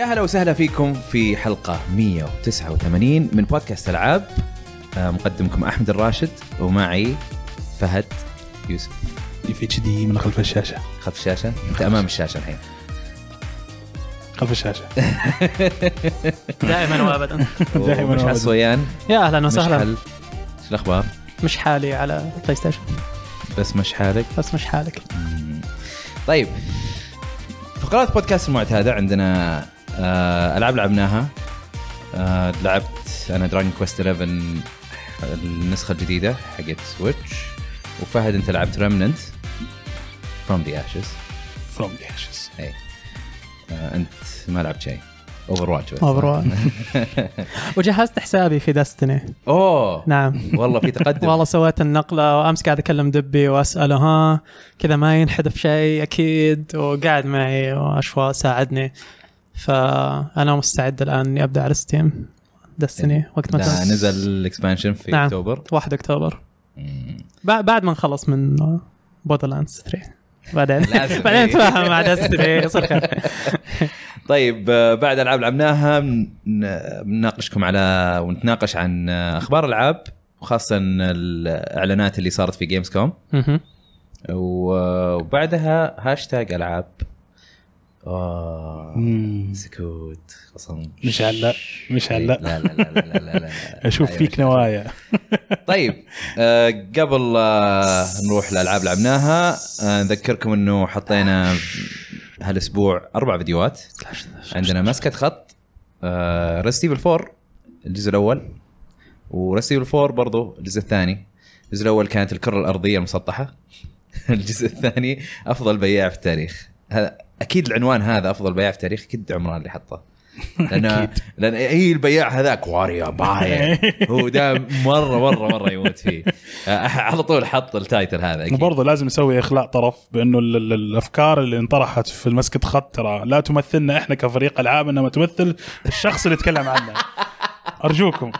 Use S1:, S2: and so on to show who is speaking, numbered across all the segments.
S1: اهلا وسهلا فيكم في حلقه 189 من بودكاست العاب آه، مقدمكم احمد الراشد ومعي فهد يوسف
S2: في اتش دي من خلف الشاشه
S1: خلف الشاشه انت امام الشاشه الحين
S2: خلف الشاشه
S3: دائما وابدا
S2: دائماً
S1: ومش
S2: أبداً.
S1: عصويان
S3: يا اهلا
S1: مش
S3: وسهلا
S1: حل شو الاخبار
S3: مش حالي على بلاي ستيشن
S1: بس مش حالك
S3: بس مش حالك
S1: طيب فقرات بودكاست المعتاده عندنا آه، العاب لعبناها آه، لعبت انا دراجون كويست 11 النسخه الجديده حقت سويتش وفهد انت لعبت ريمننت فروم ذا اشز
S2: فروم ذا اشز
S1: اي إيه. آه، انت ما لعبت شيء اوفر واتش
S3: مبروك وجهزت حسابي في دستني
S1: اوه
S3: نعم
S1: والله في تقدم
S3: والله سويت النقله وامس قاعد اكلم دبي واساله ها كذا ما ينحذف شيء اكيد وقاعد معي واشواء ساعدني فانا مستعد الان اني ابدا على ستيم دستني وقت ما
S1: إيه. لا،
S3: تنزل.
S1: نزل الاكسبانشن في
S3: نعم.
S1: اكتوبر
S3: 1 اكتوبر
S1: مم.
S3: بع- بعد ما نخلص من بودرلاندز 3 بعدين
S1: لازم.
S3: بعدين نتفاهم مع دستني يصير خير
S1: طيب آه، بعد العاب لعبناها ن- بنناقشكم على ونتناقش عن آه، اخبار العاب وخاصه الاعلانات اللي صارت في جيمز كوم
S3: مهم.
S1: و- آه، وبعدها هاشتاج العاب آه، سكوت خصم
S2: مش هلا مش
S1: لا
S2: هلا
S1: إيه، لا لا لا لا, لا, لا.
S2: اشوف
S1: أيوة،
S2: فيك نوايا
S1: طيب آه، قبل آه، نروح للالعاب لعبناها آه، نذكركم انه حطينا هالاسبوع اربع فيديوهات عندنا مسكة خط آه ريست ايفل 4 الجزء الاول وريست ايفل 4 برضو الجزء الثاني الجزء الاول كانت الكره الارضيه المسطحه الجزء الثاني افضل بياع في التاريخ هذا اكيد العنوان هذا افضل بياع في التاريخ اكيد عمران اللي حطه لان
S2: أكيد.
S1: لان اي البياع هذاك واريا باي هو ده مره مره مره يموت فيه آه، على طول حط التايتل هذا أكيد.
S2: وبرضه لازم نسوي اخلاء طرف بانه ال- ال- الافكار اللي انطرحت في المسكة خط ترى لا تمثلنا احنا كفريق العاب انما تمثل الشخص اللي تكلم عنه ارجوكم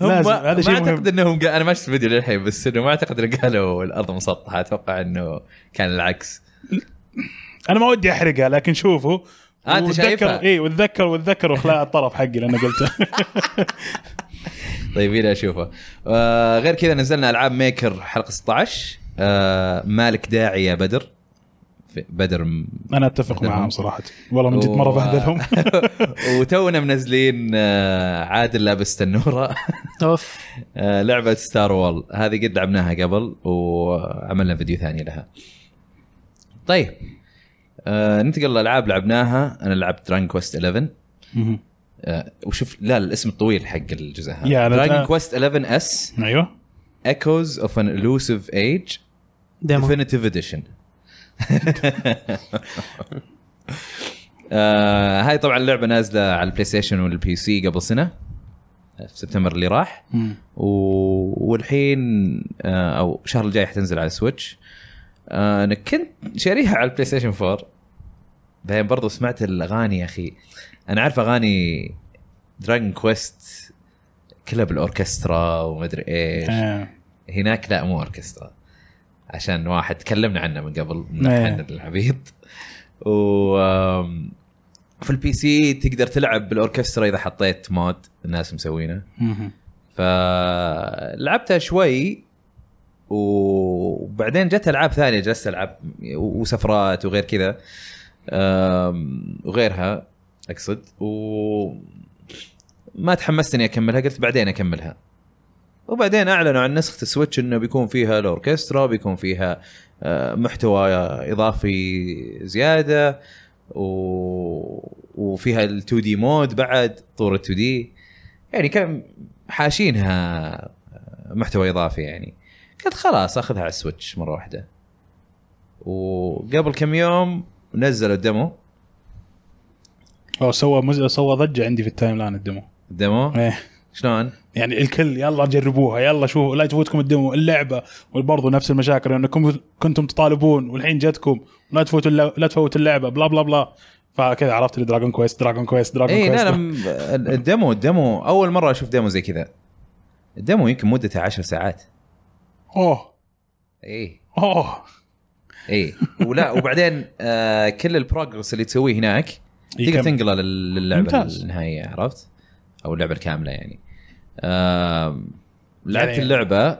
S1: هم
S2: لازم
S1: ما-
S2: هذا
S1: ما
S2: شيء
S1: اعتقد
S2: مهم
S1: انهم قا- انا ما شفت فيديو للحين بس انه ما اعتقد انه قالوا الارض مسطحه اتوقع انه كان العكس
S2: انا ما ودي احرقها لكن شوفوا إيه،
S1: آه، أنت شايفها؟
S2: اي وتذكر وتذكر اخلاء الطرف حقي لانه قلته
S1: طيب هنا اشوفه آه غير كذا نزلنا العاب ميكر حلقه 16 آه مالك داعي يا بدر في- بدر م-
S2: انا اتفق معهم صراحه والله من جد مره
S1: نعم. و-
S2: بهذلهم
S1: وتونا منزلين آه عادل لابس تنوره
S3: اوف
S1: آه، لعبة ستار وول هذه قد لعبناها قبل وعملنا فيديو ثاني لها. طيب آه، ننتقل للالعاب لعبناها انا لعبت درانج كويست 11
S2: مهم.
S1: آه، وشوف لا الاسم الطويل حق الجزء
S2: يا
S1: هذا
S2: أنا-
S1: درانج كويست 11 اس
S2: ايوه
S1: ايكوز اوف ان الوسيف ايج
S3: ديمو
S1: ديفينيتيف اديشن آه، هاي طبعا اللعبه نازله على البلاي ستيشن والبي سي قبل سنه في سبتمبر اللي راح و... والحين آه، او الشهر الجاي حتنزل على سويتش آه، انا كنت شاريها على البلاي ستيشن 4 بعدين برضو سمعت الاغاني يا اخي انا عارف اغاني دراجون كويست كلها بالاوركسترا ومدري ايش
S2: آه.
S1: هناك لا مو اوركسترا عشان واحد تكلمنا عنه من قبل
S2: إيه.
S1: من العبيط و آم، في البي سي تقدر تلعب بالاوركسترا اذا حطيت مود الناس مسوينه
S2: مهم.
S1: فلعبتها شوي وبعدين جت العاب ثانيه جلست العب وسفرات وغير كذا أم، وغيرها اقصد و ما تحمست اني اكملها قلت بعدين اكملها وبعدين اعلنوا عن نسخه السويتش انه بيكون فيها الاوركسترا بيكون فيها آه، محتوى اضافي زياده و... وفيها ال 2 دي مود بعد طور ال 2 دي يعني كان حاشينها محتوى اضافي يعني قلت خلاص اخذها على السويتش مره واحده وقبل كم يوم نزلوا الدمو
S2: هو سوى مز... سوى ضجه عندي في التايم لاين الدمو
S1: الدمو
S2: إيه.
S1: شلون؟
S2: يعني الكل يلا جربوها يلا شوفوا لا تفوتكم الدمو اللعبه وبرضه نفس المشاكل انكم كنتم تطالبون والحين جتكم لا تفوتوا الل... لا تفوتوا اللعبه بلا بلا بلا فكذا عرفت اللي دراجون كويست دراجون كويست دراجون
S1: اي
S2: كويست
S1: إيه، لا لا ال- الدمو الدمو اول مره اشوف دمو زي كذا الدمو يمكن مدته 10 ساعات إيه،
S2: اوه
S1: اي
S2: اوه
S1: إيه. اي ولا وبعدين آه كل البروجرس اللي تسويه هناك تقدر
S2: يكمل.
S1: تنقله لل- للعبه
S2: ممتاز.
S1: النهائيه عرفت؟ او اللعبه الكامله يعني. آم، لعبت
S2: يعني-
S1: اللعبه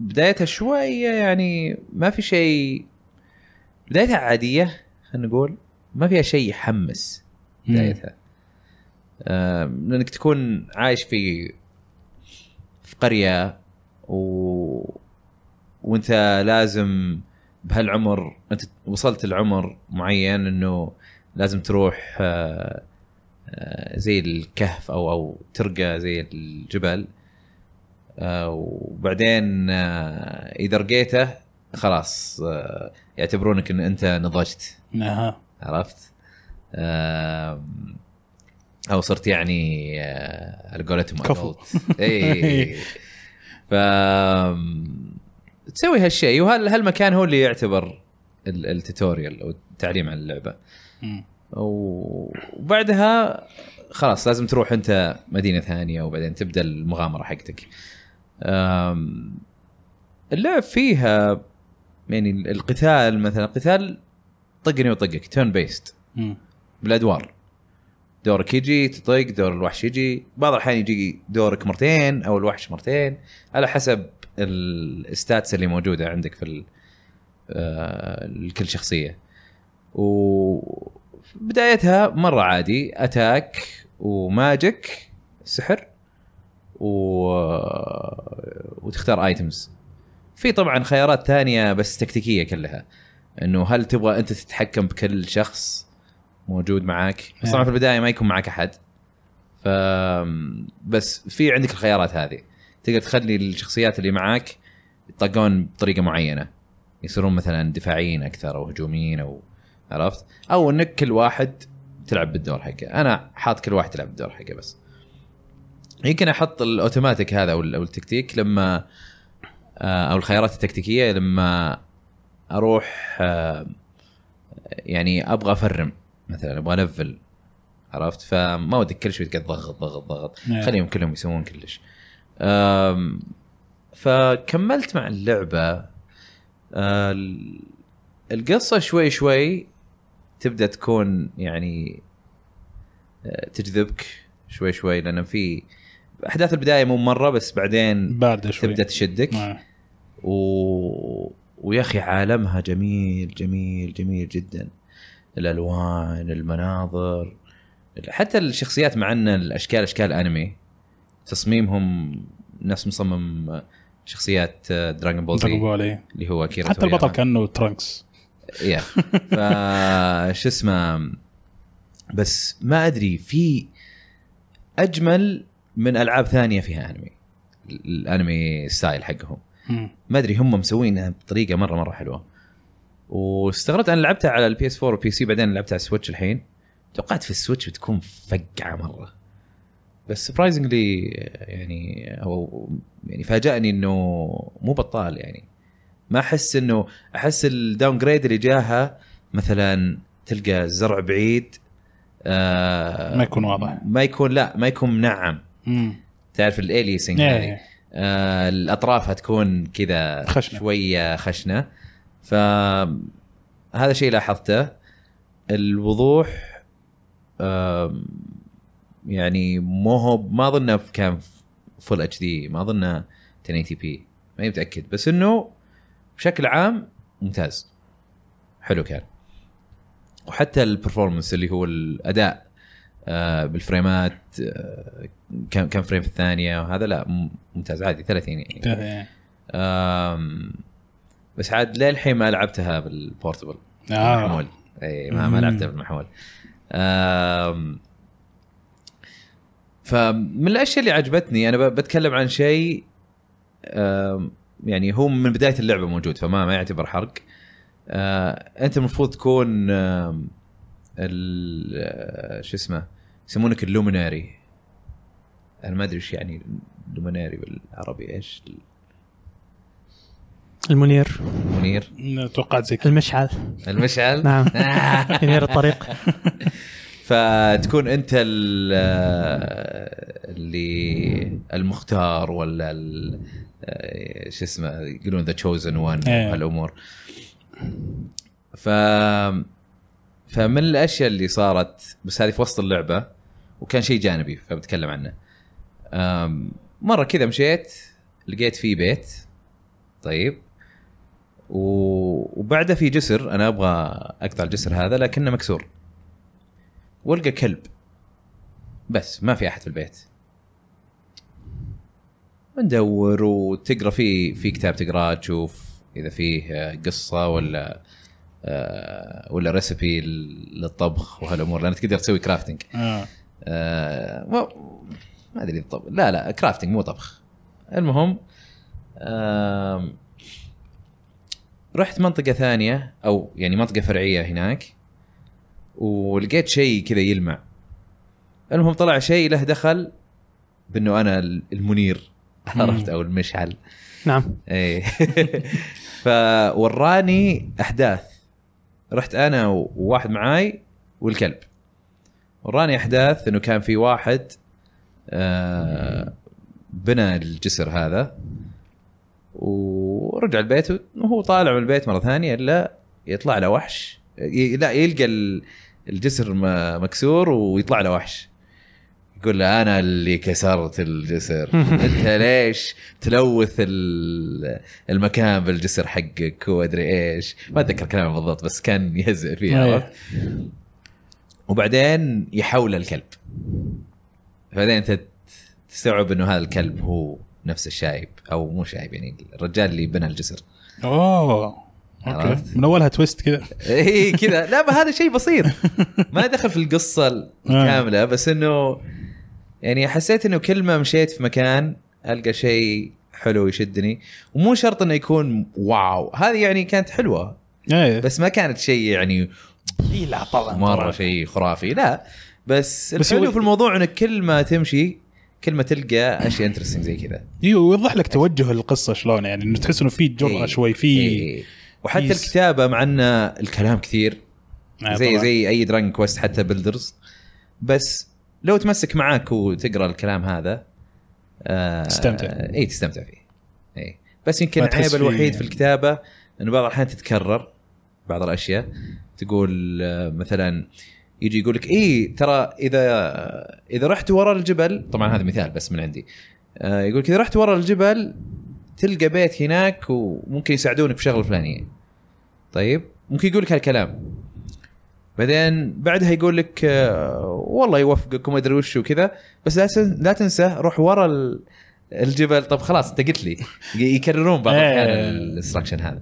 S1: بدايتها شويه يعني ما في شيء بدايتها عاديه خلينا نقول ما فيها شيء يحمس بدايتها آم، لانك آه، تكون عايش في في قريه و... وانت لازم بهالعمر انت وصلت لعمر معين انه لازم تروح آه، آه، زي الكهف او او ترقى زي الجبل آه، وبعدين آه، اذا رقيته خلاص آه، يعتبرونك ان انت نضجت
S2: اها
S1: عرفت؟ آم، او صرت يعني آه، على قولتهم
S2: كفو.
S1: adult. اي ف تسوي هالشيء وهالمكان هو اللي يعتبر ال- التوتوريال او التعليم عن اللعبه
S2: مم.
S1: وبعدها خلاص لازم تروح انت مدينه ثانيه وبعدين تبدا المغامره حقتك. أم، اللعب فيها يعني القتال مثلا قتال طقني وطقك تيرن بيست
S2: مم.
S1: بالادوار دورك يجي تطق دور الوحش يجي بعض الاحيان يجي دورك مرتين او الوحش مرتين على حسب الستاتس اللي موجوده عندك في ال- آه، لكل شخصيه و بدايتها مره عادي اتاك وماجيك سحر و... وتختار ايتمز في طبعا خيارات ثانيه بس تكتيكيه كلها انه هل تبغى انت تتحكم بكل شخص موجود معاك بس طبعا في البدايه ما يكون معك احد ف بس في عندك الخيارات هذه تقدر تخلي الشخصيات اللي معاك يطقون بطريقه معينه يصيرون مثلا دفاعيين اكثر او هجوميين او عرفت او انك كل واحد تلعب بالدور حقه انا حاط كل واحد يلعب بالدور حقه بس يمكن احط الاوتوماتيك هذا او ال- أو التكتيك لما آه، او الخيارات التكتيكيه لما اروح آه، يعني ابغى افرم مثلا ابغى الفل عرفت فما ودك كل شوي تقعد ضغط ضغط ضغط
S2: إيه.
S1: خليهم كلهم يسوون كلش أم، فكملت مع اللعبه آه، ال- القصه شوي شوي تبدا تكون يعني آه، تجذبك شوي شوي لان في احداث البدايه مو مره بس بعدين
S2: بارده نعم. شوي
S1: تبدا تشدك
S2: آه.
S1: و... ويا اخي عالمها جميل جميل جميل جدا الالوان المناظر حتى الشخصيات مع ان الاشكال اشكال انمي تصميمهم نفس مصمم شخصيات دراجون بول
S2: دراغون
S1: زي
S2: بول إيه.
S1: اللي هو كيرا
S2: حتى البطل كانه ترانكس
S1: يا ف شو اسمه بس ما ادري في اجمل من العاب ثانيه فيها انمي ال- الانمي ستايل حقهم
S2: مم.
S1: ما ادري هم مسوينها بطريقه مره مره حلوه واستغربت انا لعبتها على البي اس 4 والبي سي بعدين لعبتها على السويتش الحين توقعت في السويتش بتكون فقعه مره بس سبرايزنجلي يعني او يعني فاجأني انه مو بطال يعني ما احس انه احس الداون جريد اللي جاها مثلا تلقى الزرع بعيد آه
S2: ما يكون واضح.
S1: ما يكون لا ما يكون منعم
S2: مم.
S1: تعرف الاليسنج
S2: إيه.
S1: هذه آه، الاطراف هتكون كذا
S2: خشنة.
S1: شويه خشنه فهذا شيء لاحظته الوضوح آم، يعني مو هو ما اظنه ف- كان فول اتش دي ما اظنه 1080 بي ماني متاكد بس انه بشكل عام ممتاز حلو كان وحتى البرفورمانس اللي هو الاداء آه، بالفريمات آه، كم كم فريم في الثانيه وهذا لا م- ممتاز عادي 30 يعني
S2: إيه.
S1: أم، بس عاد للحين ما لعبتها بالبورتبل
S2: آه.
S1: المحمول اي ما, ما
S2: مم.
S1: لعبتها بالمحمول أم، فمن الاشياء اللي عجبتني انا ب- بتكلم عن شيء أم، يعني هو من بدايه اللعبه موجود فما ما يعتبر حرق أه، انت المفروض تكون أم، ال- أه، شو اسمه يسمونك اللوميناري انا ما ادري ايش يعني لوميناري بالعربي ايش
S3: المنير
S1: المنير
S2: توقعت زي كذا
S3: المشعل
S1: المشعل آه.
S3: نعم ينير الطريق
S1: فتكون انت ال- اللي المختار ولا ال- شو اسمه يقولون ذا تشوزن وان
S2: إيه.
S1: هالامور ف فمن الاشياء اللي صارت بس هذه في وسط اللعبه وكان شيء جانبي فبتكلم عنه أم، مره كذا مشيت لقيت فيه بيت طيب و- وبعده في جسر انا ابغى اقطع الجسر هذا لكنه مكسور والقى كلب بس ما في احد في البيت ندور وتقرا في في كتاب تقراه تشوف اذا فيه آه، قصه ولا آه، ولا ريسبي للطبخ وهالامور لانك تقدر تسوي كرافتنج
S2: آه.
S1: آه، ما ما ادري الطب لا لا كرافتنج مو طبخ المهم آم، رحت منطقه ثانيه او يعني منطقه فرعيه هناك ولقيت شيء كذا يلمع المهم طلع شيء له دخل بانه انا المنير
S2: مم.
S1: عرفت او المشعل
S3: نعم
S1: ايه فوراني احداث رحت انا وواحد معاي والكلب وراني احداث انه كان في واحد آه بنى الجسر هذا ورجع البيت وهو طالع من البيت مره ثانيه الا يطلع له وحش ي- لا يلقى ال- الجسر م- مكسور ويطلع له وحش يقول له انا اللي كسرت الجسر انت ليش تلوث ال- المكان بالجسر حقك وادري ايش ما اتذكر كلامه بالضبط بس كان يهزئ فيه
S2: أيه.
S1: عرفت؟ وبعدين يحول الكلب بعدين انت تستوعب انه هذا الكلب هو نفس الشايب او مو شايب يعني الرجال اللي بنى الجسر
S2: اوه
S1: عرفت.
S2: اوكي من اولها تويست كذا
S1: اي إيه، كذا لا ما هذا شيء بسيط ما دخل في القصه الكامله بس انه يعني حسيت انه كل ما مشيت في مكان القى شيء حلو يشدني ومو شرط انه يكون واو هذه يعني كانت حلوه
S2: ايه
S1: بس ما كانت شيء يعني
S2: اي لا طبعا
S1: مره شيء خرافي لا بس,
S2: بس
S1: بس الحلو
S2: هو-
S1: في الموضوع انك كل ما تمشي كل ما تلقى اشياء انترستنج زي كذا
S2: ايوه ويوضح لك توجه القصه شلون يعني انه تحس انه في جرأه
S1: إيه.
S2: شوي في
S1: إيه. وحتى
S2: فيس.
S1: الكتابه مع ان الكلام كثير
S2: آه،
S1: زي
S2: طبعاً.
S1: زي اي دراجون كويست حتى بلدرز بس لو تمسك معاك وتقرا الكلام هذا آه
S2: تستمتع.
S1: اي تستمتع فيه اي بس يمكن
S2: ما تحس
S1: العيب
S2: فيه
S1: الوحيد
S2: يعني.
S1: في الكتابه انه بعض الاحيان تتكرر بعض الاشياء تقول آه، مثلا يجي يقول لك اي ترى اذا اذا رحت ورا الجبل طبعا هذا مثال بس من عندي آه، يقول لك اذا رحت ورا الجبل تلقى بيت هناك وممكن يساعدونك في شغله فلانيه طيب ممكن يقول لك هالكلام بعدين بعدها يقول لك آه، والله يوفقك وما ادري وش وكذا بس لا تن- لا تنسى روح ورا ال- الجبل طب خلاص انت قلت لي ي- يكررون بعض
S2: إيه.
S1: الاحيان الانستركشن هذا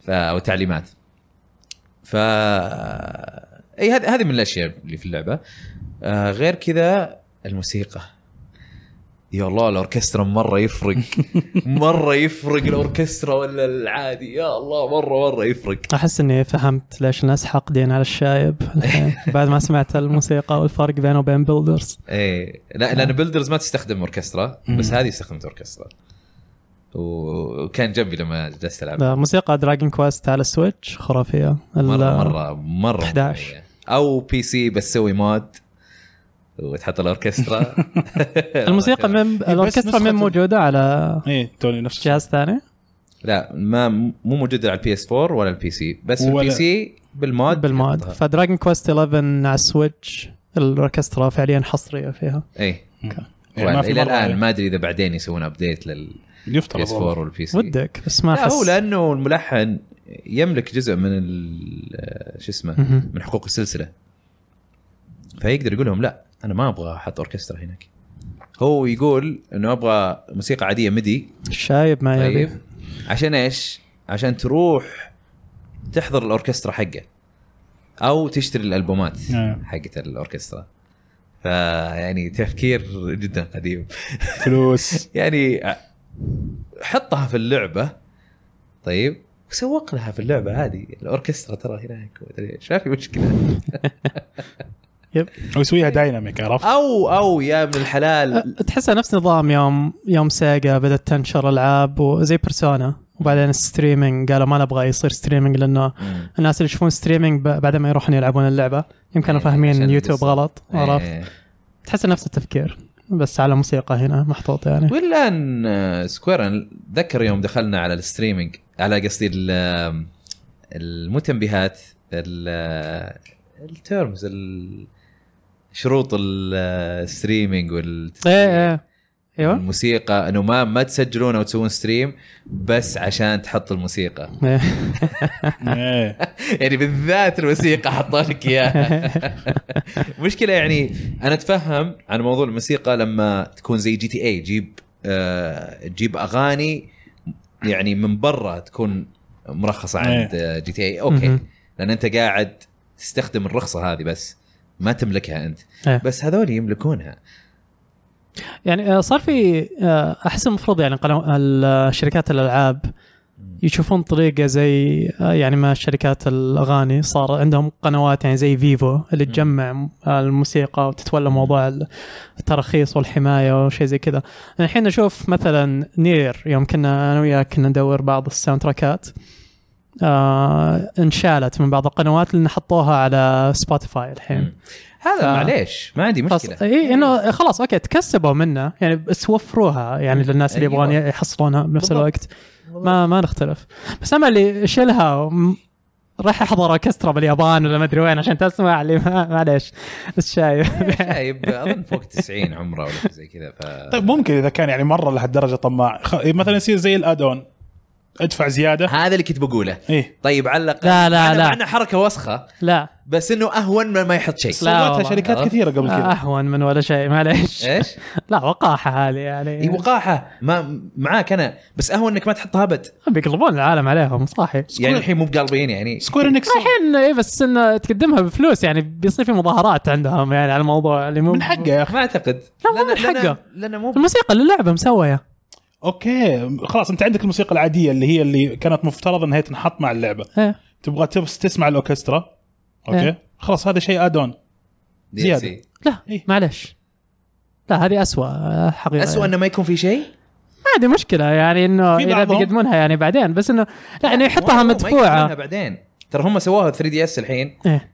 S1: ف او التعليمات ف اي هذه هذه من الاشياء اللي في اللعبه آه غير كذا الموسيقى يا الله الاوركسترا مره يفرق مره يفرق الاوركسترا ولا العادي يا الله مره مره يفرق
S3: احس اني فهمت ليش الناس حاقدين على الشايب الحين بعد ما سمعت الموسيقى والفرق بينه وبين بيلدرز
S1: ايه لا لان بيلدرز ما تستخدم اوركسترا بس
S2: مم.
S1: هذه استخدمت اوركسترا و- وكان جنبي لما جلست العب
S3: موسيقى دراجون كويست على السويتش خرافيه ال-
S1: مره مره مره
S3: 11.
S1: ممتازة. او بي سي بس سوي مود وتحط الاوركسترا
S3: الموسيقى من الاوركسترا
S2: نسخة
S3: من
S2: ال-
S3: موجوده على
S2: ايه توني نفس
S3: جهاز ثاني
S1: لا ما مو موجوده على البي اس 4 ولا البي سي بس
S2: ولا-
S1: البي سي بالمود
S3: بالمود
S1: يحطها.
S3: فدراجون كويست 11 على السويتش الاوركسترا فعليا حصريه فيها
S1: ايه
S2: يعني ما في
S1: الى
S2: مرة
S1: الان
S2: يعني.
S1: ما ادري اذا بعدين يسوون ابديت للبي
S2: يفترض
S1: اس 4
S2: والله.
S1: والبي سي
S3: ودك بس ما
S1: لا هو
S3: احس
S1: لانه الملحن يملك جزء من ال- شو اسمه
S3: مهم.
S1: من حقوق السلسله فيقدر يقول لهم لا انا ما ابغى احط اوركسترا هناك هو يقول انه ابغى موسيقى عاديه ميدي
S3: الشايب ما يبي
S1: طيب عشان ايش؟ عشان تروح تحضر الاوركسترا حقه او تشتري الالبومات
S2: آه.
S1: حقت الاوركسترا فيعني تفكير جدا قديم
S2: فلوس
S1: يعني ع- حطها في اللعبه طيب وسوق لها في اللعبه عادي الاوركسترا ترى هناك ومدري ايش ما في مشكله
S2: ويسويها دايناميك عرفت؟
S1: او او يا ابن الحلال
S3: تحسها نفس نظام يوم يوم سيجا بدات تنشر العاب وزي بيرسونا وبعدين الستريمينج قالوا ما نبغى يصير ستريمينج لانه الناس اللي يشوفون ستريمينج ب- بعد ما يروحون يلعبون اللعبه يمكن
S1: إيه،
S3: فاهمين
S1: عشان
S3: يوتيوب
S1: القصة.
S3: غلط عرفت
S1: إيه.
S3: تحس نفس التفكير بس على موسيقى هنا محطوط يعني
S1: والان آه، سكوير أنا ذكر يوم دخلنا على الستريمينج على قصدي ال- آم، المو تنبيهات ال- آه، التيرمز ال- شروط آه، الستريمينج وال
S3: ايه ايه ايوه
S1: الموسيقى انه ما ما تسجلون او تسوون ستريم بس عشان تحط الموسيقى
S3: إيه.
S2: إيه.
S1: يعني بالذات الموسيقى حطوا لك
S3: إيه.
S1: اياها مشكله يعني انا اتفهم عن موضوع الموسيقى لما تكون زي جي تي اي جيب آه جيب اغاني يعني من برا تكون مرخصه عند آه، جي تي اي اوكي
S3: إيه. مهم.
S1: لان انت قاعد تستخدم الرخصه هذه بس ما تملكها انت
S3: إيه.
S1: بس هذول يملكونها
S3: يعني آه، صار في آه، احس المفروض يعني قنو- ال- شركات الالعاب يشوفون طريقه زي آه، يعني ما شركات الاغاني صار عندهم قنوات يعني زي فيفو اللي تجمع م- آه، الموسيقى وتتولى موضوع ال- التراخيص والحمايه وشيء زي كذا. أنا الحين اشوف مثلا نير يوم كنا انا وياك كنا ندور بعض الساوند تراكات آه انشالت من بعض القنوات لان حطوها على سبوتيفاي الحين.
S1: مم. هذا
S3: ف-
S1: معليش ما عندي
S3: خلاص
S1: مشكله
S3: اي انه خلاص اوكي تكسبوا منه يعني بس وفروها يعني للناس اللي
S1: أيوة.
S3: يبغون يحصلونها بنفس
S1: بالضبط.
S3: الوقت ما ما نختلف بس اما اللي شلها وم- راح يحضر اوركسترا باليابان ولا ما ادري وين عشان تسمع لي ما- معليش بس شايف
S1: شايب اظن فوق 90 عمره ولا شيء زي كذا ف
S2: طيب ممكن اذا كان يعني مره لهالدرجه طماع خ... مثلا يصير زي الادون ادفع زياده
S1: هذا اللي كنت بقوله
S2: ايه
S1: طيب علق
S3: لا، لا، لا.
S1: معنا حركه وسخه
S3: لا
S1: بس انه اهون ما, ما يحط شيء
S3: لا.
S2: سوتها
S3: والله.
S1: آه.
S2: شركات كثيره قبل كذا إيه؟
S3: اهون من ولا شيء معليش
S1: ايش؟
S3: لا وقاحه هذه يعني
S1: اي وقاحه ما معاك انا بس اهون انك ما تحطها ابد
S3: بيقلبون العالم عليهم صاحي
S1: يعني الحين مو بقالبين يعني
S2: سكوير انكس
S3: الحين اي بس انه تقدمها بفلوس يعني بيصير في مظاهرات عندهم يعني على الموضوع اللي مو
S2: من حقه يا اخي
S1: ما اعتقد
S3: لا، مو من
S1: لأن-
S3: حقه.
S1: لانه مو
S3: الموسيقى للعبه مسويه
S2: اوكي خلاص انت عندك الموسيقى العاديه اللي هي اللي كانت مفترض انها تنحط مع اللعبه
S3: إيه.
S2: تبغى تبس تسمع الاوركسترا اوكي
S3: إيه.
S2: خلاص هذا شيء ادون زيادة.
S1: DLC.
S3: لا
S2: إيه.
S3: معلش لا هذه أسوأ حقيقة
S1: اسوء
S3: يعني.
S1: انه ما يكون في شيء
S3: ما عندي مشكلة يعني انه
S2: في
S3: اذا
S2: بعضهم-
S3: بيقدمونها يعني بعدين بس انه لا انه يحطها
S1: مو- ما يكتبونها
S3: مدفوعة
S1: بعدين ترى هم سووها 3 دي اس الحين
S3: إيه.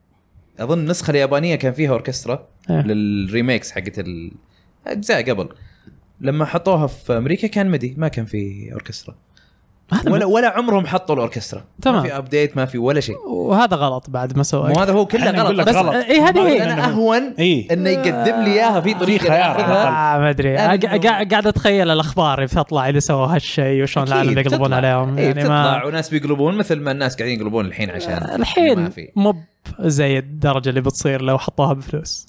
S1: اظن النسخه اليابانيه كان فيها اوركسترا
S3: إيه.
S1: للريميكس حقت الاجزاء قبل لما حطوها في امريكا كان مدي ما كان في اوركسترا
S3: هذا
S1: ولا ولا عمرهم حطوا الاوركسترا
S3: تمام.
S1: ما في ابديت ما في ولا شيء
S3: وهذا غلط بعد ما سوى
S1: مو هذا هو كله
S2: أنا أقول
S1: غلط
S2: لك
S1: بس
S2: غلط.
S3: اي هذه
S1: بس
S2: إيه.
S3: هي
S1: انا اهون
S2: اي
S1: انه يقدم لي اياها في طريقه
S2: خيار على
S1: ياخذها
S3: آه ما ادري
S1: أنا
S3: أنا قا-
S1: إنه-
S3: قا- قاعد اتخيل الاخبار اللي بتطلع اللي سووا هالشيء وشلون العالم
S1: أكيد
S3: بيقلبون
S1: بتطلع.
S3: عليهم
S1: إيه،
S3: يعني
S1: بتطلع
S3: ما آه،
S1: وناس بيقلبون مثل ما الناس قاعدين يقلبون الحين عشان ما
S3: الحين
S1: في
S3: مو ب- زي الدرجة اللي بتصير لو حطوها بفلوس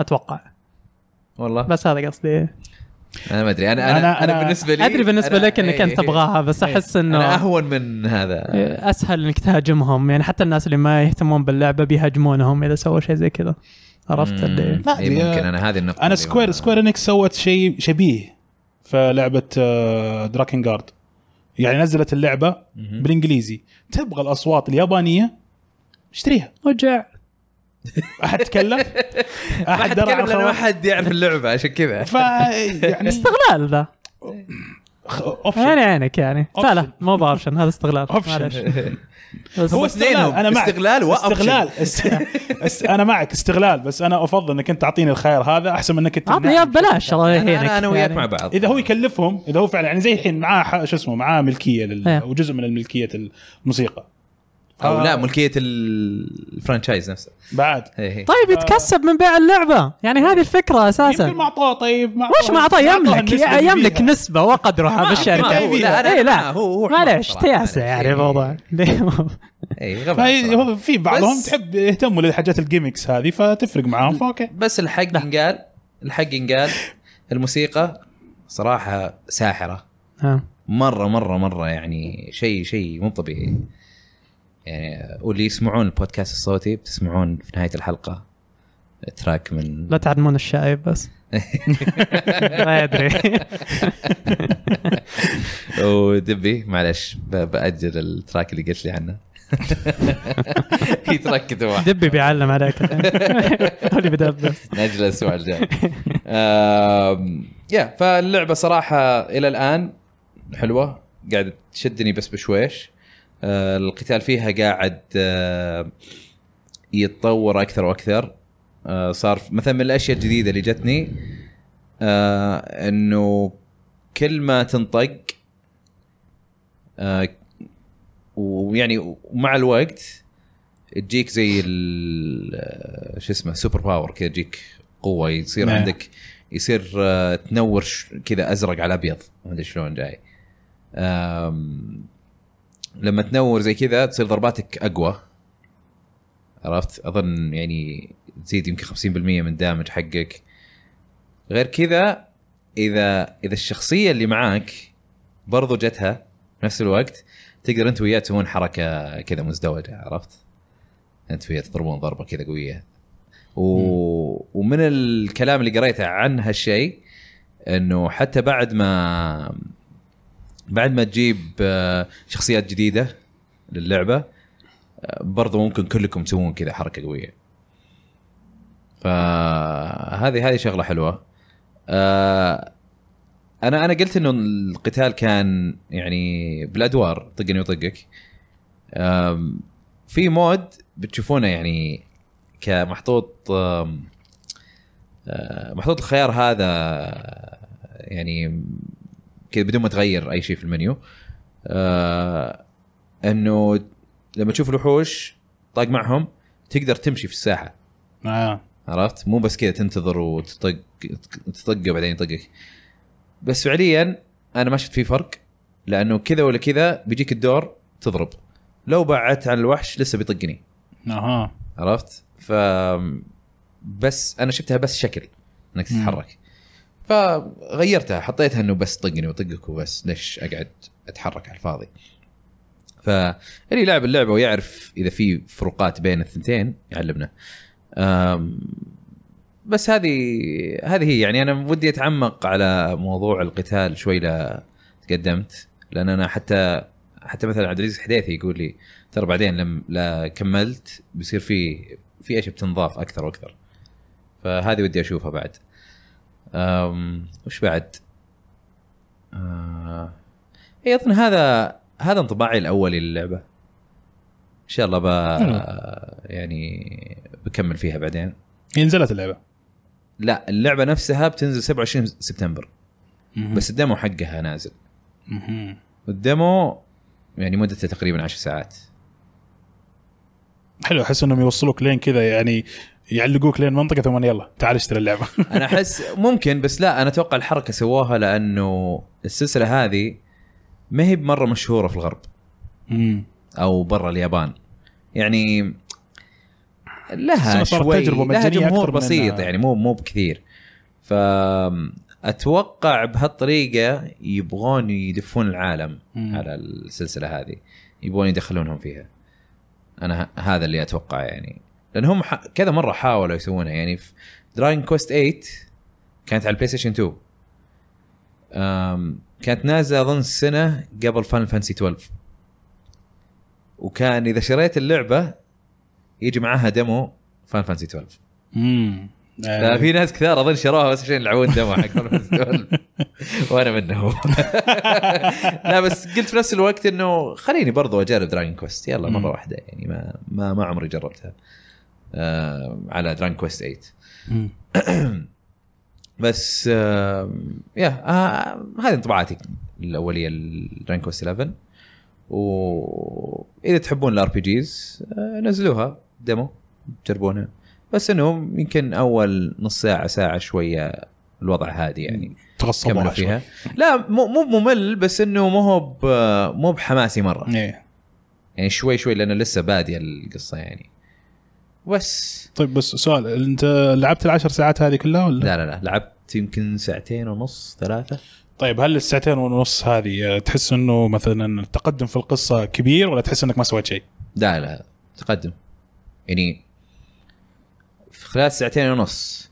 S3: اتوقع
S1: والله
S3: بس هذا قصدي
S1: انا ما ادري أنا, انا انا
S2: أنا-
S1: انا
S2: أنا-
S1: بالنسبه لي
S3: ادري بالنسبة
S1: أنا-
S3: لك انك
S1: إيه،
S3: انت تبغاها بس
S2: إيه.
S3: احس انه
S1: انا اهون من هذا
S3: اسهل انك تهاجمهم يعني حتى الناس اللي ما يهتمون باللعبه بيهاجمونهم اذا سووا شيء زي كذا عرفت اللي
S1: مم. إيه،
S2: أدري.
S1: ممكن انا هذه النقطه
S2: انا
S1: اللي
S2: سكوير
S1: ما-
S2: سكوير انكس سوت شيء شبيه في لعبه دراكن جارد يعني نزلت اللعبه
S1: مهم.
S2: بالانجليزي تبغى الاصوات اليابانيه اشتريها
S3: وجع
S2: احد تكلف
S1: ما حد
S2: احد درى عن
S1: يتكلم لأن ما
S2: الخواجات؟
S1: حد يعرف اللعبه عشان كذا
S2: ف يعني
S3: استغلال ذا
S2: خ- اوبشن
S3: يعني عينك يعني لا لا مو باوبشن هذا استغلال
S2: Option.
S3: معلش. بس
S1: هو اثنينهم
S2: أنا معك.
S1: استغلال وأوبشن.
S2: استغلال است- است- انا معك استغلال بس انا افضل انك انت تعطيني الخيار هذا احسن من انك انت
S3: عطني اياه ببلاش الله
S1: أنا-
S3: يهينك
S1: انا انا وياك
S3: يعني.
S1: مع بعض
S2: اذا هو يكلفهم اذا هو فعلا يعني زي الحين معاه ح- شو اسمه معاه ملكيه لل...
S3: إيه.
S2: او جزء من الملكيه الموسيقى
S1: او
S2: آه.
S1: لا ملكيه ال- الفرانشايز نفسه
S2: بعد
S1: هي هي.
S3: طيب يتكسب من بيع اللعبه يعني هذه الفكره
S2: يمكن
S3: اساسا
S2: ما اعطوه طيب ما
S3: وش ما اعطاه
S2: أعطوه
S3: يملك
S2: النسبة اللي
S3: يملك
S2: فيها.
S3: نسبه وقدرها بالشركه
S2: ما هو- لا،
S1: أنا-
S3: اي إيه، لا
S1: آه، هو- هو حمار
S3: معليش
S1: صراحة.
S3: تياسه يعني
S1: إيه.
S3: الموضوع
S1: اي غبي
S2: فهي-
S1: صراحة.
S2: هو في بعضهم
S1: نعم. بس-
S2: تحب يهتموا للحاجات الجيمكس هذه فتفرق معاهم فاوكي
S1: بس الحق انقال الحق انقال الموسيقى صراحه ساحره
S3: آه.
S1: مره مره مره يعني شيء شيء مو طبيعي يعني واللي يسمعون البودكاست الصوتي بتسمعون في نهايه الحلقه تراك من
S3: لا تعلمون الشايب بس لا يدري
S1: ودبي معلش ب- باجل التراك اللي قلت لي عنه في تراك كذا واحد
S3: دبي بيعلم عليك هو اللي بيدبس
S1: ناجل الاسبوع الجاي آم، يا فاللعبه صراحه الى الان حلوه قاعد تشدني بس بشويش آه، القتال فيها قاعد آه، يتطور اكثر واكثر آه، صار مثلا من الاشياء الجديده اللي جتني آه، انه كل ما تنطق آه، ويعني ومع الوقت تجيك زي ال- آه، شو اسمه سوبر باور كذا تجيك قوه يصير
S2: نعم.
S1: عندك يصير آه، تنور ش- كذا ازرق على ابيض ما ادري شلون جاي آم، لما تنور زي كذا تصير ضرباتك اقوى عرفت اظن يعني تزيد يمكن 50% من الدامج حقك غير كذا اذا اذا الشخصيه اللي معاك برضو جتها نفس الوقت تقدر انت وياه تسوون حركه كذا مزدوجه عرفت؟ انت وياه تضربون ضربه كذا قويه و... ومن الكلام اللي قريته عن هالشيء انه حتى بعد ما بعد ما تجيب آه، شخصيات جديده للعبه آه، برضو ممكن كلكم تسوون كذا حركه قويه فهذه هذه شغله حلوه آه، انا انا قلت انه القتال كان يعني بالادوار طقني وطقك آم، في مود بتشوفونه يعني كمحطوط آم، آه، محطوط الخيار هذا يعني كذا بدون ما تغير اي شيء في المنيو آه، انه لما تشوف الوحوش طاق معهم تقدر تمشي في الساحه
S2: آه.
S1: عرفت مو بس كذا تنتظر وتطق تطقه وبعدين يطقك بس فعليا انا ما شفت فيه فرق لانه كذا ولا كذا بيجيك الدور تضرب لو بعدت عن الوحش لسه بيطقني
S2: اها
S1: عرفت ف بس انا شفتها بس شكل انك
S2: مم.
S1: تتحرك فغيرتها حطيتها انه بس طقني وطقك وبس ليش اقعد اتحرك على الفاضي فاللي يلعب اللعبه ويعرف اذا في فروقات بين الثنتين يعلمنا أم، بس هذه هذه هي يعني انا ودي اتعمق على موضوع القتال شوي لا تقدمت لان انا حتى حتى مثلا عبد العزيز حديثي يقول لي ترى بعدين لما لا كملت بيصير في في اشياء بتنضاف اكثر واكثر فهذه ودي اشوفها بعد أم وش بعد أه اي اظن هذا هذا انطباعي الاولي للعبه ان شاء الله ب
S2: حلو.
S1: يعني بكمل فيها بعدين
S2: هي نزلت اللعبه
S1: لا اللعبه نفسها بتنزل 27 سبتمبر
S2: مهم.
S1: بس الديمو حقها نازل
S2: مهم.
S1: والديمو يعني مدته تقريبا 10 ساعات
S2: حلو احس انهم يوصلوك لين كذا يعني يعلقوك لين منطقه ثم يلا تعال اشتري اللعبه
S1: انا احس ممكن بس لا انا اتوقع الحركه سووها لانه السلسله هذه ما هي بمره مشهوره في الغرب
S2: مم.
S1: او برا اليابان يعني لها
S2: السنة صارت
S1: شوي
S2: تجربة
S1: لها
S2: مجانية
S1: جمهور
S2: أكثر من-
S1: بسيط يعني مو مو بكثير فاتوقع بهالطريقه يبغون يدفون العالم
S2: مم.
S1: على السلسله هذه يبغون يدخلونهم فيها انا ه- هذا اللي اتوقع يعني لان هم ح... كذا مره حاولوا يسوونها يعني في دراين كوست 8 كانت على البلاي ستيشن 2 أم... كانت نازله اظن سنه قبل فان فانسي 12 وكان اذا شريت اللعبه يجي معاها ديمو فان فانسي 12
S2: مم. آه،
S1: ففي ناس كثار اظن شروها بس عشان يلعبون دمو حق Final Fantasy 12. وانا منهم لا بس قلت في نفس الوقت انه خليني برضو اجرب دراجون كويست يلا
S2: مم.
S1: مره واحده يعني ما ما, ما عمري جربتها آه على دراجون كويست 8
S2: مم.
S1: بس آه يا آه هذه انطباعاتي الاوليه لدراجون كويست 11 واذا تحبون الار بي جيز آه، نزلوها ديمو جربونها بس انه يمكن اول نص ساعه ساعه شويه الوضع هادي يعني
S2: تغصبوا
S1: كملوا
S2: على شوي.
S1: فيها لا مو مو بممل بس انه مو هو ب- مو بحماسي مره
S2: إيه.
S1: يعني شوي شوي لانه لسه باديه القصه يعني بس
S2: طيب بس سؤال انت لعبت العشر ساعات هذه كلها ولا؟
S1: لا لا لا لعبت يمكن ساعتين ونص ثلاثه
S2: طيب هل الساعتين ونص هذه آه، تحس انه مثلا التقدم في القصه كبير ولا تحس انك ما سويت شيء؟
S1: لا لا تقدم يعني في خلال ساعتين ونص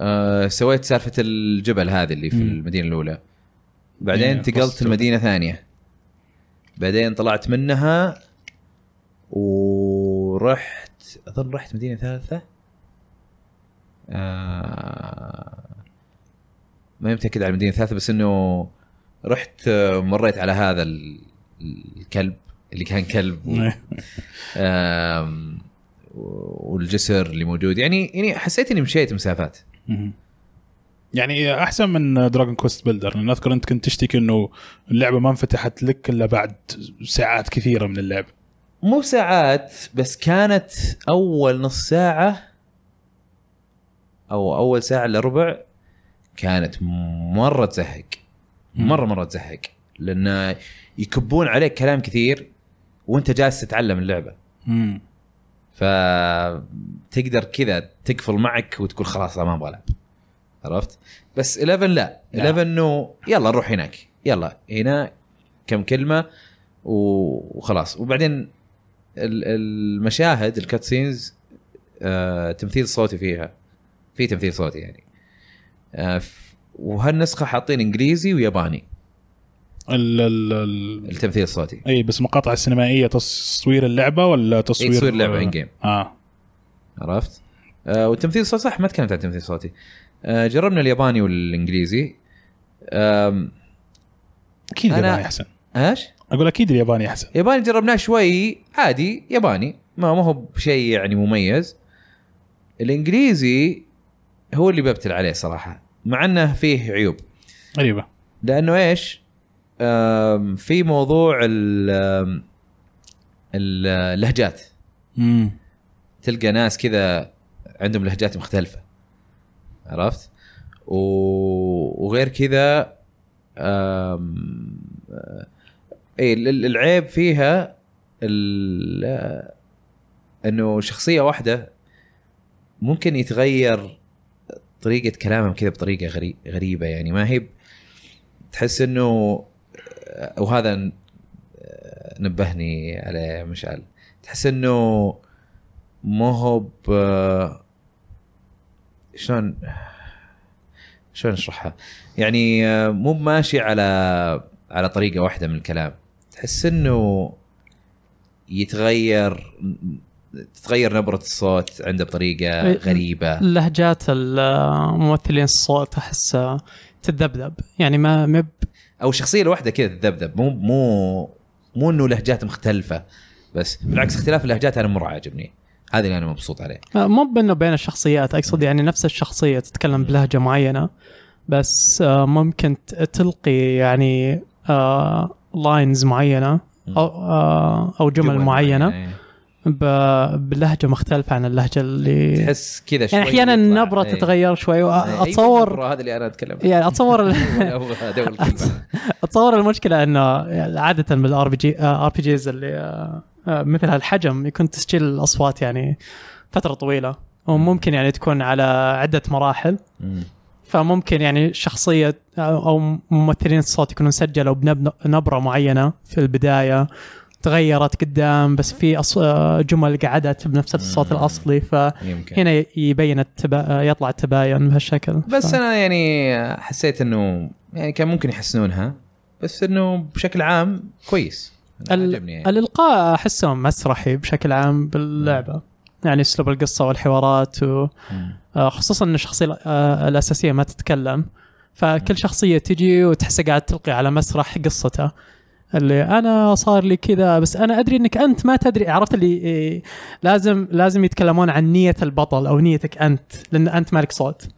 S1: آه سويت سالفه الجبل هذه اللي في
S2: مم.
S1: المدينه الاولى بعدين
S2: إيه،
S1: انتقلت
S2: قصة.
S1: لمدينه ثانيه بعدين طلعت منها ورحت اظن رحت مدينه ثالثه آه ما متاكد على المدينه الثالثه بس انه رحت آه، مريت على هذا ال- الكلب اللي كان كلب و-
S2: إيه.
S1: آم، و- والجسر اللي موجود يعني يعني حسيت اني مشيت مسافات
S2: مم. يعني احسن من دراجون كوست بيلدر لان اذكر انت كنت تشتكي انه اللعبه ما انفتحت لك الا بعد ساعات كثيره من اللعب
S1: مو ساعات بس كانت اول نص ساعه او اول ساعه الا ربع كانت مره تزهق مره مره تزهق لان يكبون عليك كلام كثير وانت جالس تتعلم اللعبه
S2: مم.
S1: فتقدر كذا تقفل معك وتقول خلاص لا ما ابغى العب عرفت بس 11 لا
S2: لا.
S1: 11 انه يلا نروح هناك يلا هنا كم كلمه و- وخلاص وبعدين ال- المشاهد الكات سينز آه تمثيل صوتي فيها في تمثيل صوتي يعني آه ف- وهالنسخه حاطين انجليزي وياباني
S2: ال ال ال
S1: التمثيل الصوتي
S2: اي بس مقاطع السينمائيه تصوير اللعبه ولا تصوير
S1: إيه، تصوير لعبه ان جيم
S2: اه
S1: عرفت؟ آه والتمثيل الصوتي صح ما تكلمت عن التمثيل الصوتي. آه جربنا الياباني والانجليزي. آم،
S2: اكيد
S1: أنا-
S2: الياباني احسن
S1: ايش؟
S2: اقول اكيد الياباني احسن
S1: ياباني جربناه شوي عادي ياباني ما ما هو بشيء يعني مميز. الانجليزي هو اللي ببتل عليه صراحه مع انه فيه عيوب
S2: غريبه
S1: لانه ايش؟ آم، في موضوع ال- آم، ال- اللهجات
S2: امم
S1: تلقى ناس كذا عندهم لهجات مختلفة عرفت؟ و... وغير كذا أم... اي ال- إيه، ال- العيب فيها ال... انه شخصية واحدة ممكن يتغير طريقة كلامهم كذا بطريقة غري... غريبة يعني ما هي ب- تحس انه وهذا ن- آه، نبهني عليه مشعل تحس انه ما هو ب شلون شلون اشرحها؟ يعني آه، مو ماشي على على طريقه واحده من الكلام تحس انه يتغير تتغير نبره الصوت عنده بطريقه
S3: إيه.
S1: غريبه
S3: لهجات الممثلين الصوت احس تتذبذب يعني ما مب
S1: او الشخصيه الواحده كذا تذبذب مو مو مو انه لهجات مختلفه بس بالعكس اختلاف اللهجات انا مره عاجبني هذا اللي انا مبسوط عليه
S3: مو بانه بين الشخصيات اقصد يعني نفس الشخصيه تتكلم بلهجه معينه بس آه، ممكن ت- تلقي يعني لاينز معينه او آه، او جمل معينه
S1: يعني
S3: ب- بلهجه مختلفه عن اللهجه اللي
S1: تحس كذا شوي
S3: يعني احيانا
S1: يطلع.
S3: النبره
S1: إيه.
S3: تتغير شوي
S1: أيوة
S3: واتصور
S1: النبرة، هذا اللي انا اتكلم عنه.
S3: يعني اتصور
S1: أبغى أدور الكلمة.
S3: اتصور المشكله انه يعني عاده بالار بي جي ار بي جيز اللي آه، آه، مثل هالحجم يكون تسجيل الاصوات يعني فتره طويله وممكن يعني تكون على عده مراحل
S1: مم.
S3: فممكن يعني شخصيه او أو ممثلين الصوت يكونوا سجلوا بنبره معينه في البدايه تغيرت قدام بس في أص- آه، جمل قعدت بنفس الصوت
S1: مم.
S3: الاصلي فهنا
S1: يمكن
S3: يبين التبا... آه، يطلع التباين بهالشكل
S1: بس
S3: ف...
S1: انا يعني حسيت انه يعني كان ممكن يحسنونها بس انه بشكل عام كويس أنا
S3: ال-
S1: عجبني يعني.
S3: الالقاء احسه مسرحي بشكل عام باللعبه يعني اسلوب القصه والحوارات و...
S1: مم.
S3: آه، خصوصا ان الشخصيه ال- آه، الاساسيه ما تتكلم فكل شخصيه تجي وتحسها قاعد تلقي على مسرح قصته اللي انا صار لي كذا بس انا ادري انك انت ما تدري عرفت اللي إيه، لازم لازم يتكلمون عن نيه البطل او نيتك انت لان انت مالك صوت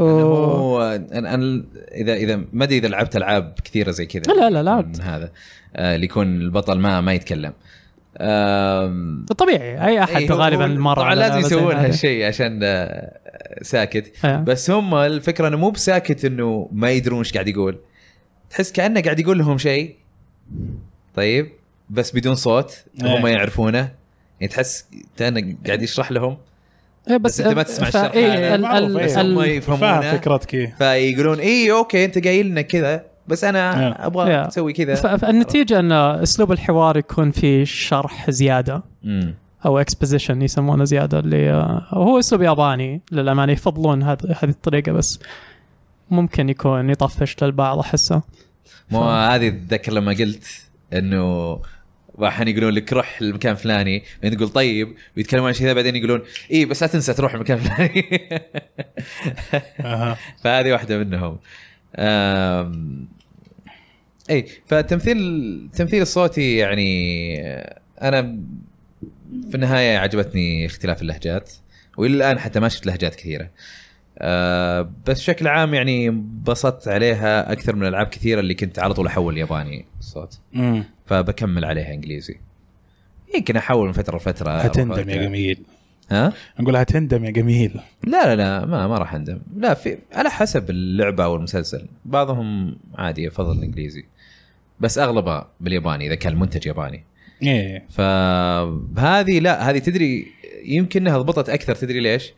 S1: إنه
S3: و...
S1: يعني هو انا انا اذا اذا ما ادري اذا لعبت العاب كثيره زي كذا
S3: لا، لا، لعبت.
S1: من هذا آه، اللي يكون البطل ما ما يتكلم آم،
S3: طبيعي اي احد
S1: إيه، هو-
S3: غالبا مر
S1: طبعا
S3: على
S1: لازم
S3: لعبة زي
S1: يسوون
S3: هذه.
S1: هالشيء عشان آه، ساكت
S3: إيه.
S1: بس هم الفكره انه مو بساكت انه ما يدرون ايش قاعد يقول تحس كانه قاعد يقول لهم شيء طيب بس بدون صوت
S2: إيه.
S1: هم يعرفونه يعني تحس كانه قاعد يشرح لهم
S3: إيه
S1: بس أنت ما تسمع
S3: ف-
S1: الشرح
S3: إيه
S1: هذا.
S3: ال- ال-
S2: معروف، إيه.
S3: ال-
S1: هم يفهمونه
S2: فاهم فكرتك إيه.
S1: فيقولون اي اوكي انت قايل لنا كذا بس انا
S2: إيه.
S1: ابغى
S3: إيه.
S1: اسوي
S3: ف-
S1: كذا
S3: فالنتيجه ان اسلوب الحوار يكون فيه شرح زياده
S1: مم.
S3: او اكسبوزيشن يسمونه زياده اللي آه، هو اسلوب ياباني للامانه يفضلون هذ- هذه الطريقه بس ممكن يكون يطفش للبعض احسه
S1: مو
S3: فاهم.
S1: هذه تتذكر لما قلت انه احيانا يقولون لك روح المكان الفلاني بعدين تقول طيب ويتكلمون عن شيء ذا بعدين يقولون اي بس لا تنسى تروح المكان الفلاني
S2: اها
S1: فهذه واحده منهم أم... اي فالتمثيل التمثيل الصوتي يعني انا في النهايه عجبتني اختلاف اللهجات والى الان حتى ما شفت لهجات كثيره أه بس بشكل عام يعني انبسطت عليها اكثر من العاب كثيره اللي كنت على طول احول ياباني الصوت
S2: امم
S1: فبكمل عليها انجليزي يمكن احول من فتره لفتره
S2: هتندم يا جميل
S1: ها؟
S2: نقول هتندم يا جميل
S1: لا لا لا ما ما راح اندم لا في على حسب اللعبه او المسلسل بعضهم عادي يفضل الانجليزي بس اغلبها بالياباني اذا كان المنتج ياباني إيه.
S2: ايه
S1: فهذه لا هذه تدري يمكن انها ضبطت اكثر تدري ليش؟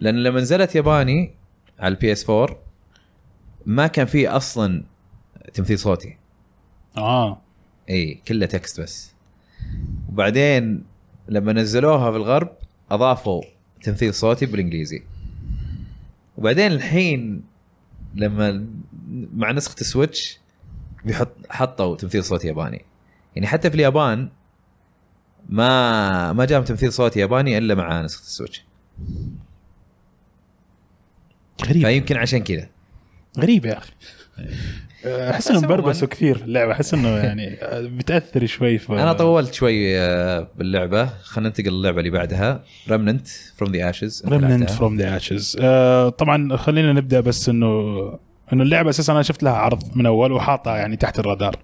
S1: لان لما نزلت ياباني على البي اس 4 ما كان فيه اصلا تمثيل صوتي
S2: اه
S1: اي كله تكست بس وبعدين لما نزلوها في الغرب اضافوا تمثيل صوتي بالانجليزي وبعدين الحين لما مع نسخه السويتش بيحط حطوا تمثيل صوتي ياباني يعني حتى في اليابان ما ما جاب تمثيل صوتي ياباني الا مع نسخه السويتش
S2: غريب
S1: فيمكن عشان كذا
S2: غريب يا اخي احس انهم
S1: بس عموماً.
S2: بربسوا كثير اللعبه احس انه يعني بتاثر شوي في
S1: انا طولت شوي آه، باللعبه خلينا ننتقل للعبه اللي بعدها رمننت فروم ذا اشز
S2: ريمننت فروم ذا اشز طبعا Uh, خلينا نبدا بس انه انه اللعبه اساسا انا شفت لها عرض من اول وحاطها يعني تحت الرادار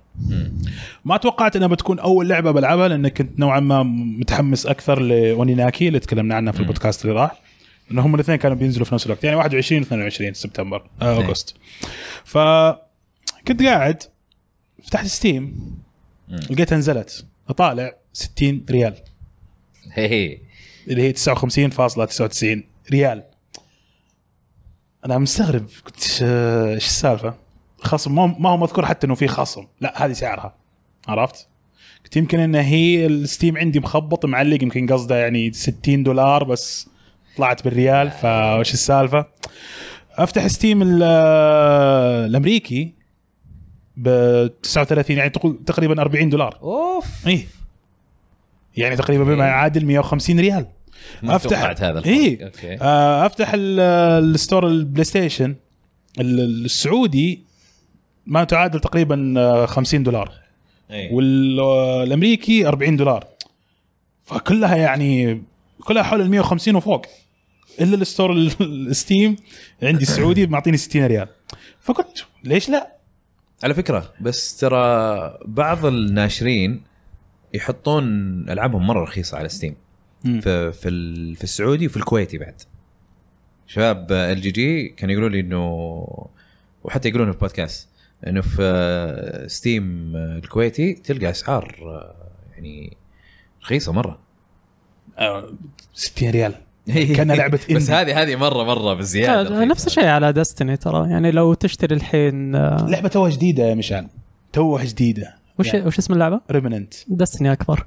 S2: ما توقعت انها بتكون اول لعبه بلعبها لان كنت نوعا ما متحمس اكثر لاونيناكي اللي تكلمنا عنها في
S1: مم.
S2: البودكاست اللي راح انه هم الاثنين كانوا بينزلوا في نفس الوقت يعني 21 و 22 سبتمبر آه،
S1: نعم.
S2: اغسطس ف كنت قاعد فتحت ستيم
S1: مم.
S2: لقيتها نزلت اطالع 60 ريال
S1: هي
S2: اللي هي 59.99 ريال انا مستغرب قلت ايش إيش السالفه خصم ما ما هو مذكور حتى انه في خصم لا هذه سعرها عرفت قلت يمكن ان هي الستيم عندي مخبط معلق يمكن قصده يعني 60 دولار بس طلعت بالريال فايش السالفه افتح ستيم ال- الامريكي ب 39 يعني تقول تقريبا 40 دولار
S1: اوف
S2: ايه يعني تقريبا بما
S1: إيه.
S2: يعادل 150 ريال
S1: ما
S2: أفتح-
S1: توقعت هذا الفرق.
S2: إيه.
S1: اوكي
S2: آه، افتح ال- الستور البلاي ستيشن ال- السعودي ما تعادل تقريبا آه، 50 دولار
S1: إيه.
S2: والامريكي 40 دولار فكلها يعني كلها حول ال 150 وفوق الا الستور ال- الستيم عندي السعودي معطيني 60 ريال فقلت ليش لا؟
S1: على فكره بس ترى بعض الناشرين يحطون العابهم مره رخيصه على ستيم في في, ال- في السعودي وفي الكويتي بعد شباب ال جي جي كانوا يقولوا لي انه وحتى يقولون في بودكاست انه في آه، ستيم آه، الكويتي تلقى اسعار آه، يعني رخيصه مره
S2: آه، 60 ريال إيه. كأنها لعبة
S1: بس
S2: indie.
S1: هذه هذه مره مره بزياده رخيصة.
S3: نفس الشيء على دستني ترى يعني لو تشتري الحين آه،
S2: لعبه توها جديده يا مشعل توها جديده
S3: وش وش اسم اللعبه؟
S2: ريمننت
S3: دستني اكبر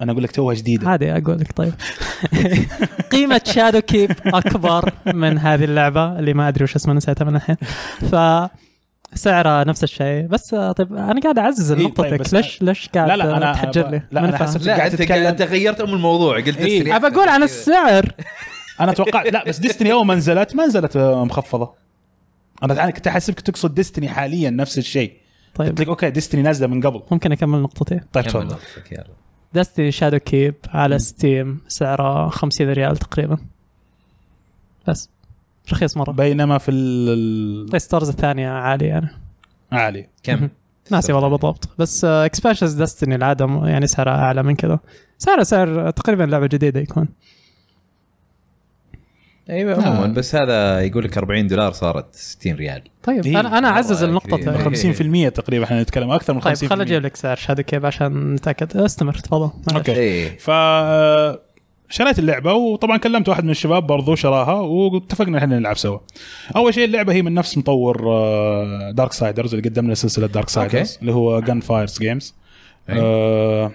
S2: انا اقول لك توها جديده
S3: عادي اقول لك طيب قيمه شادو كيب اكبر من هذه اللعبه اللي ما ادري وش اسمها نسيتها من الحين ف سعرها نفس الشيء بس آه، طيب انا قاعد اعزز
S2: إيه، طيب،
S3: نقطتك
S2: بس-
S3: ليش ليش قاعد
S2: لا، لا، أنا-
S3: آه، تحجر لي؟
S2: لا،
S3: ما
S2: أنا
S3: فاهم.
S2: حسب-
S1: لا
S2: قاعد
S1: انت
S2: تتكلم-
S1: انت غيرت ام الموضوع قلت
S2: إيه،
S1: Destiny
S3: ابى
S1: أحسن.
S3: اقول عن السعر
S2: انا توقعت لا بس ديستني اول ما نزلت ما نزلت آه، مخفضه انا تعال- كنت احسبك تقصد ديستني حاليا نفس الشيء قلت
S3: طيب
S2: لك اوكي ديستني نازله من قبل
S3: ممكن اكمل نقطتي
S2: طيب
S1: كمل
S2: تفضل
S1: نقطتك، يلا.
S3: دستي شادو كيب على ستيم سعره 50 ريال تقريبا بس رخيص مره
S2: بينما في ال
S3: بلاي ستارز الثانيه عاليه يعني
S2: عالي
S1: كم
S3: ناسي والله بالضبط بس آه، اكسبانشنز دستني العاده م- يعني سعرها اعلى من كذا سعره سعر تقريبا لعبه جديده يكون
S1: ايوه عموما
S2: آه.
S1: بس هذا يقول لك 40 دولار صارت 60 ريال
S3: طيب
S2: إيه،
S3: انا انا اعزز
S1: والله يعني
S3: النقطه
S1: كثير.
S3: طيب.
S2: 50% تقريبا احنا نتكلم اكثر من 50%
S3: طيب خل اجيب لك سعر شادو كيب عشان نتاكد استمر تفضل معلش.
S2: أوكي.
S1: ايه
S2: ف آه، شريت اللعبه وطبعا كلمت واحد من الشباب برضو شراها واتفقنا احنا نلعب سوا. اول شيء اللعبه هي من نفس مطور دارك سايدرز اللي قدم لنا سلسله دارك سايدرز
S1: أوكي.
S2: اللي هو آه، جن فايرز جيمز.
S1: أي.
S2: لا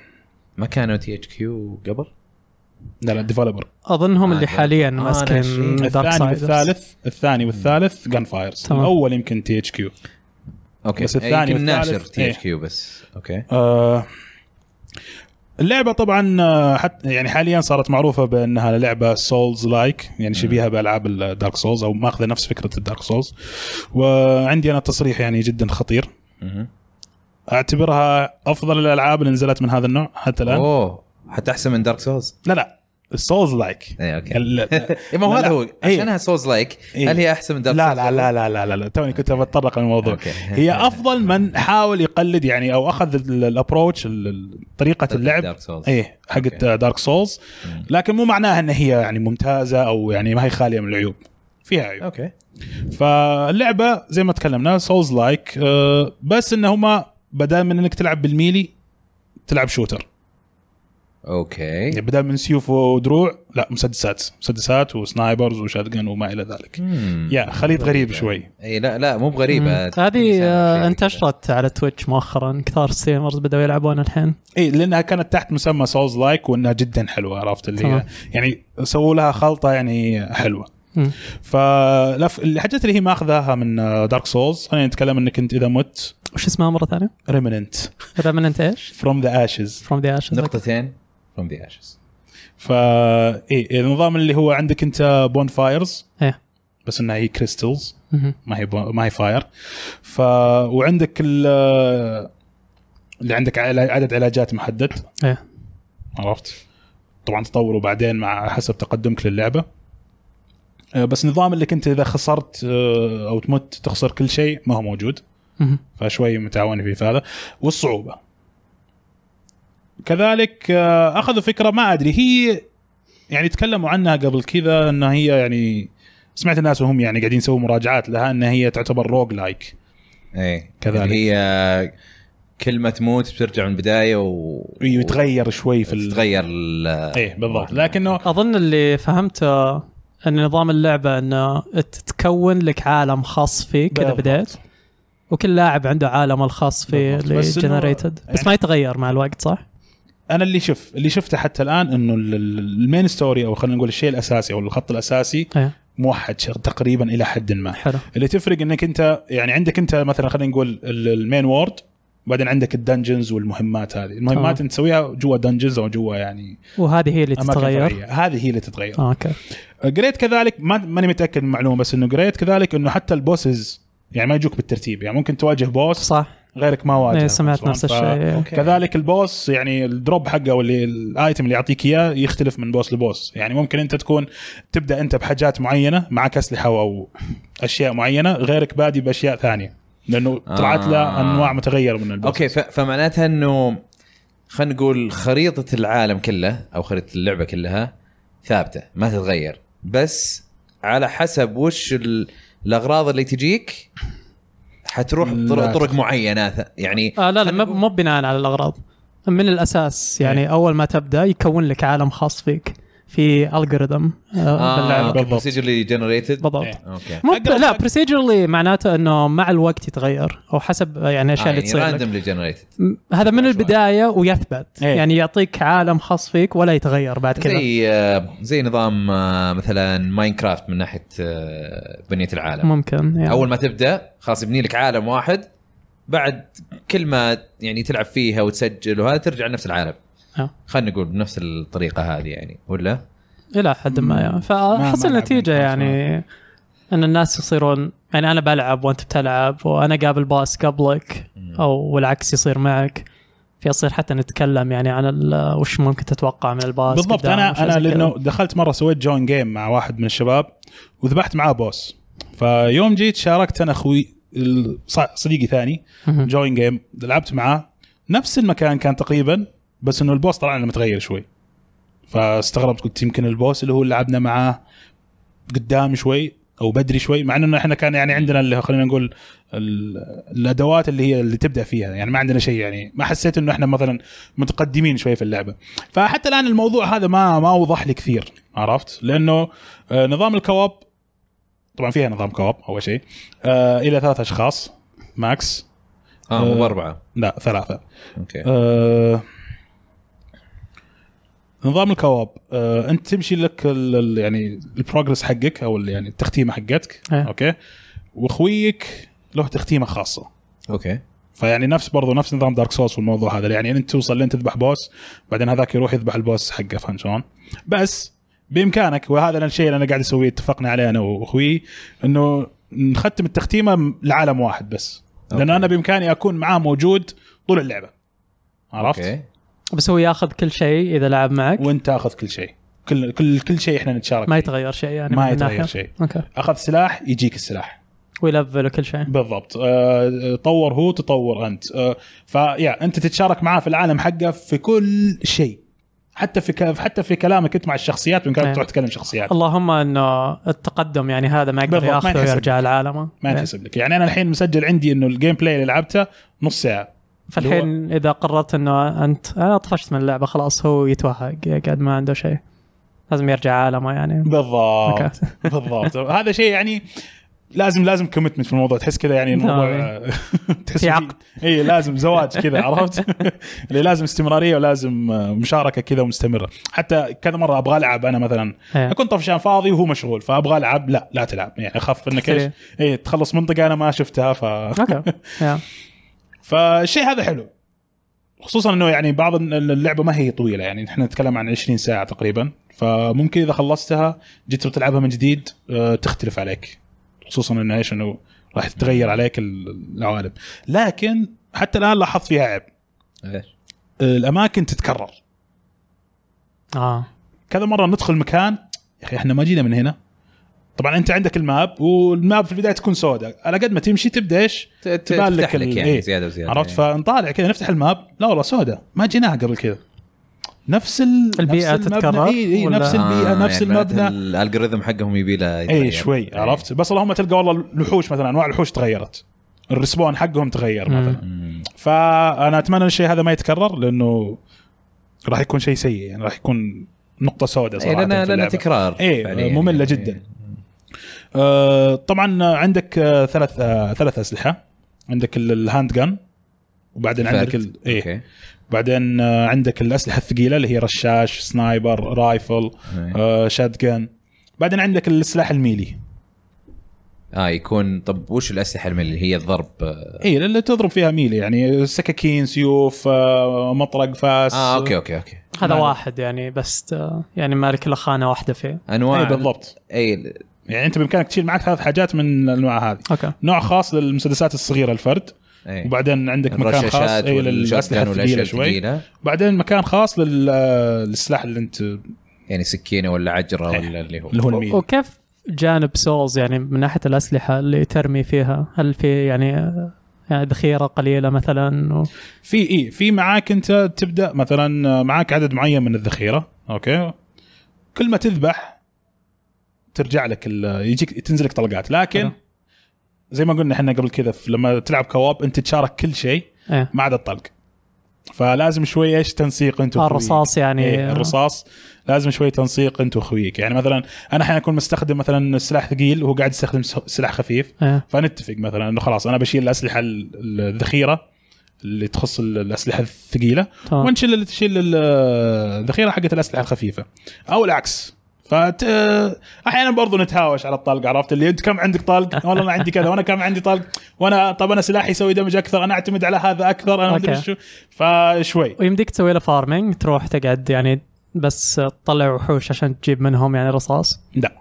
S1: ما كانوا تي اتش كيو قبل؟
S2: لا ديفلوبر
S3: اظن هم
S1: آه،
S3: اللي
S1: ده-
S3: حاليا
S1: أنا شيء.
S3: ماسكين دارك
S2: الثاني
S3: سايدرز
S2: والثالث الثاني والثالث جن فايرز
S3: تمام.
S2: الاول يمكن تي اتش كيو
S1: اوكي
S2: بس الثاني
S1: يمكن
S2: والثالث،
S1: ناشر تي
S2: إيه.
S1: اتش كيو بس اوكي
S2: آه، اللعبة طبعا آه، حت يعني حاليا صارت معروفة بانها لعبة سولز لايك يعني شبيهة بالعاب الدارك سولز او ماخذة نفس فكرة الدارك سولز وعندي انا تصريح يعني جدا خطير
S1: مهم.
S2: اعتبرها افضل الالعاب اللي نزلت من هذا النوع حتى الان
S1: اوه حتى احسن من دارك سولز
S2: لا لا السولز لايك
S1: اي اوكي
S2: ال-
S1: ما هو
S2: لا،
S1: هذا
S2: لا.
S1: هو
S2: إيه.
S1: عشانها سولز لايك
S2: إيه.
S1: هل هي احسن من دارك
S2: لا
S1: سولز؟
S2: لا لا لا لا لا, لا. توني كنت بتطرق للموضوع
S1: أوكي.
S2: هي افضل من حاول يقلد يعني او اخذ ال- الابروتش ال- ال- طريقه اللعب
S1: دارك سولز
S2: ايه حقت
S1: أوكي.
S2: دارك سولز
S1: مم.
S2: لكن مو معناها ان هي يعني ممتازه او يعني ما هي خاليه من العيوب فيها عيوب
S1: اوكي
S2: فاللعبه زي ما تكلمنا سولز لايك بس ان هما بدل من انك تلعب بالميلي تلعب شوتر
S1: إيه. اوكي
S2: يعني بدل من سيوف ودروع لا مسدسات مسدسات وسنايبرز وشاتجن وما الى ذلك
S1: مم.
S2: يا خليط غريب شوي
S1: اي لا لا مو بغريبه
S3: مم. هذه آه،
S1: شيء
S3: انتشرت على تويتش مؤخرا كثار ستريمرز بدأوا يلعبون الحين
S2: اي لانها إيه، كانت تحت مسمى سولز لايك وانها جدا حلوه عرفت اللي هي
S3: تمام.
S2: يعني سووا لها خلطه يعني حلوه
S3: مم.
S2: فالحاجات اللي هي ماخذاها من دارك سولز خلينا نتكلم انك انت اذا مت
S3: وش اسمها مره ثانيه؟
S2: ريمننت
S3: هذا من انت ايش؟
S2: فروم ذا اشز
S3: فروم ذا اشز
S1: نقطتين فروم ذا اشز
S2: فا ايه النظام اللي هو عندك انت بون فايرز
S3: إيه.
S2: بس انها هي كريستلز ما هي بون ما هي فاير ف وعندك ال آه، اللي عندك عل- عدد علاجات محدد
S3: إيه.
S2: عرفت طبعا تطوروا بعدين مع حسب تقدمك للعبه آه، بس نظام اللي كنت اذا خسرت آه، او تمت تخسر كل شيء ما هو موجود فشوي متعاونين في- في هذا والصعوبه كذلك آه، اخذوا فكره ما ادري هي يعني تكلموا عنها قبل كذا ان هي يعني سمعت الناس وهم يعني قاعدين يسووا مراجعات لها ان هي تعتبر روج لايك
S1: اي
S2: كذلك.
S1: إيه. اللي هي كل ما تموت بترجع من البدايه و
S2: ويتغير شوي إيه، في ال...
S1: تتغير ال-
S2: ايه بالضبط لكنه
S3: اظن اللي فهمته ان نظام اللعبه انه تتكون لك عالم خاص فيك اذا
S2: بالضبط.
S3: بديت وكل لاعب عنده عالمه الخاص فيه
S2: بالضبط.
S3: اللي
S2: بس إنه
S3: جنريتد بس
S2: يعني-
S3: ما يتغير مع الوقت صح؟
S2: انا اللي شف اللي شفته حتى الان انه ال- ال- المين ستوري او خلينا نقول الشيء الاساسي او الخط الاساسي
S3: ايه
S2: موحد ش- تقريبا الى حد ما
S3: حلو
S2: اللي تفرق انك انت يعني عندك انت مثلا خلينا نقول ال- المين وورد وبعدين عندك الدنجنز والمهمات هذه المهمات
S3: آه.
S2: انت تسويها جوا دنجنز او جوا يعني
S3: وهذه هي اللي
S2: اماكن
S3: تتغير
S2: فرعية. هذه هي اللي تتغير
S3: آه، اوكي
S2: قريت كذلك ما ماني متاكد من المعلومه بس انه قريت كذلك انه حتى البوسز يعني ما يجوك بالترتيب يعني ممكن تواجه بوس
S3: صح
S2: غيرك ما واجهه
S3: إيه، سمعت نفس
S2: ف-
S3: الشيء
S1: أوكي.
S2: كذلك البوس يعني الدروب حقه واللي الايتم اللي يعطيك اياه يختلف من بوس لبوس يعني ممكن انت تكون تبدا انت بحاجات معينه معك اسلحه او اشياء معينه غيرك بادي باشياء ثانيه لانه طلعت له
S1: آه.
S2: انواع متغيره من البوس
S1: اوكي ف... فمعناتها انه خلينا نقول خريطه العالم كله او خريطه اللعبه كلها ثابته ما تتغير بس على حسب وش ال... الاغراض اللي تجيك حتروح
S2: لا
S1: طرق طرق
S2: تتغير.
S1: معينه ث- يعني
S3: آه لا لا
S1: خلينا
S3: مو- مو بناء على الاغراض من الاساس يعني
S2: إيه.
S3: اول ما تبدا يكون لك عالم خاص فيك في الجوريثم آه باللعبه
S2: بالضبط.
S1: بروسيجرلي جنريتد
S3: بالضبط
S2: إيه.
S1: اوكي
S3: مو
S2: أقرب
S3: لا
S2: حاجة.
S3: بروسيجرلي معناته انه مع الوقت يتغير او حسب يعني
S1: آه،
S3: الاشياء اللي تصير لك.
S1: راندملي جنريتد
S3: م- هذا من
S1: شوي.
S3: البدايه ويثبت
S2: إيه.
S3: يعني يعطيك عالم خاص فيك ولا يتغير بعد كذا
S1: زي آه، زي نظام آه، مثلا ماينكرافت من ناحيه آه، بنيه العالم
S3: ممكن يعني.
S1: اول ما تبدا خلاص يبني لك عالم واحد بعد كل ما يعني تلعب فيها وتسجل وهذا ترجع لنفس العالم
S3: آه.
S1: خلينا نقول بنفس الطريقه هذه يعني ولا
S3: الى حد ما يعني. فاحس
S2: ما لعب
S3: النتيجه
S2: ممتاز
S3: يعني ان الناس يصيرون يعني انا بلعب وانت بتلعب وانا قابل باص قبلك او والعكس يصير معك فيصير حتى نتكلم يعني عن ال- وش ممكن تتوقع من الباص
S2: بالضبط
S3: قدام وش
S2: انا انا
S3: زي كذا.
S2: لانه دخلت مره سويت جوين جيم مع واحد من الشباب وذبحت معاه بوس فيوم جيت شاركت انا اخوي ال- ص- صديقي ثاني
S3: مهم.
S2: جوين جيم لعبت معاه نفس المكان كان تقريبا بس انه البوس طلع لنا متغير شوي فاستغربت قلت يمكن البوس اللي هو اللي لعبنا معاه قدام شوي او بدري شوي مع انه احنا كان يعني عندنا اللي خلينا نقول ال- الادوات اللي هي اللي تبدا فيها يعني ما عندنا شيء يعني ما حسيت انه احنا مثلا متقدمين شوي في اللعبه فحتى الان الموضوع هذا ما ما وضح لي كثير عرفت لانه آه، نظام الكواب طبعا فيها نظام كواب اول شيء آه، الى ثلاث اشخاص ماكس
S1: اه مو
S2: آه.
S1: باربعه
S2: لا ثلاثه
S1: اوكي
S2: آه، نظام الكواب آه، انت تمشي لك ال ال يعني البروجرس حقك او ال- يعني التختيمه حقتك
S3: إيه.
S2: اوكي واخويك له تختيمه خاصه
S1: اوكي
S2: فيعني نفس برضو نفس نظام دارك سوس والموضوع هذا يعني انت توصل لين تذبح بوس بعدين هذاك يروح يذبح البوس حقه فهمت شلون؟ بس بامكانك وهذا الشيء اللي انا قاعد اسويه اتفقنا عليه انا واخوي انه نختم التختيمه لعالم واحد بس لان
S1: أوكي.
S2: انا بامكاني اكون معاه موجود طول اللعبه عرفت؟
S1: اوكي
S3: بس هو ياخذ كل شيء اذا لعب معك
S2: وانت تاخذ كل شيء كل كل كل شيء احنا نتشارك
S3: ما
S2: فيه.
S3: يتغير شيء يعني
S2: ما
S3: من
S2: يتغير
S3: الناحية؟
S2: شيء
S3: اوكي
S2: اخذ سلاح يجيك السلاح
S3: ويلفل وكل شيء
S2: بالضبط آه، طور هو تطور انت آه، فيا انت تتشارك معاه في العالم حقه في كل شيء حتى في ك- حتى في كلامك انت مع الشخصيات وان كانت
S3: نعم.
S2: تروح تكلم شخصيات
S3: اللهم انه التقدم يعني هذا ما يقدر
S2: بالضبط، ما
S3: ياخذه
S2: ينحسب.
S3: ويرجع لعالمه
S2: ما تحسب لك يعني انا الحين مسجل عندي انه الجيم بلاي اللي لعبته نص ساعه
S3: فالحين اذا قررت انه انت انا طفشت من اللعبه خلاص هو يتوهق قاعد ما عنده شيء لازم يرجع عالمه يعني
S2: بالضبط
S3: أوكي.
S2: بالضبط هذا شيء يعني لازم لازم كوميتمنت في الموضوع تحس كذا يعني الموضوع
S3: تمام.
S2: تحس
S3: نعم. في عقد.
S2: اي لازم زواج كذا عرفت اللي لازم استمراريه ولازم آه، مشاركه كذا مستمره حتى كذا مره ابغى العب انا مثلا
S3: إيه.
S2: اكون طفشان فاضي وهو مشغول فابغى العب لا لا تلعب يعني اخاف انك
S3: تحتري.
S2: ايش اي تخلص منطقه انا ما شفتها ف
S3: اوكي يا.
S2: فالشيء هذا حلو خصوصا انه يعني بعض ال- اللعبه ما هي طويله يعني نحن نتكلم عن 20 ساعه تقريبا فممكن اذا خلصتها جيت تلعبها من جديد آه، تختلف عليك خصوصا انه ايش انه راح تتغير عليك ال- العوالم لكن حتى الان لاحظت فيها عيب
S1: إيش؟
S2: الاماكن تتكرر
S3: اه
S2: كذا مره ندخل مكان يا اخي احنا ما جينا من هنا طبعا انت عندك الماب والماب في البدايه تكون سوداء على قد ما تمشي تبدا ايش
S1: ت- ت-
S2: تبان لك
S1: تفتح لك
S2: ال-
S1: يعني
S2: إيه.
S1: زياده وزياده
S2: عرفت فنطالع كذا نفتح الماب لا والله سوداء ما جيناها قبل كذا نفس ال...
S3: البيئة
S2: نفس المبنى-
S3: تتكرر
S2: إي إي
S3: ولا-
S2: نفس البيئه
S1: آه،
S2: نفس
S1: يعني معناته
S2: المبنى
S1: ال- الالجوريثم حقهم يبي له
S2: اي
S1: يتغير. إيه.
S2: شوي عرفت بس اللهم تلقى والله الوحوش مثلا انواع الوحوش تغيرت الرسبون حقهم تغير
S3: مم.
S2: مثلا
S1: مم.
S2: فانا اتمنى إن الشيء هذا ما يتكرر لانه راح يكون شيء سيء يعني راح يكون نقطه سوداء
S1: إيه
S2: صراحه
S1: لان
S2: في
S1: لان
S2: اللعبة.
S1: تكرار
S2: إيه،
S1: فعلياً
S2: مملة
S1: يعني.
S2: جداً. آه، طبعا عندك آه، ثلاث آه، ثلاث اسلحه عندك ال- الهاند جن وبعدين
S1: الفرد.
S2: عندك ال... ايه
S1: أوكي.
S2: بعدين آه، عندك الاسلحه الثقيله اللي هي رشاش سنايبر رايفل
S1: إيه.
S2: آه، شاتجن بعدين عندك السلاح الميلي
S1: اه يكون طب وش الاسلحه اللي هي الضرب آه
S2: اي إيه، اللي تضرب فيها ميلي يعني سكاكين سيوف آه، مطرق فاس إيه،
S1: آه، اوكي اوكي اوكي
S3: هذا
S2: ما-
S3: واحد يعني بس آه، يعني مالك الا خانه واحده فيه
S1: انواع
S2: اي إيه، بالضبط
S1: اي
S2: يعني انت بامكانك تشيل معك ثلاث حاجات من الانواع هذه
S3: اوكي
S2: نوع خاص للمسدسات الصغيره الفرد
S1: اي
S2: وبعدين عندك مكان خاص
S1: إيه. الرشاشات
S2: اي للاسلحه
S1: والشوتجن
S2: الثقيله
S1: والاشياء
S2: شوي
S1: الثقيله
S2: بعدين مكان خاص لل- آه، للسلاح اللي انت
S1: يعني سكينه ولا عجره
S2: إيه.
S1: ولا اللي هو
S2: اللي هو الميلي
S3: وكيف جانب سولز يعني من ناحيه الاسلحه اللي ترمي فيها هل في يعني آه، يعني ذخيره قليله مثلا و...
S2: في اي في معاك انت تبدا مثلا آه، معاك عدد معين من الذخيره اوكي كل ما تذبح ترجع لك ال- يجيك تنزلك طلقات لكن
S3: حلو.
S2: زي ما قلنا احنا قبل كذا في- لما تلعب كواب انت تشارك كل شيء
S3: ايه
S2: ما عدا الطلق فلازم شوي ايش تنسيق انت
S3: آه،
S2: وأخويك.
S3: الرصاص يعني
S2: إيه الرصاص لازم شوي تنسيق انت واخويك يعني مثلا انا احيانا اكون مستخدم مثلا سلاح ثقيل وهو قاعد يستخدم س- سلاح خفيف
S3: إيه.
S2: فنتفق مثلا انه خلاص انا بشيل الاسلحه ال- الذخيره اللي تخص ال- الاسلحه الثقيله
S3: تمام
S2: ونشيل اللي تشيل ال- الذخيره حقت الاسلحه الخفيفه او العكس فت احيانا برضو نتهاوش على الطلق عرفت اللي انت كم عندك طلق والله انا عندي كذا وانا كم عندي طلق وانا طب انا سلاحي يسوي دمج اكثر انا اعتمد على هذا اكثر انا ما ادري
S3: أوكي.
S2: شو فشوي
S3: ويمديك تسوي له فارمنج تروح تقعد يعني بس تطلع وحوش عشان تجيب منهم يعني رصاص
S2: لا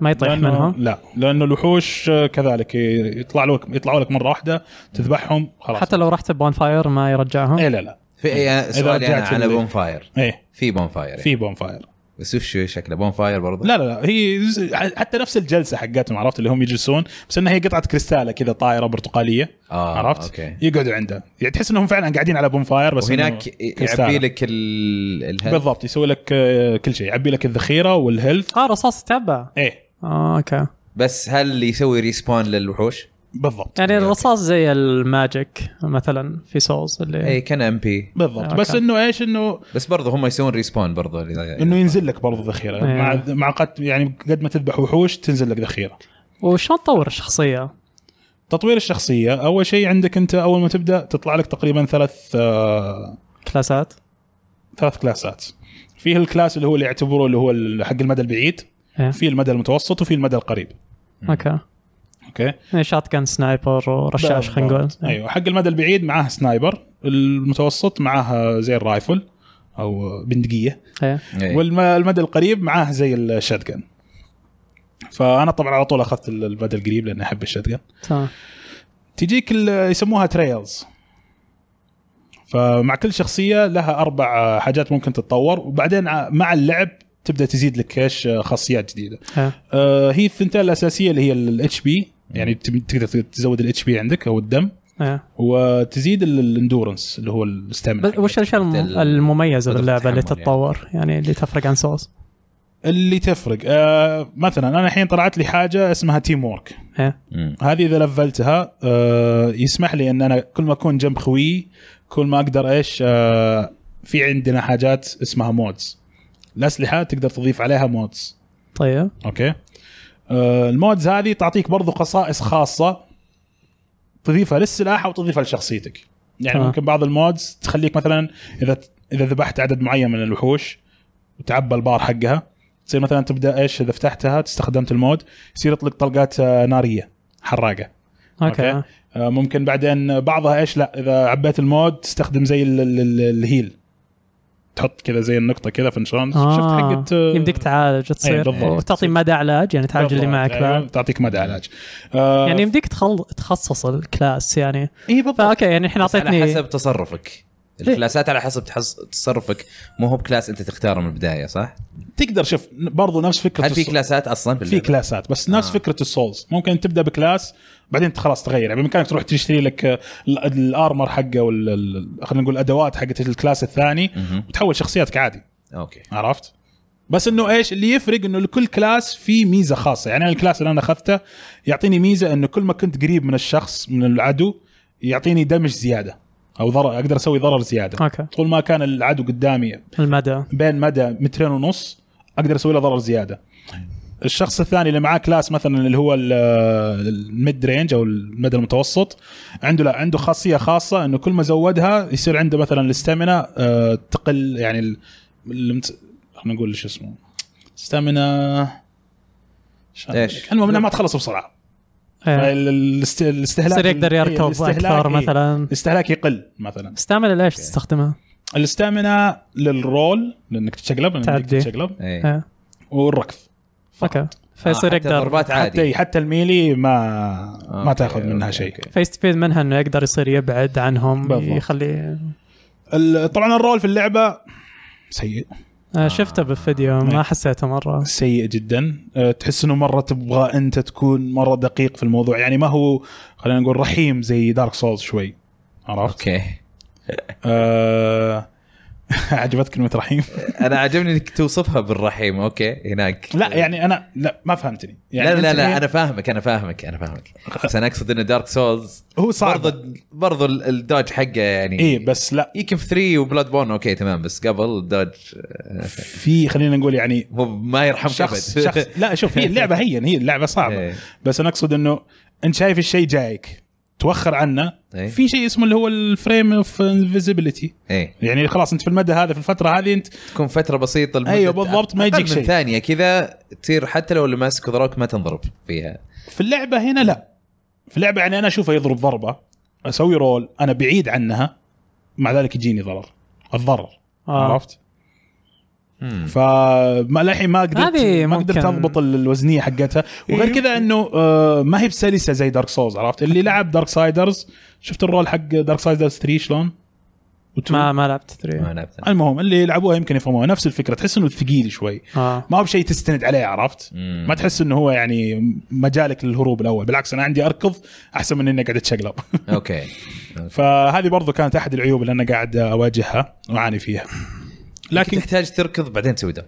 S3: ما يطيح
S2: لأنه-
S3: منهم
S2: لا لانه الوحوش كذلك يطلع لك يطلعوا لك مره واحده تذبحهم خلاص
S3: حتى لو رحت بون فاير ما يرجعهم
S2: إيه لا لا
S1: في إيه، سؤالي انا
S2: رجعت
S1: على
S2: ال-
S1: بون فاير
S2: ايه
S1: في بون فاير يعني.
S2: في بون فاير
S1: بس وش شكله بون فاير برضه
S2: لا لا لا هي ز- حتى نفس الجلسه حقتهم عرفت اللي هم يجلسون بس انها هي قطعه كريستاله كذا طايره برتقاليه
S1: آه،
S2: عرفت
S1: أوكي.
S2: يقعدوا عندها يعني تحس انهم فعلا قاعدين على بون فاير بس
S1: وهناك
S2: إنه كريستالة.
S1: يعبي لك ال الهيلث.
S2: بالضبط يسوي لك آه، كل شيء يعبي لك الذخيره والهيلث
S3: اه رصاص تتبع
S2: ايه
S3: اه اوكي
S1: بس هل يسوي ريسبون للوحوش؟
S2: بالضبط
S3: يعني الرصاص زي الماجيك مثلا في سولز
S2: إيه.
S3: اللي
S1: اي إيه، كان ام بي
S2: بالضبط بس
S3: أوكي.
S2: انه ايش انه
S1: بس برضه هم يسوون ريسبون برضه
S2: انه ينزل لك برضه ذخيره
S3: إيه.
S2: مع مع قد يعني قد ما تذبح وحوش تنزل لك ذخيره
S3: وشلون تطور الشخصيه؟
S2: تطوير الشخصيه اول شيء عندك انت اول ما تبدا تطلع لك تقريبا ثلاث آه،
S3: كلاسات؟
S2: ثلاث كلاسات فيه الكلاس اللي هو اللي يعتبره اللي هو ال- حق المدى البعيد
S3: إيه.
S2: في المدى المتوسط وفي المدى القريب
S3: اوكي
S2: اوكي
S3: يعني شات كان سنايبر ورشاش خلينا نقول
S2: بالضبط. ايوه حق المدى البعيد معاه سنايبر المتوسط معاه زي الرايفل او بندقيه
S3: إيه.
S1: ينزل
S2: والمدى القريب معاه زي الشاتجن فانا طبعا على طول اخذت ال- المدى القريب لاني احب الشاتجن
S3: تمام
S2: تجيك ال- يسموها تريلز فمع كل شخصيه لها اربع آه، حاجات ممكن تتطور وبعدين ع- مع اللعب تبدا تزيد لك ايش آه، خاصيات جديده
S3: ها.
S2: آه، هي الثنتين الاساسيه اللي هي الاتش بي يعني تب- تقدر تزود الاتش بي عندك او الدم
S3: إيه.
S2: وتزيد الاندورنس اللي هو
S3: بس
S2: الاستامنا
S3: وش الاشياء الم-
S1: ال-
S3: المميزه
S1: قدرة
S3: باللعبه اللي
S1: التحمل يعني.
S3: تتطور يعني اللي تفرق عن سوس
S2: اللي تفرق آه مثلا انا الحين طلعت لي حاجه اسمها تيم وورك
S1: مم.
S2: هذه اذا لفلتها آه يسمح لي ان انا كل ما اكون جنب خويي كل ما اقدر ايش آه في عندنا حاجات اسمها مودز الاسلحه تقدر تضيف عليها مودز
S3: طيب
S2: اوكي آه المودز هذه تعطيك برضو خصائص خاصه تضيفها للسلاح او تضيفها لشخصيتك يعني
S3: تمام.
S2: ممكن بعض المودز تخليك مثلا اذا اذا ذبحت عدد معين من الوحوش وتعبى البار حقها تصير مثلا تبدا ايش اذا فتحتها استخدمت المود يصير يطلق طلقات آه، ناريه حراقه
S3: اوكي,
S2: أوكي. آه، ممكن بعدين بعضها ايش لا اذا عبيت المود تستخدم زي ال- ال- ال- الهيل تحط كذا زي النقطه كذا فنشان آه. شفت حقت آه،
S3: يمديك تعالج
S2: إيه،
S3: تصير
S2: بالضبط.
S3: وتعطي مدى علاج يعني تعالج اللي
S2: بالضبط،
S3: معك
S2: أيوة،
S3: بعد
S2: تعطيك مدى علاج آه
S3: يعني يمديك تخل... تخصص الكلاس يعني
S2: اي بالضبط
S3: فاوكي يعني الحين
S1: بس على
S3: اعطيتني
S1: حسب تصرفك
S2: إيه.
S3: ليه؟
S1: الكلاسات على حسب تحس... تصرفك مو هو بكلاس انت تختاره من البدايه صح؟
S2: تقدر شوف برضو نفس فكره
S1: هل في
S2: الص-
S1: كلاسات اصلا
S2: في
S1: باللعبة؟
S2: كلاسات بس نفس
S1: آه.
S2: فكره السولز ممكن تبدا بكلاس بعدين أنت خلاص تغير يعني بامكانك تروح تشتري لك آه، ال- الارمر حقه وال ال- خلينا نقول الادوات حقت الكلاس الثاني
S1: مهم.
S2: وتحول شخصياتك عادي
S1: اوكي
S2: عرفت بس انه ايش اللي يفرق انه لكل كلاس في ميزه خاصه يعني أنا الكلاس اللي انا اخذته يعطيني ميزه انه كل ما كنت قريب من الشخص من العدو يعطيني دمج زياده او ضرر اقدر اسوي ضرر زياده
S3: اوكي
S2: طول ما كان العدو قدامي
S3: المدى
S2: بين مدى مترين ونص اقدر اسوي له ضرر زياده الشخص الثاني اللي معاه كلاس مثلا اللي هو ال- الميد رينج او المدى المتوسط عنده لا عنده خاصيه خاصه انه كل ما زودها يصير عنده مثلا الاستامنا آه، تقل يعني ال- المت... خلينا نقول شو اسمه استامنا
S1: إيش؟
S2: المهم انها ما تخلص بسرعه
S3: إيه.
S2: فال- الاست- الاستهلاك
S3: يصير يقدر يركض
S2: الاستهلاك-
S3: اكثر
S2: إيه،
S3: مثلا
S2: الاستهلاك يقل مثلا
S3: استعمل ليش تستخدمها؟
S2: الاستامنا للرول لانك تتشقلب لأنك
S3: تعدي.
S2: تتشقلب
S1: ايه.
S3: إيه.
S2: والركض فقط.
S3: اوكي فيصير
S1: آه، حتى
S3: يقدر
S1: ضربات عادي
S2: حتى حتى الميلي ما ما
S1: أوكي،
S2: تاخذ منها
S1: أوكي،
S2: شيء
S1: أوكي.
S3: فيستفيد منها انه يقدر يصير يبعد عنهم
S2: بالضبط.
S3: يخلي
S2: ال- طبعا الرول في اللعبه سيء
S3: آه، شفته بالفيديو
S2: إيه.
S3: ما حسيته مره
S2: سيء جدا أه، تحس انه مره تبغى انت تكون مره دقيق في الموضوع يعني ما هو خلينا نقول رحيم زي دارك سولز شوي عرفت؟
S1: اوكي
S2: أه... عجبتك كلمه رحيم؟
S1: انا عجبني انك توصفها بالرحيم اوكي هناك
S2: لا يعني انا لا ما فهمتني يعني
S1: لا لا
S2: أنت
S1: لا
S2: الحين-
S1: انا فاهمك انا فاهمك انا فاهمك بس انا اقصد ان دارك سولز
S2: هو صعب
S1: برضه برضه ال- الدوج حقه يعني
S2: اي إيه، بس لا
S1: يمكن في 3 وبلاد بورن اوكي تمام بس قبل الدوج آه،
S2: في خلينا نقول يعني
S1: مو ما يرحمك
S2: شخص
S1: أبد.
S2: شخص لا شوف هي اللعبه هين هي اللعبه صعبه
S1: إيه.
S2: بس انا اقصد انه انت شايف الشيء جايك توخر عنه
S1: إيه.
S2: في شيء اسمه اللي هو الفريم اوف انفيزيبيليتي
S1: ايه
S2: يعني خلاص انت في المدى هذا في الفتره هذه انت
S1: تكون فتره بسيطه لمدة
S2: أيوة، بالضبط، ما
S1: أقل
S2: يجيك شيء.
S1: من ثانيه كذا تصير حتى لو اللي ماسك ضربك ما تنضرب فيها
S2: في اللعبه هنا لا في اللعبه يعني انا اشوفه يضرب ضربه اسوي رول انا بعيد عنها مع ذلك يجيني ضرر الضرر
S3: آه.
S2: عرفت فما للحين ما قدرت
S3: هذه
S2: ما قدرت
S3: ممكن. إيه.
S2: اضبط ال- الوزنيه حقتها وغير كذا انه آه، ما هي بسلسه زي دارك سولز عرفت اللي لعب دارك سايدرز شفت الرول حق دارك سايدرز 3 شلون؟ وتو.
S3: ما ما لعبت
S1: ما
S2: أيوة.
S3: تدري
S1: لعبتها
S2: المهم اللي يلعبوها يمكن يفهموها نفس الفكره تحس انه ثقيل شوي
S3: اه
S2: ما هو بشيء تستند عليه عرفت
S1: مم.
S2: ما تحس انه هو يعني مجالك للهروب الاول بالعكس انا عندي اركض احسن من اني قاعد اتشقلب
S1: اوكي
S2: فهذه برضو كانت احد العيوب اللي انا قاعد اواجهها واعاني فيها
S1: لكن
S2: لكن
S1: تحتاج تركض بعدين تسوي دوج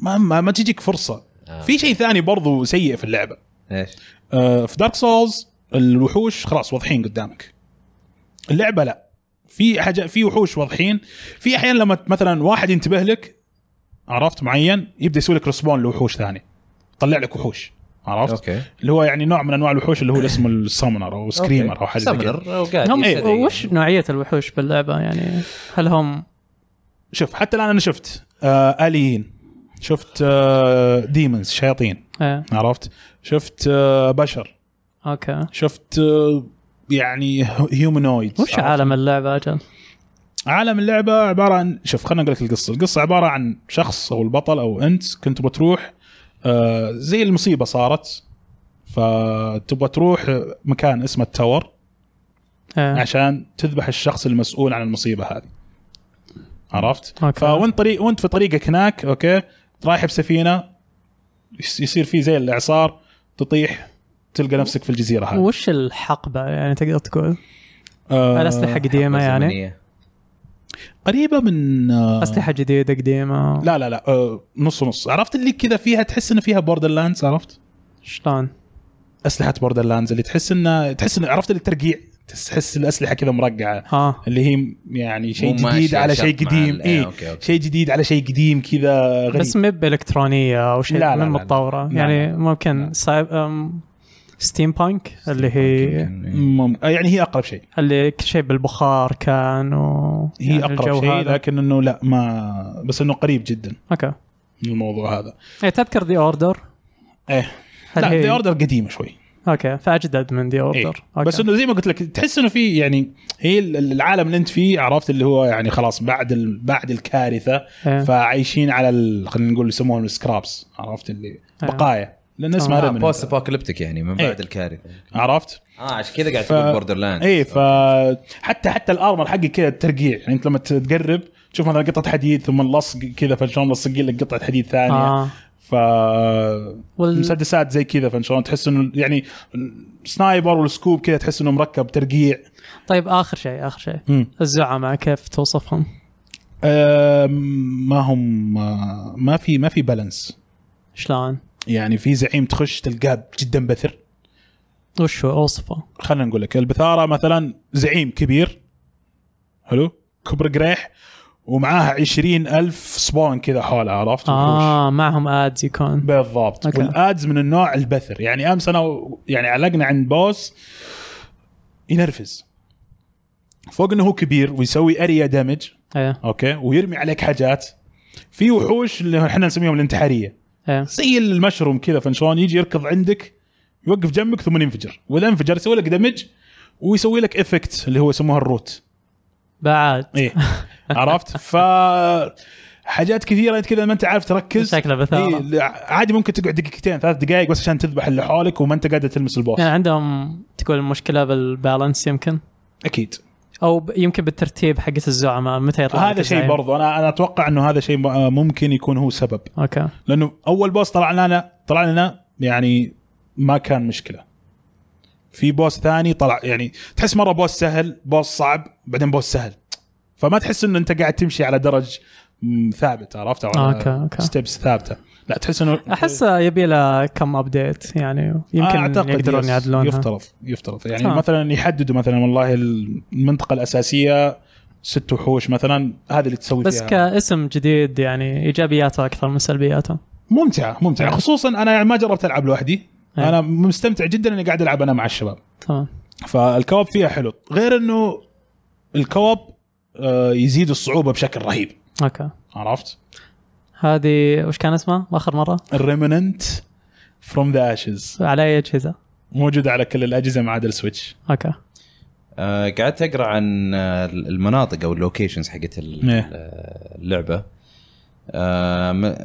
S2: ما ما, ما تجيك فرصه
S1: آه.
S2: في شيء ثاني برضو سيء في اللعبه
S1: ايش؟
S2: آه، في دارك سولز الوحوش خلاص واضحين قدامك اللعبه لا في حاجه في وحوش واضحين في احيان لما ت- مثلا واحد ينتبه لك عرفت معين يبدا يسوي لك رسبون لوحوش ثاني يطلع لك وحوش عرفت أوكي.
S1: اوكي
S2: اللي هو يعني نوع من انواع الوحوش اللي هو اسمه السامنر او سكريمر او حاجه زي كذا.
S1: سمنر او قاعد
S3: هم إيه،
S1: يستدعي.
S3: وش نوعيه الوحوش باللعبه يعني هل هم
S2: شوف حتى الان انا شفت آه اليين شفت آه ديمونز شياطين
S3: ايه
S2: عرفت شفت آه بشر
S3: اوكي
S2: شفت آه يعني هيومانويد
S3: وش عالم اللعبه اجل؟
S2: عالم اللعبه عباره عن شوف خلينا اقول لك القصه، القصه عباره عن شخص او البطل او انت كنت بتروح آه زي المصيبه صارت فتبغى تروح مكان اسمه التاور
S3: ايه
S2: عشان تذبح الشخص المسؤول عن المصيبه هذه. عرفت؟
S3: اوكي
S2: فوانت طريق وانت في طريقك هناك اوكي رايح بسفينه يس- يصير في زي الاعصار تطيح تلقى نفسك في الجزيره هذه
S3: وش الحقبه يعني تقدر تقول؟
S2: آه،
S3: الاسلحه قديمه يعني
S2: قريبه من آه،
S3: اسلحه جديده قديمه
S2: لا لا لا آه، نص نص عرفت اللي كذا فيها تحس ان فيها بوردر لاندز عرفت
S3: شلون؟
S2: اسلحه بوردر لاندز اللي تحس ان تحس ان عرفت اللي الترقيع تحس الاسلحه كذا مرقعه
S3: ها
S2: اللي هي يعني شيء جديد على شيء قديم إيه. اي شيء جديد على شيء قديم كذا غريب
S3: أيوه. بس مب الكترونيه او شيء
S2: لا، لا،
S3: من
S2: لا، لا.
S3: متطوره
S2: لا،
S3: يعني
S2: لا.
S3: ممكن
S2: لا.
S3: سايب أم، ستيم بانك اللي هي
S2: مم. يعني هي اقرب شيء
S3: اللي كل شيء بالبخار كان و
S2: هي
S3: يعني الجو
S2: اقرب شيء
S3: هذا.
S2: لكن انه لا ما بس انه قريب جدا
S3: اوكي
S2: من الموضوع هذا
S3: إيه، تذكر ذا اوردر؟
S2: إيه.
S3: هل
S2: لا
S3: هي-
S2: ذا اوردر قديمه شوي
S3: اوكي فاجدد من ذا
S2: إيه.
S3: اوردر
S2: بس انه زي ما قلت لك تحس انه في يعني هي ال- ال- العالم اللي انت فيه عرفت اللي هو يعني خلاص بعد ال... بعد الكارثه
S3: إيه.
S2: فعايشين على ال... خلينا نقول يسموهم السكرابس عرفت اللي بقايا لان اسمها
S3: إيه. آه،
S2: ريمننت.
S1: بوست ابوكاليبتيك يعني من
S2: إيه.
S1: بعد الكارثه
S2: عرفت؟
S1: اه عشان كذا قاعد
S2: ف-
S1: تقول بوردر لاند
S2: اي ف حتى حتى الارمر حقي كذا ترقيع يعني انت لما تقرب تشوف مثلا قطعه حديد ثم اللصق كذا فشلون ملصقين لك قطعه حديد ثانيه آه.
S3: اه
S2: ف
S3: وال...
S2: مسدسات زي كذا فشلون تحس انه يعني سنايبر والسكوب كذا تحس انه مركب ترقيع
S3: طيب اخر شيء اخر شيء الزعماء كيف توصفهم؟
S2: أم، ما هم ما في ما في بالانس
S3: شلون؟
S2: يعني في زعيم تخش تلقاه جدا بثر
S3: وش هو اوصفه؟
S2: خلينا نقول لك البثاره مثلا زعيم كبير حلو كبر قريح ومعاها عشرين ألف سبون كذا حوله عرفت وحوش.
S3: اه معهم ادز يكون
S2: بالضبط
S3: أوكي.
S2: والادز من النوع البثر يعني امس انا و- يعني علقنا عند بوس ينرفز فوق انه هو كبير ويسوي اريا دامج
S3: ايه
S2: اوكي ويرمي عليك حاجات في وحوش اللي احنا نسميهم الانتحاريه
S3: ايه
S2: زي المشروم كذا فنشون يجي يركض عندك يوقف جنبك ثم ينفجر واذا انفجر يسوي لك دمج ويسوي لك افكت اللي هو يسموها الروت
S3: بعد
S2: ايه عرفت ف حاجات كثيره انت كذا ما انت عارف تركز
S3: شكله بثارة.
S2: إيه، عادي ممكن تقعد دقيقتين ثلاث دقائق بس عشان تذبح اللي حولك وما انت قادر تلمس البوس
S3: يعني عندهم تقول مشكله بالبالانس يمكن
S2: اكيد
S3: او ب... يمكن بالترتيب حقت الزعماء متى يطلع لك
S2: هذا
S3: الزعيم؟
S2: شيء برضو انا انا اتوقع انه هذا شيء م- ممكن يكون هو سبب
S3: اوكي
S2: لانه اول بوس طلع لنا طلع لنا يعني ما كان مشكله في بوس ثاني طلع يعني تحس مره بوس سهل بوس صعب بعدين بوس سهل فما تحس انه انت قاعد تمشي على درج م، ثابت عرفت
S3: أوكي، أوكي.
S2: ستيبس ثابته لا تحس انه
S3: احس يبي له كم ابديت يعني
S2: آه،
S3: يمكن
S2: أعتقد
S3: يقدرون
S2: يس،
S3: يعدلونها
S2: يفترض يفترض يعني
S3: آه.
S2: مثلا يحددوا مثلا والله المنطقه الاساسيه ست وحوش مثلا هذه اللي تسوي
S3: بس
S2: فيها
S3: كاسم جديد يعني ايجابياته اكثر من سلبياته
S2: ممتعه ممتعه
S1: نعم.
S2: خصوصا انا يعني ما جربت العب لوحدي
S3: أي.
S2: انا مستمتع جدا اني قاعد العب انا مع الشباب
S3: تمام
S2: فالكواب فيها حلو غير انه الكواب آه، يزيد الصعوبه بشكل رهيب
S3: اوكي
S2: عرفت
S3: هذه وش كان اسمها اخر مره؟
S2: الريمننت فروم ذا اشز
S3: على اي اجهزه؟
S2: موجود على كل الاجهزه ما عدا السويتش
S3: اوكي
S1: آه، قعدت اقرا عن آه، المناطق او اللوكيشنز حقت ال-
S2: إيه.
S1: آه، اللعبه آه، م-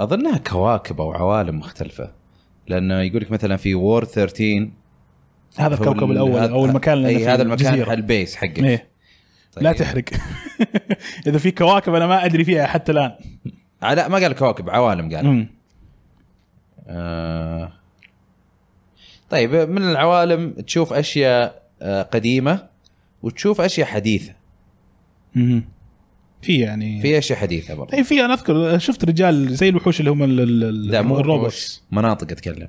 S1: اظنها كواكب او عوالم مختلفه لانه يقول لك مثلا في وور 13
S2: هذا
S1: هو
S2: الكوكب
S1: ال-
S2: الاول
S1: هذا-
S2: او المكان اللي
S1: اي
S2: أنا
S1: هذا
S2: فيه،
S1: المكان
S2: الجزيرة.
S1: البيس حقك
S2: إيه.
S1: طيب.
S2: لا تحرق اذا في كواكب انا ما ادري فيها حتى الان
S1: آه، لا ما قال كواكب عوالم قال
S2: مم.
S1: آه. طيب من العوالم تشوف اشياء آه، قديمه وتشوف اشياء حديثه
S2: مم. في يعني
S1: في اشياء حديثه برضه
S2: اي في انا اذكر شفت رجال زي الوحوش اللي هم ال- ال- ال-
S1: لا مو
S2: الروبوتس
S1: الروبوتس مناطق اتكلم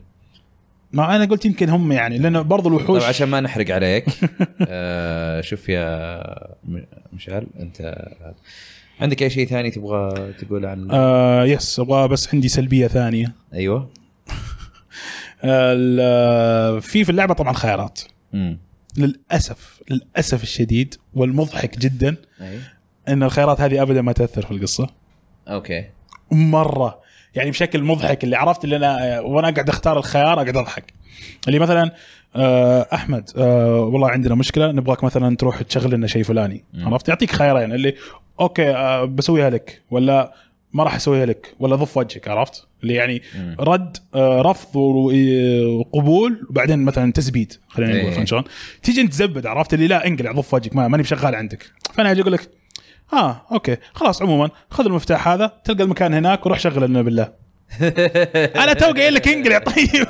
S2: ما انا قلت يمكن هم يعني لانه برضو الوحوش
S1: طبعا طيب، عشان ما نحرق عليك آه شوف يا م- مشعل انت عندك اي شيء ثاني تبغى تقول عن
S2: آه يس ابغى بس عندي سلبيه ثانيه
S1: ايوه
S2: ال- آه، في في اللعبه طبعا خيارات
S1: امم
S2: للاسف للاسف الشديد والمضحك جدا
S1: اي
S2: ان الخيارات هذه ابدا ما تاثر في القصه
S1: اوكي
S2: مره يعني بشكل مضحك اللي عرفت اللي انا وانا قاعد اختار الخيار اقعد اضحك اللي مثلا آه، احمد آه، والله عندنا مشكله نبغاك مثلا تروح تشغل لنا شيء فلاني
S1: مم.
S2: عرفت يعطيك خيارين اللي اوكي آه، بسويها لك ولا ما راح اسويها لك ولا ضف وجهك عرفت اللي يعني
S1: مم.
S2: رد آه، رفض و- وقبول وبعدين مثلا تثبيت خلينا نقول
S1: إيه.
S2: فهمت شلون؟ تيجي انت تزبد عرفت اللي لا انقلع ضف وجهك ما ماني بشغال عندك فانا اجي اقول لك اه اوكي خلاص عموما خذ المفتاح هذا تلقى المكان هناك وروح شغل لنا بالله
S1: إيه.
S2: انا تو قايل لك انقلع طيب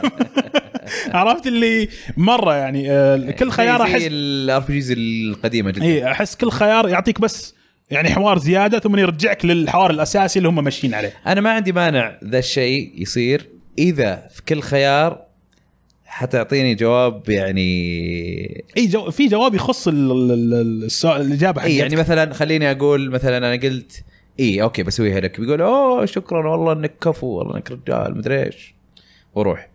S2: عرفت اللي مره يعني آه، كل خيار
S1: زي-
S2: احس
S1: زي الار بي جيز القديمه جدا
S2: اي احس كل خيار يعطيك بس يعني حوار زياده ثم يرجعك للحوار الاساسي اللي هم ماشيين عليه
S1: انا ما عندي مانع ذا الشيء يصير اذا في كل خيار حتعطيني جواب يعني
S2: اي جو في جواب يخص ال- ال- ال- السؤال الاجابه
S1: اي يعني
S2: حقتك.
S1: مثلا خليني اقول مثلا انا قلت اي اوكي بسويها لك بيقول اوه شكرا والله انك كفو والله انك رجال مدري ايش واروح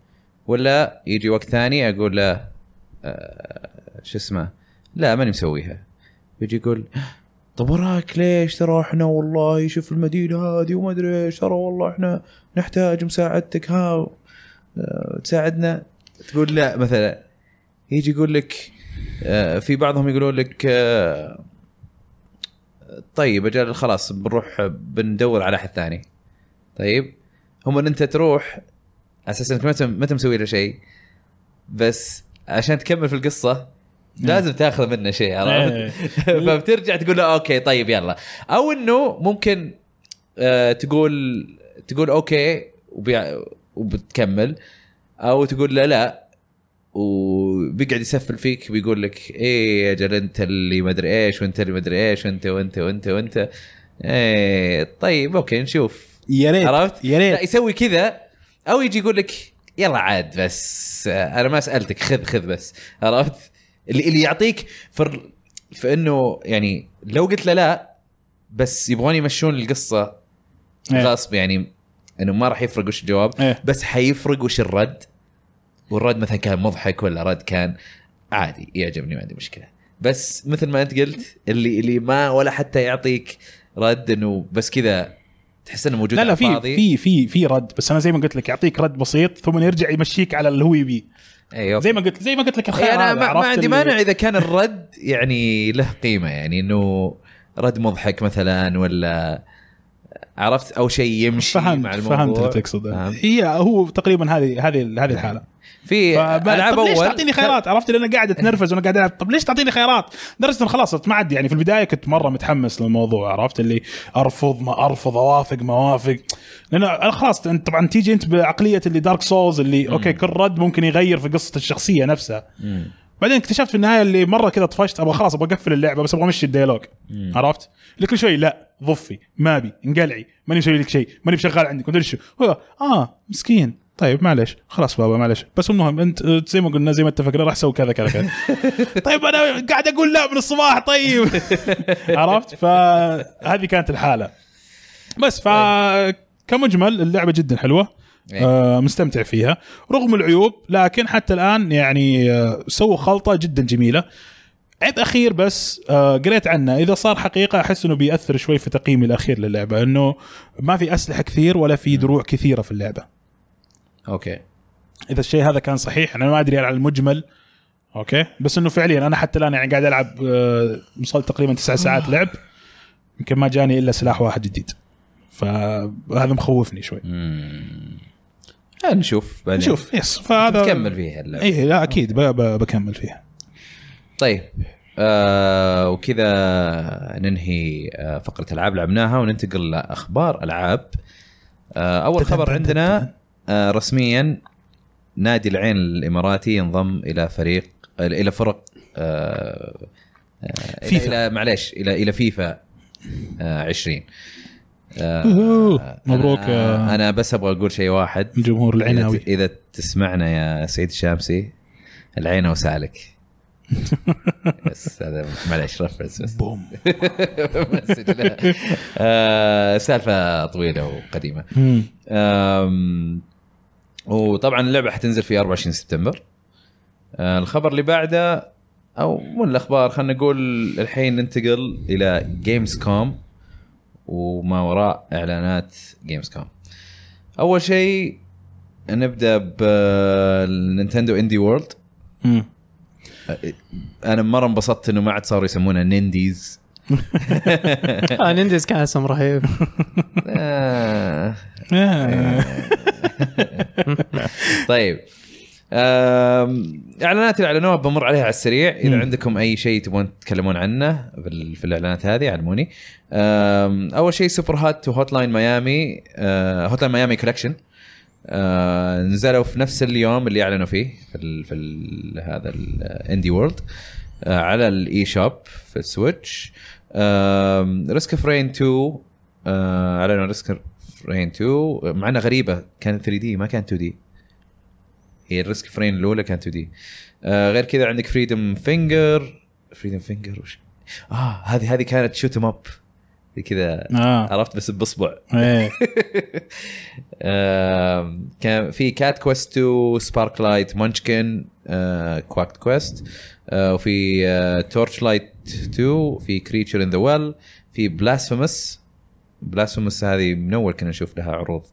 S1: ولا يجي وقت ثاني اقول لا آه، شو اسمه لا ماني مسويها يجي يقول طب وراك ليش ترى احنا والله شوف المدينه هذه وما ادري ايش ترى والله احنا نحتاج مساعدتك ها آه، تساعدنا تقول لا مثلا يجي يقول لك آه، في بعضهم يقولون لك آه، طيب اجل خلاص بنروح بندور على احد ثاني طيب هم ان انت تروح اساسا انك ما انت- ما انت مسوي له شيء بس عشان تكمل في القصه لازم تاخذ منه شيء عرفت؟
S2: إيه.
S1: فبترجع تقول له اوكي طيب يلا او انه ممكن آه، تقول تقول اوكي وبيع وبتكمل او تقول لا لا وبيقعد يسفل فيك بيقول لك ايه اجل انت اللي ما ادري ايش وانت اللي ما ادري ايش وانت وانت وانت وانت ايه طيب اوكي نشوف
S2: يا ريت
S1: عرفت؟
S2: يا
S1: لا
S2: ريت
S1: يسوي كذا او يجي يقول لك يلا عاد بس آه، انا ما سالتك خذ خذ بس عرفت؟ اللي اللي يعطيك فر في انه يعني لو قلت له لا بس يبغون يمشون القصه
S2: إيه.
S1: غصب يعني انه ما راح يفرق وش الجواب
S2: إيه.
S1: بس حيفرق وش الرد والرد مثلا كان مضحك ولا رد كان عادي يعجبني ما عندي مشكله بس مثل ما انت قلت اللي اللي ما ولا حتى يعطيك رد انه بس كذا تحس انه موجود
S2: لا لا
S1: على
S2: في
S1: الفاضي.
S2: في في في رد بس انا زي ما قلت لك يعطيك رد بسيط ثم يرجع يمشيك على اللي هو يبيه
S1: ايوه
S2: زي ما قلت زي ما قلت لك الخيار
S1: إيه انا
S2: هذا،
S1: ما, ما
S2: عرفت
S1: عندي
S2: اللي-
S1: مانع اذا كان الرد يعني له قيمه يعني انه رد مضحك مثلا ولا عرفت او شيء يمشي
S2: فهمت
S1: مع الموضوع
S2: فهمت اللي تقصده
S1: فهمت.
S2: هي هو تقريبا هذه هذه هذه الحاله
S1: في
S2: فما-
S1: العاب
S2: طب
S1: اول
S2: ليش تعطيني خيارات عرفت لان قاعد اتنرفز وانا قاعد العب طب ليش تعطيني خيارات درجه إن خلاص ما عاد يعني في البدايه كنت مره متحمس للموضوع عرفت اللي ارفض ما ارفض اوافق ما اوافق لان أنا خلاص انت طبعا تيجي انت بعقليه اللي دارك سولز اللي اوكي كل رد ممكن يغير في قصه الشخصيه نفسها
S1: مم.
S2: بعدين اكتشفت في النهايه اللي مره كذا طفشت ابغى خلاص ابغى اقفل اللعبه بس ابغى امشي الديالوج عرفت؟ اللي كل شوي لا ضفي ما ابي انقلعي ماني مسوي لك شيء ماني بشغال عندك مدري شو هو اه مسكين طيب معلش خلاص بابا معلش بس المهم انت آه، زي ما قلنا زي ما اتفقنا راح اسوي كذا كذا كذا طيب انا قاعد اقول لا من الصباح طيب عرفت فهذه كانت الحاله بس ف كمجمل اللعبه جدا حلوه
S1: إيه.
S2: آه مستمتع فيها رغم العيوب لكن حتى الان يعني آه سووا خلطه جدا جميله عيب اخير بس آه قريت عنه اذا صار حقيقه احس انه بياثر شوي في تقييمي الاخير للعبه انه ما في اسلحه كثير ولا في دروع كثيره في اللعبه
S1: اوكي
S2: اذا الشيء هذا كان صحيح انا ما ادري على المجمل اوكي بس انه فعليا انا حتى الان يعني قاعد العب آه، وصلت تقريبا تسع
S1: آه.
S2: ساعات لعب يمكن ما جاني الا سلاح واحد جديد فهذا مخوفني شوي
S1: مم. آه، نشوف بعدين
S2: نشوف يس فهذا
S1: تكمل فيها اللعبة.
S2: اي إيه، لا اكيد ب- ب- بكمل فيها
S1: طيب آه وكذا ننهي آه فقره العاب لعبناها وننتقل لاخبار العاب آه اول خبر عندنا آه رسميا نادي العين الاماراتي ينضم الى فريق آه، الى فرق آه آه،
S2: فيفا.
S1: الى معليش الى الى فيفا آه 20
S2: أوه، مبروك آه.
S1: انا,
S2: يا
S1: آه، أنا بس ابغى اقول شيء واحد
S2: جمهور العناوي
S1: إذا, اذا تسمعنا يا سعيد الشامسي العين وسالك بس هذا معليش رفرنس بس
S2: بوم
S1: بس لا. آه، سالفه طويله وقديمه
S2: مم.
S1: أم، وطبعا اللعبه حتنزل في 24 سبتمبر أه، الخبر اللي بعده او مو الاخبار خلينا نقول الحين ننتقل الى جيمز كوم وما وراء اعلانات جيمز كوم اول شيء آه، نبدا بالنينتندو اندي وورلد
S2: مم.
S1: انا مره انبسطت انه ما عاد صاروا يسمونها نينديز
S3: آه نيندز كان اسم رهيب
S1: آه.
S2: آه.
S1: طيب آه، آم، اعلانات اللي اعلنوها بمر عليها على السريع اذا
S2: مم.
S1: عندكم اي شيء تبون تتكلمون عنه بال- في الاعلانات هذه علموني آم، اول شيء سوبر هات وهوت لاين ميامي هوت لاين ميامي كولكشن آه، نزلوا في نفس اليوم اللي اعلنوا فيه في ال في ال هذا الاندي وورلد على الاي شوب في السويتش ريسك اوف رين 2 آه، اعلنوا ريسك اوف رين 2 مع انها غريبه كان 3 دي ما كان 2 دي هي الريسك فرين الاولى كانت 2 دي آه غير كذا عندك فريدم فينجر فريدم فينجر وش اه هذه هذه كانت شوت ام اب كذا
S2: اه
S1: عرفت بس باصبع
S2: ايه
S1: آم، كان في كات كويست 2 سبارك لايت مانشكن كواك كويست آه، وفي تورش لايت 2 في كريتشر ان ذا ويل في بلاسفيمس بلاسفيمس هذه من اول كنا نشوف لها عروض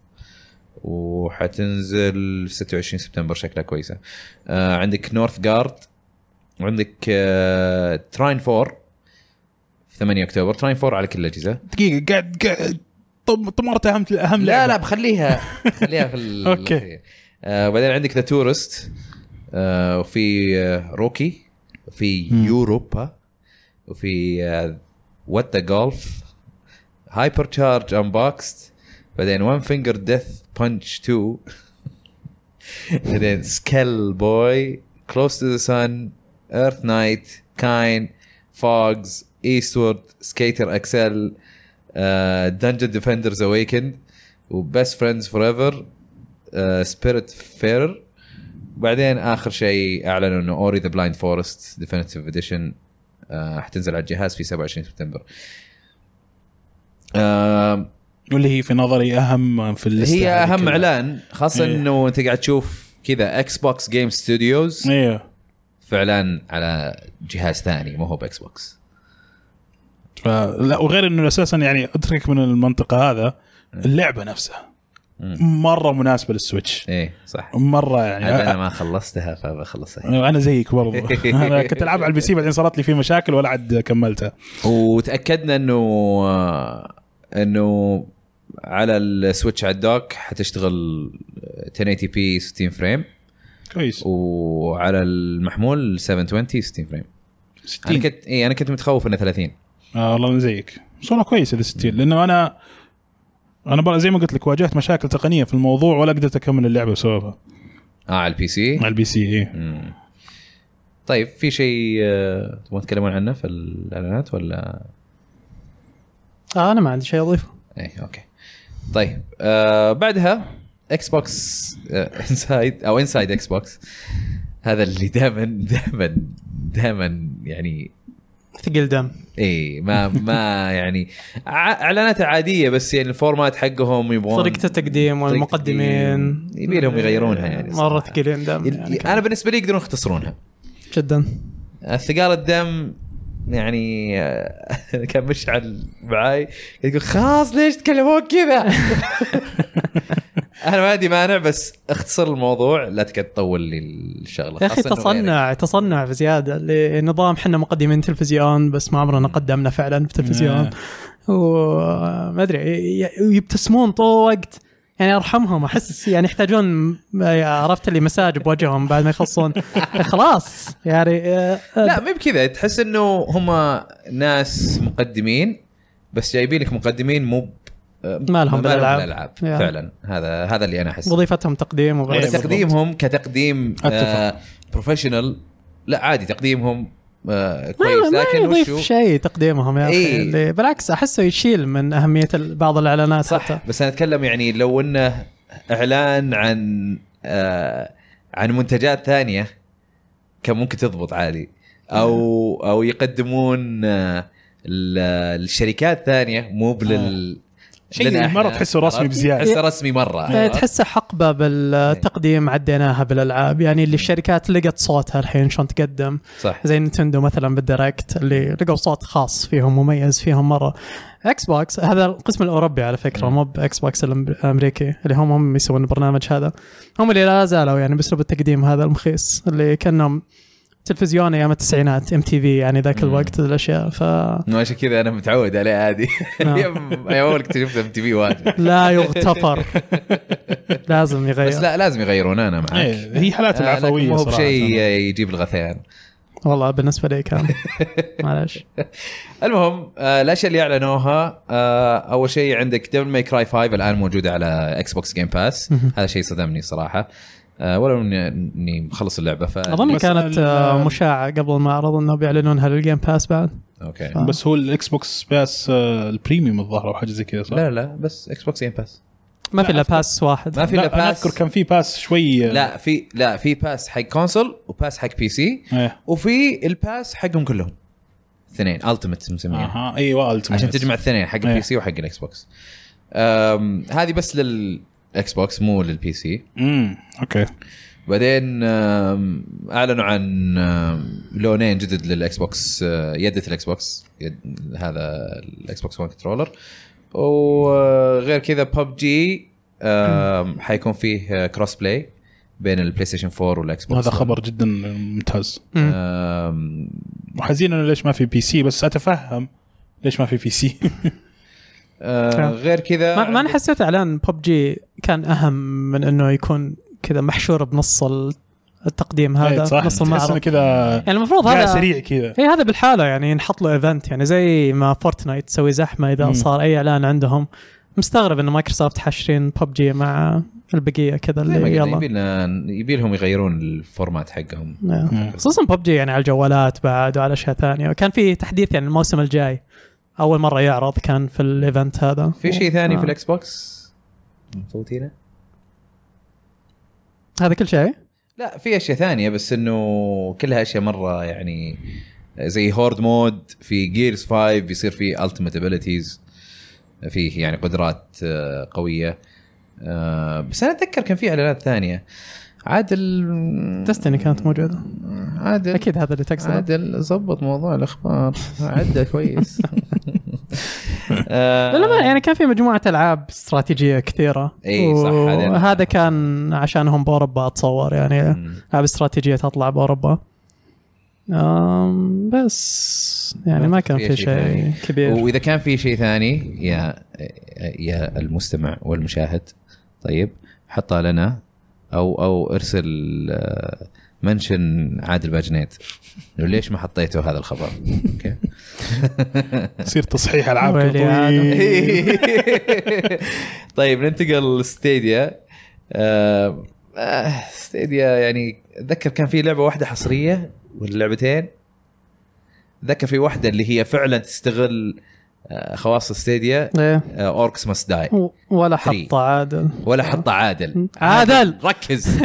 S1: وحتنزل في 26 سبتمبر شكلها كويسه آه، عندك نورث جارد وعندك تراين 4 في 8 اكتوبر تراين 4 على كل الاجهزه
S2: دقيقه قاعد قاعد طم- طمرت اهم اهم
S1: لا
S2: لعبة.
S1: لا بخليها خليها في ال-
S2: أوكي.
S1: الأخير. آه وبعدين عندك ذا تورست آه وفي آه روكي وفي
S2: مم.
S1: يوروبا وفي آه، وات ذا جولف هايبر تشارج انبوكست بعدين وان فينجر ديث بانش 2 بعدين سكيل بوي كلوز تو ذا سن ايرث نايت كاين فوجز ايستورد سكيتر اكسل دنجن ديفندرز اويكند وبست فريندز فور ايفر سبيريت فير آه، بعدين اخر شيء اعلنوا انه اوري ذا بلايند فورست ديفينيتيف اديشن آه، حتنزل على الجهاز في 27 سبتمبر آه،
S2: واللي هي في نظري اهم في الليسته
S1: هي
S2: هذه
S1: اهم
S2: كلها.
S1: اعلان خاصه
S2: إيه.
S1: انه انت قاعد تشوف كذا اكس بوكس جيم ستوديوز
S2: ايوه
S1: في اعلان على جهاز ثاني ما هو باكس بوكس
S2: ف... لا وغير انه اساسا يعني اتركك من المنطقه هذا اللعبه نفسها
S1: مم.
S2: مره مناسبه للسويتش
S1: ايه صح
S2: مره يعني
S1: عاد انا ما خلصتها فبخلصها هنا.
S2: انا زيك برضو انا كنت العبها على البي سي بعدين صارت لي في مشاكل ولا عاد كملتها
S1: وتاكدنا انه انه على السويتش على الدوك حتشتغل 1080 بي 60 فريم
S2: كويس
S1: وعلى المحمول 720 60 فريم انا
S2: 60
S1: كنت اي انا كنت متخوف انه 30
S2: آه والله انا زيك بس والله كويس اذا 60 لانه انا انا بقى زي ما قلت لك واجهت مشاكل تقنيه في الموضوع ولا قدرت اكمل اللعبه بسببها
S1: اه على البي سي
S2: على البي سي ايه
S1: مم. طيب في شيء آه، تبغون تتكلمون عنه في الاعلانات ولا
S3: آه انا ما عندي شيء اضيفه
S1: ايه اوكي طيب آه بعدها آه، اكس بوكس انسايد او انسايد اكس بوكس هذا اللي دائما دائما دائما يعني
S3: ثقيل دم
S1: اي إيه، ما ما يعني ع- اعلاناته عاديه بس يعني الفورمات حقهم يبغون
S3: طريقه التقديم
S1: طريقة
S3: والمقدمين
S1: التقديم. يبي لهم يغيرونها يعني
S3: مره
S1: صراحة.
S3: ثقيلين دم يعني
S1: انا بالنسبه لي يقدرون يختصرونها
S3: جدا
S1: الثقال الدم يعني آه، كان مشعل معاي يقول خلاص ليش تكلمون كذا؟ انا ما عندي مانع بس اختصر الموضوع لا تقعد تطول لي الشغله
S3: يا اخي
S1: خاصة إنه غيرك.
S3: تصنع تصنع بزياده لنظام احنا مقدمين تلفزيون بس ما عمرنا قدمنا فعلا في تلفزيون وما ادري ي- ي- يبتسمون طول الوقت يعني ارحمهم احس يعني يحتاجون عرفت اللي مساج بوجههم بعد ما يخلصون خلاص يعني آه، آه،
S1: لا مو بكذا تحس انه هم ناس مقدمين بس جايبين لك مقدمين مو ب-
S3: ما لهم بالألعاب.
S1: بالالعاب
S3: يا.
S1: فعلا هذا هذا اللي انا احسه
S3: وظيفتهم تقديم
S2: إيه،
S1: بس
S3: وبس
S2: بالضبط.
S1: تقديمهم كتقديم
S2: أتفق.
S1: آه، بروفيشنال لا عادي تقديمهم آه،
S3: ما,
S1: كويس
S3: ما
S1: لكن
S3: يضيف
S1: وشو
S3: شيء تقديمهم يا اخي
S1: إيه.
S3: اللي بالعكس احسه يشيل من اهميه ال- بعض الاعلانات حتى
S1: صح بس انا اتكلم يعني لو انه اعلان عن آه عن منتجات ثانيه كان ممكن تضبط عادي او
S2: نعم.
S1: او يقدمون آه الشركات ثانيه مو بلل
S2: آه. شيء
S1: لنا إحنا.
S2: مرة تحسه رسمي
S1: عرفت؟
S2: بزيادة.
S1: تحسه رسمي مره
S3: يعني
S1: عرفت؟
S3: تحسه حقبه بالتقديم عديناها بالالعاب يعني اللي الشركات لقت صوتها الحين شلون تقدم
S1: صح
S3: زي نينتندو مثلا بالدايركت اللي لقوا صوت خاص فيهم مميز فيهم مره اكس بوكس هذا القسم الاوروبي على فكره
S1: مم.
S3: مو باكس بوكس الأمر- الامريكي اللي هم هم يسوون البرنامج هذا هم اللي لا زالوا يعني باسلوب التقديم هذا المخيس اللي كانهم تلفزيون ايام التسعينات ام تي في يعني ذاك
S1: مم.
S3: الوقت الاشياء ف
S1: إنه عشان كذا انا متعود عليه عادي
S3: نعم.
S2: أيوه.
S1: اليوم أيام اول اكتشفت ام تي في واجد
S3: لا يغتفر لازم
S1: بس
S3: يغير
S1: لا لازم يغيرون انا معك
S2: إيه، هي حالات
S1: آه، لكن
S2: العفويه
S1: ما هو
S2: صراحه
S1: بشيء يجيب الغثيان
S3: والله بالنسبه لي كان معلش
S1: المهم آه، الاشياء اللي اعلنوها آه، اول شيء عندك ديفل ماي كراي 5 الان موجوده على اكس بوكس جيم باس
S3: مهم.
S1: هذا شيء صدمني صراحه آه، ولو اني إني مخلص اللعبه ف
S3: اظن
S2: بس
S3: كانت
S2: ال-
S3: آه، مشاعه قبل ما عرض انه بيعلنونها للجيم باس بعد
S1: اوكي
S3: آه.
S2: بس هو الاكس بوكس باس آه، البريميوم الظاهر او حاجه زي كذا صح؟
S1: لا لا بس اكس بوكس جيم باس
S3: ما في الا
S2: لا،
S3: باس واحد
S1: ما في
S2: لا،
S1: إلا
S2: انا
S1: باس.
S2: اذكر كان في باس شوي آه،
S1: لا في لا في باس حق كونسول وباس حق بي سي
S2: ايه
S1: وفي الباس حقهم كلهم اثنين التيمت مسمينها
S2: اها ايوه Ultimate.
S1: عشان تجمع الاثنين حق
S2: إيه.
S1: البي سي وحق الاكس بوكس أم، هذه بس للاكس بوكس مو للبي سي
S2: امم اوكي
S1: بعدين آم، اعلنوا عن آم، لونين جدد للاكس بوكس آه، يدة الاكس بوكس يد هذا الاكس بوكس 1 كنترولر وغير آه، كذا بب جي حيكون فيه كروس بلاي بين البلاي ستيشن 4 والاكس بوكس
S2: هذا خبر جدا ممتاز
S3: مم.
S1: آم،
S2: وحزين انه ليش ما في بي سي بس اتفهم ليش ما في بي سي
S1: آه،
S3: تمام.
S1: غير كذا
S3: ما ما انا حسيت اعلان ببجي كان اهم من انه يكون كذا محشور بنص ال- التقديم هذا
S2: إيه، صح
S3: نص
S2: تحس انه
S3: المعرض
S2: كذا
S3: يعني المفروض
S2: قاعد
S3: هذا
S2: سريع كذا
S3: اي هذا بالحاله يعني ينحط له ايفنت يعني زي ما فورتنايت تسوي زحمه اذا
S2: مم.
S3: صار اي اعلان عندهم مستغرب ان مايكروسوفت حاشرين ببجي مع البقيه كذا
S1: زي إيه، ما
S3: اللي
S1: قلنا،
S3: يلا
S1: يبي لنا- يبي لهم يغيرون الفورمات حقهم
S3: نعم.
S2: مم.
S3: خصوصا ببجي يعني على الجوالات بعد وعلى اشياء ثانيه وكان في تحديث يعني الموسم الجاي اول مره يعرض كان في الايفنت هذا
S1: في شيء ثاني
S3: آه.
S1: في الاكس بوكس مفوتينه
S3: هذا كل شيء
S1: لا في اشياء ثانيه بس انه كلها اشياء مره يعني زي هورد مود في جيرز 5 بيصير في التيمت ابيلتيز فيه يعني قدرات آه، قويه آه، بس انا اتذكر كان في اعلانات ثانيه عادل
S3: دستني كانت موجوده
S1: عادل
S3: اكيد هذا اللي تقصده
S1: عادل ظبط موضوع الاخبار عده كويس
S3: لا لا ما- يعني كان في مجموعه العاب استراتيجيه كثيره
S1: إي، إيه، صح، هذه أنا-
S3: هذا كان عشانهم باوروبا اتصور يعني
S1: مم.
S3: العاب استراتيجيه تطلع باوروبا أم، بس يعني ما كان في شيء
S1: ثاني.
S3: كبير
S1: واذا كان في شيء ثاني يا يا المستمع والمشاهد طيب حطها لنا او او ارسل آه، منشن عادل باجنيت إنه ليش ما حطيته هذا الخبر؟ اوكي
S2: يصير تصحيح إيه. العاب كذا
S3: ويلي عاد.
S2: طويل.
S1: طيب ننتقل لستيديا آه، آه، ستيديا يعني اتذكر كان في لعبه واحده حصريه ولا لعبتين اتذكر في واحده اللي هي فعلا تستغل آه، خواص ستيديا آه،
S3: إيه.
S1: اوركس ماست داي
S3: و- ولا
S1: Three.
S3: حط عادل
S1: ولا حط عادل
S3: عادل!
S1: ركز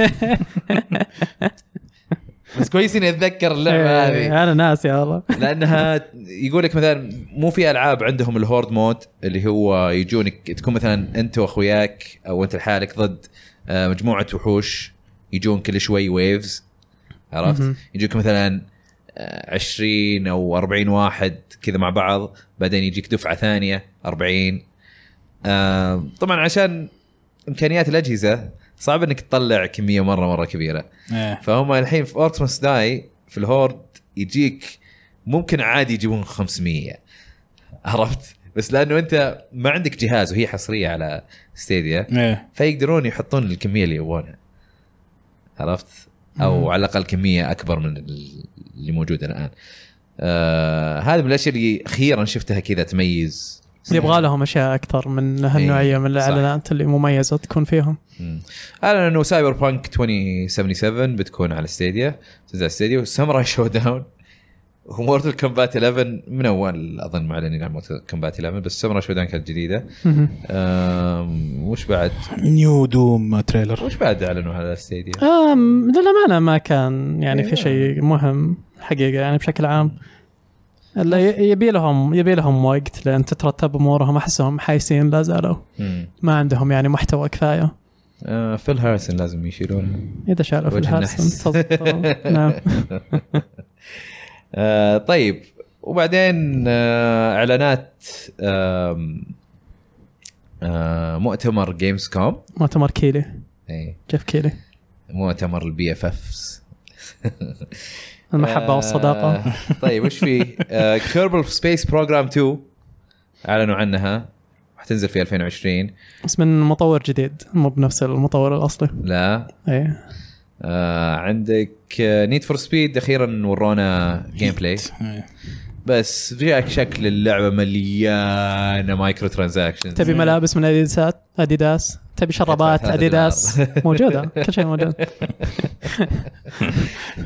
S1: بس كويس اني اتذكر اللعبه
S3: إيه،
S1: هذه
S3: انا ناسي والله
S1: لانها يقول لك مثلا مو في العاب عندهم الهورد مود اللي هو يجونك تكون مثلا انت واخوياك او انت لحالك ضد آه، مجموعه وحوش يجون كل شوي ويفز عرفت؟
S3: مهم.
S1: يجوك مثلا آه، 20 او 40 واحد كذا مع بعض بعدين يجيك دفعه ثانيه 40 آه، طبعا عشان امكانيات الاجهزه صعب انك تطلع كميه مره مره كبيره
S2: إيه.
S1: فهم الحين في اوركس داي في الهورد يجيك ممكن عادي يجيبون 500 عرفت بس لانه انت ما عندك جهاز وهي حصريه على ستيديا
S2: إيه.
S1: فيقدرون يحطون الكميه اللي يبغونها عرفت
S3: مم.
S1: او على الاقل كميه اكبر من ال- اللي موجوده الان آه هذه من الاشياء اللي اخيرا شفتها كذا تميز
S3: يبغى لهم اشياء اكثر من هالنوعيه من
S1: إيه، صح.
S3: الاعلانات اللي مميزه تكون فيهم
S1: مم. اعلن انه سايبر بانك 2077 بتكون على ستيديا تنزل على ستيديا وساموراي شو داون ومورتل كومبات 11 من اول اظن معلنين عن مورتل كومبات 11 بس ساموراي شو داون كانت جديده
S3: مهم.
S1: أم، وش بعد
S2: نيو دوم تريلر
S1: وش بعد اعلنوا على ستيديا؟
S3: أم آه، للأمانة ما كان يعني في
S1: إيه.
S3: شيء مهم حقيقة يعني بشكل عام لا ي- يبي لهم يبي لهم وقت لأن تترتب أمورهم أحسهم حايسين لا زالوا
S1: مم.
S3: ما عندهم يعني محتوى كفاية
S1: آه، فيل هارسن لازم يشيلونه
S3: إذا شالوا في
S1: وجه
S3: الهارسن
S1: النحس.
S3: تضبط. نعم
S1: آه، طيب وبعدين آه، اعلانات آم، آه، مؤتمر جيمز كوم
S3: مؤتمر كيلي جيف كيلي
S1: مؤتمر البي اف افس
S3: المحبة
S1: آه.
S3: والصداقة
S1: طيب وش في؟ كيربل سبيس بروجرام 2 اعلنوا عنها حتنزل في 2020
S3: بس من مطور جديد مو بنفس المطور إيه. الاصلي
S1: لا
S3: اي
S1: آه عندك آه، نيد فور سبيد اخيرا ورونا جيم بلاي
S2: إيه.
S1: بس جاك شكل اللعبه مليانه مايكرو ترانزاكشنز
S3: تبي ملابس من اديداس اديداس تبي شرابات
S1: ثلاثة
S3: اديداس موجوده كل شيء موجود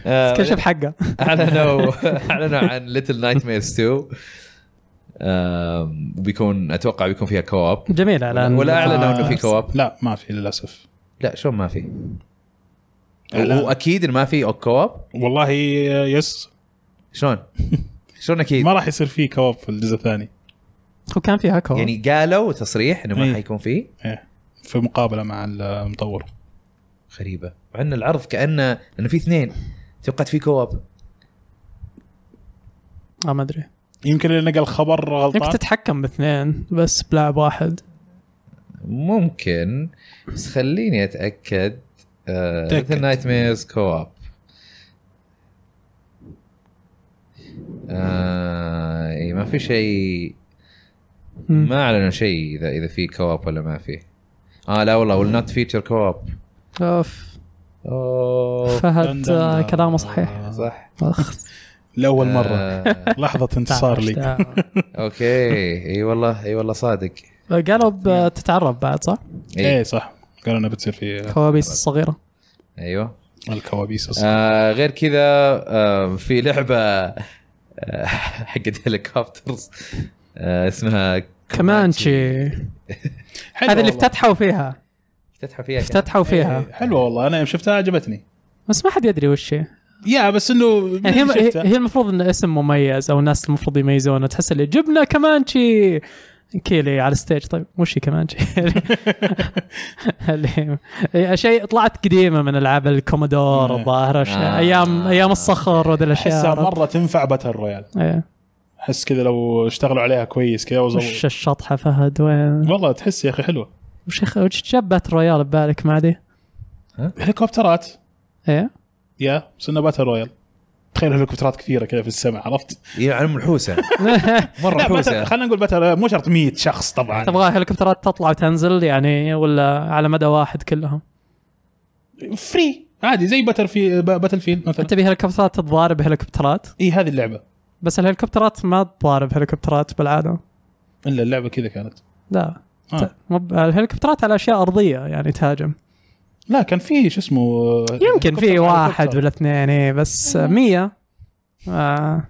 S1: آه،
S3: كل شيء بحقه
S1: اعلنوا اعلنوا عن ليتل نايت ميرز 2 آم، وبيكون اتوقع بيكون فيها كواب
S3: جميل اعلان
S1: ولا اعلنوا انه في كواب
S2: آه. لا ما في للاسف
S1: لا شلون ما في
S2: إعلان.
S1: واكيد إن ما في كواب
S2: والله يس
S1: شلون شلون اكيد
S2: ما راح يصير فيه كواب في الجزء الثاني
S3: وكان فيها كواب يعني
S1: يعني قالوا تصريح انه ما
S2: إيه.
S1: حيكون فيه
S2: إيه. في مقابله مع المطور
S1: غريبه مع ان العرض كانه لانه في اثنين توقعت في كواب
S3: آه ما ادري
S2: يمكن اللي نقل خبر
S3: يمكن
S2: غلطان
S3: تتحكم باثنين بس بلاعب واحد
S1: ممكن بس خليني اتاكد
S2: تأكد.
S1: مثل نايت ميرز كواب آه إيه، ما في شيء
S3: مم.
S1: ما اعلنوا شيء اذا اذا في كواب ولا ما في اه لا والله ويل نوت فيتشر كواب
S3: اوف
S1: اوه
S3: فهد آه، كلامه صحيح
S2: آه،
S1: صح
S3: اخ
S2: لاول مره
S1: آه
S2: لحظه انتصار لي
S1: اوكي اي والله اي والله صادق
S3: آه، قالوا بتتعرب بعد صح؟
S1: إيه.
S2: ايه صح قالوا انها بتصير في
S3: كوابيس الصغيره
S1: ايوه
S2: الكوابيس الص-
S1: آه غير كذا آه في لعبه آه حقت هليكوبترز آه اسمها
S3: كمانشي
S2: حلوة
S3: هذه اللي
S2: أيوة، والله.
S3: افتتحوا فيها
S1: افتتحوا فيها كان.
S3: افتتحوا فيها
S2: إيه، حلوه والله انا يوم شفتها عجبتني
S3: بس ما حد يدري وش هي
S2: يا بس انه
S3: يعني هي هي-
S2: شفتها.
S3: هي المفروض ان اسم مميز او الناس المفروض يميزونه تحس اللي جبنا كمانشي كيلي على الستيج طيب وش هي كمانشي؟ اللي- هي شيء طلعت قديمه من العاب الكومودور الظاهر أشياء-
S1: آه.
S3: ايام ايام الصخر وذي
S2: احسها
S3: الاشياء
S2: مره تنفع باتل رويال
S3: إيه.
S2: احس كذا لو اشتغلوا عليها كويس كذا
S3: وش
S2: وزو...
S3: الشطحه فهد وين؟
S2: والله تحس يا اخي حلوه
S3: وش يخ- وش جاب باتل رويال ببالك ما عادي؟
S2: هليكوبترات
S3: ايه
S2: يا بس انه باتل رويال تخيل هليكوبترات كثيره كذا في السماء عرفت؟
S1: يا علم الحوسه مره
S2: لا باتل-
S1: حوسه
S2: خلينا نقول باتل رويال مو شرط 100 شخص طبعا
S3: تبغى هليكوبترات تطلع وتنزل يعني ولا على مدى واحد كلهم؟
S2: فري عادي زي باتل في ب- باتل فيلد مثلا
S3: انت هليكوبترات تتضارب هليكوبترات
S2: اي هذه اللعبه
S3: بس الهليكوبترات ما تضارب هليكوبترات بالعاده
S2: الا اللعبه كذا كانت
S3: لا
S2: آه.
S3: ت- مب... الهليكوبترات على اشياء ارضيه يعني تهاجم
S2: لا كان في شو اسمه
S3: يمكن في
S2: هليكوبتر-
S3: واحد
S2: هليكوبتر.
S3: ولا اثنين ايه بس آه، مية آه.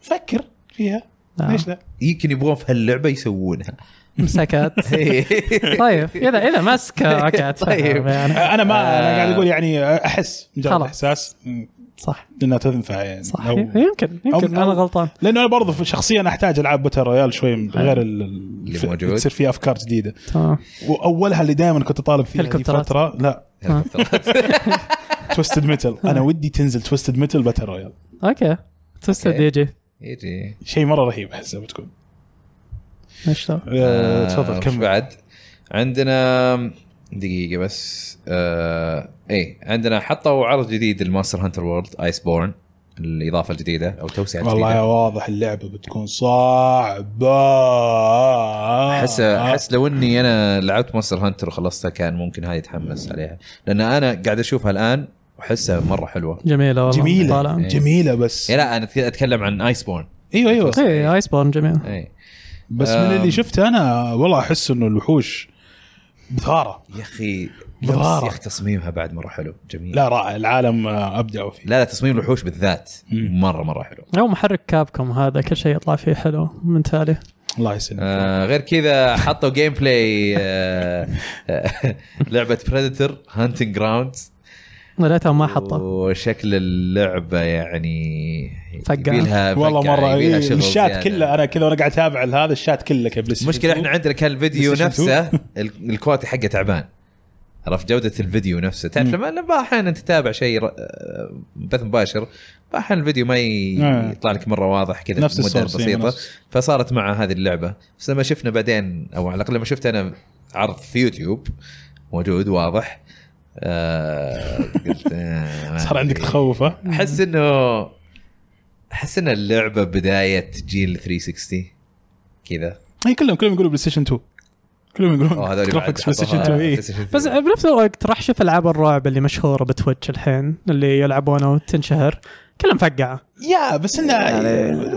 S2: فكر فيها
S3: آه.
S2: ليش لا؟
S1: يمكن يبغون في هاللعبه يسوونها
S3: مسكت
S1: إيه.
S3: طيب اذا اذا مسك اوكي
S1: طيب.
S3: طيب يعني
S2: انا ما انا
S1: آه.
S2: قاعد اقول يعني احس مجرد
S3: خلاص.
S2: احساس مم،
S3: صح
S2: انها تنفع يعني
S3: صح
S2: لو-
S3: يمكن يمكن
S2: أو-
S3: انا غلطان
S2: لانه انا برضه شخصيا احتاج العاب باتل رويال شوي من غير
S1: اللي
S2: اللي
S1: موجود.
S2: تصير فيها افكار جديده
S3: تمام
S2: واولها اللي دائما كنت طالب فيها هذه
S3: هليكوبترات.
S2: فتره لا توستد ميتل انا ودي تنزل توستد ميتل باتل رويال
S3: اوكي توستد
S1: أوكي.
S3: يجي
S1: يجي
S2: شيء مره رهيب احسها بتكون
S3: ايش ذا؟
S2: آه،
S1: آه،
S2: تفضل
S1: وش
S2: كمل
S1: بعد عندنا دقيقه بس آه ايه عندنا حطوا عرض جديد لماستر هانتر وورلد ايس بورن الاضافه الجديده او توسعه
S2: والله يا
S1: جديده
S2: واضح اللعبه بتكون صعبه
S1: احس
S2: آه،
S1: احس لو اني انا لعبت ماستر هانتر وخلصتها كان ممكن هاي اتحمس عليها لان انا قاعد اشوفها الان واحسها مره حلوه
S3: جميله والله
S2: جميله
S3: طالعة.
S1: إيه.
S2: جميله بس
S1: يا لا انا أتك- اتكلم عن إيه. ايس بورن
S2: ايوه ايوه
S3: ايه ايس بورن جميله
S1: اي
S2: بس من اللي شفته انا والله احس انه الوحوش بثاره
S1: يا اخي بس
S2: مرارة.
S1: يا اخي تصميمها بعد مره حلو جميل
S2: لا رائع العالم آه، ابدعوا فيه
S1: لا لا تصميم الوحوش بالذات
S2: مم.
S1: مره مره حلو
S3: او محرك كابكم هذا كل شيء يطلع فيه حلو من تالي
S2: الله يسلمك
S1: آه غير كذا حطوا جيم بلاي آه آه، لعبه بريدتر هانتنج جراوند
S3: ليتهم ما حطه
S1: وشكل اللعبه يعني
S3: فقعة.
S1: يبيلها
S2: والله
S1: فقعة،
S2: مره
S1: يبيلها
S2: إيه،
S1: شغل
S2: الشات
S1: زيادة.
S2: كله انا كذا وانا قاعد اتابع هذا الشات كله كبلس
S1: المشكله احنا عندنا كان الفيديو
S2: PlayStation
S1: نفسه ال- الكواليتي حقه تعبان عرفت جوده الفيديو نفسه تعرف
S2: مم.
S1: لما لما احيانا تتابع شيء ر- آه، بث مباشر احيانا الفيديو ما ي-
S2: آه.
S1: يطلع لك مره واضح كذا
S2: نفس
S1: مدة
S2: السورس يعني
S1: بسيطه
S2: نفس-
S1: فصارت مع هذه اللعبه بس لما شفنا بعدين او على الاقل لما شفت انا عرض في يوتيوب موجود واضح آه، قلت آه، ما
S2: صار عندك
S1: أدري.
S2: تخوف ها؟
S1: احس انه احس ان اللعبه بدايه جيل 360 كذا
S2: هي إيه، كلهم كلهم يقولوا بلاي ستيشن 2 كلهم يقولون
S1: أوه، هذول بعد
S2: جرافيكس بلاي ستيشن
S1: حطوها
S2: 2
S3: E.
S2: إيه.
S1: PlayStation 2.
S3: بس بنفس الوقت راح شوف العاب الرعب اللي مشهوره بتويتش الحين اللي يلعبونها وتنشهر كلها مفقعه
S2: يا بس انه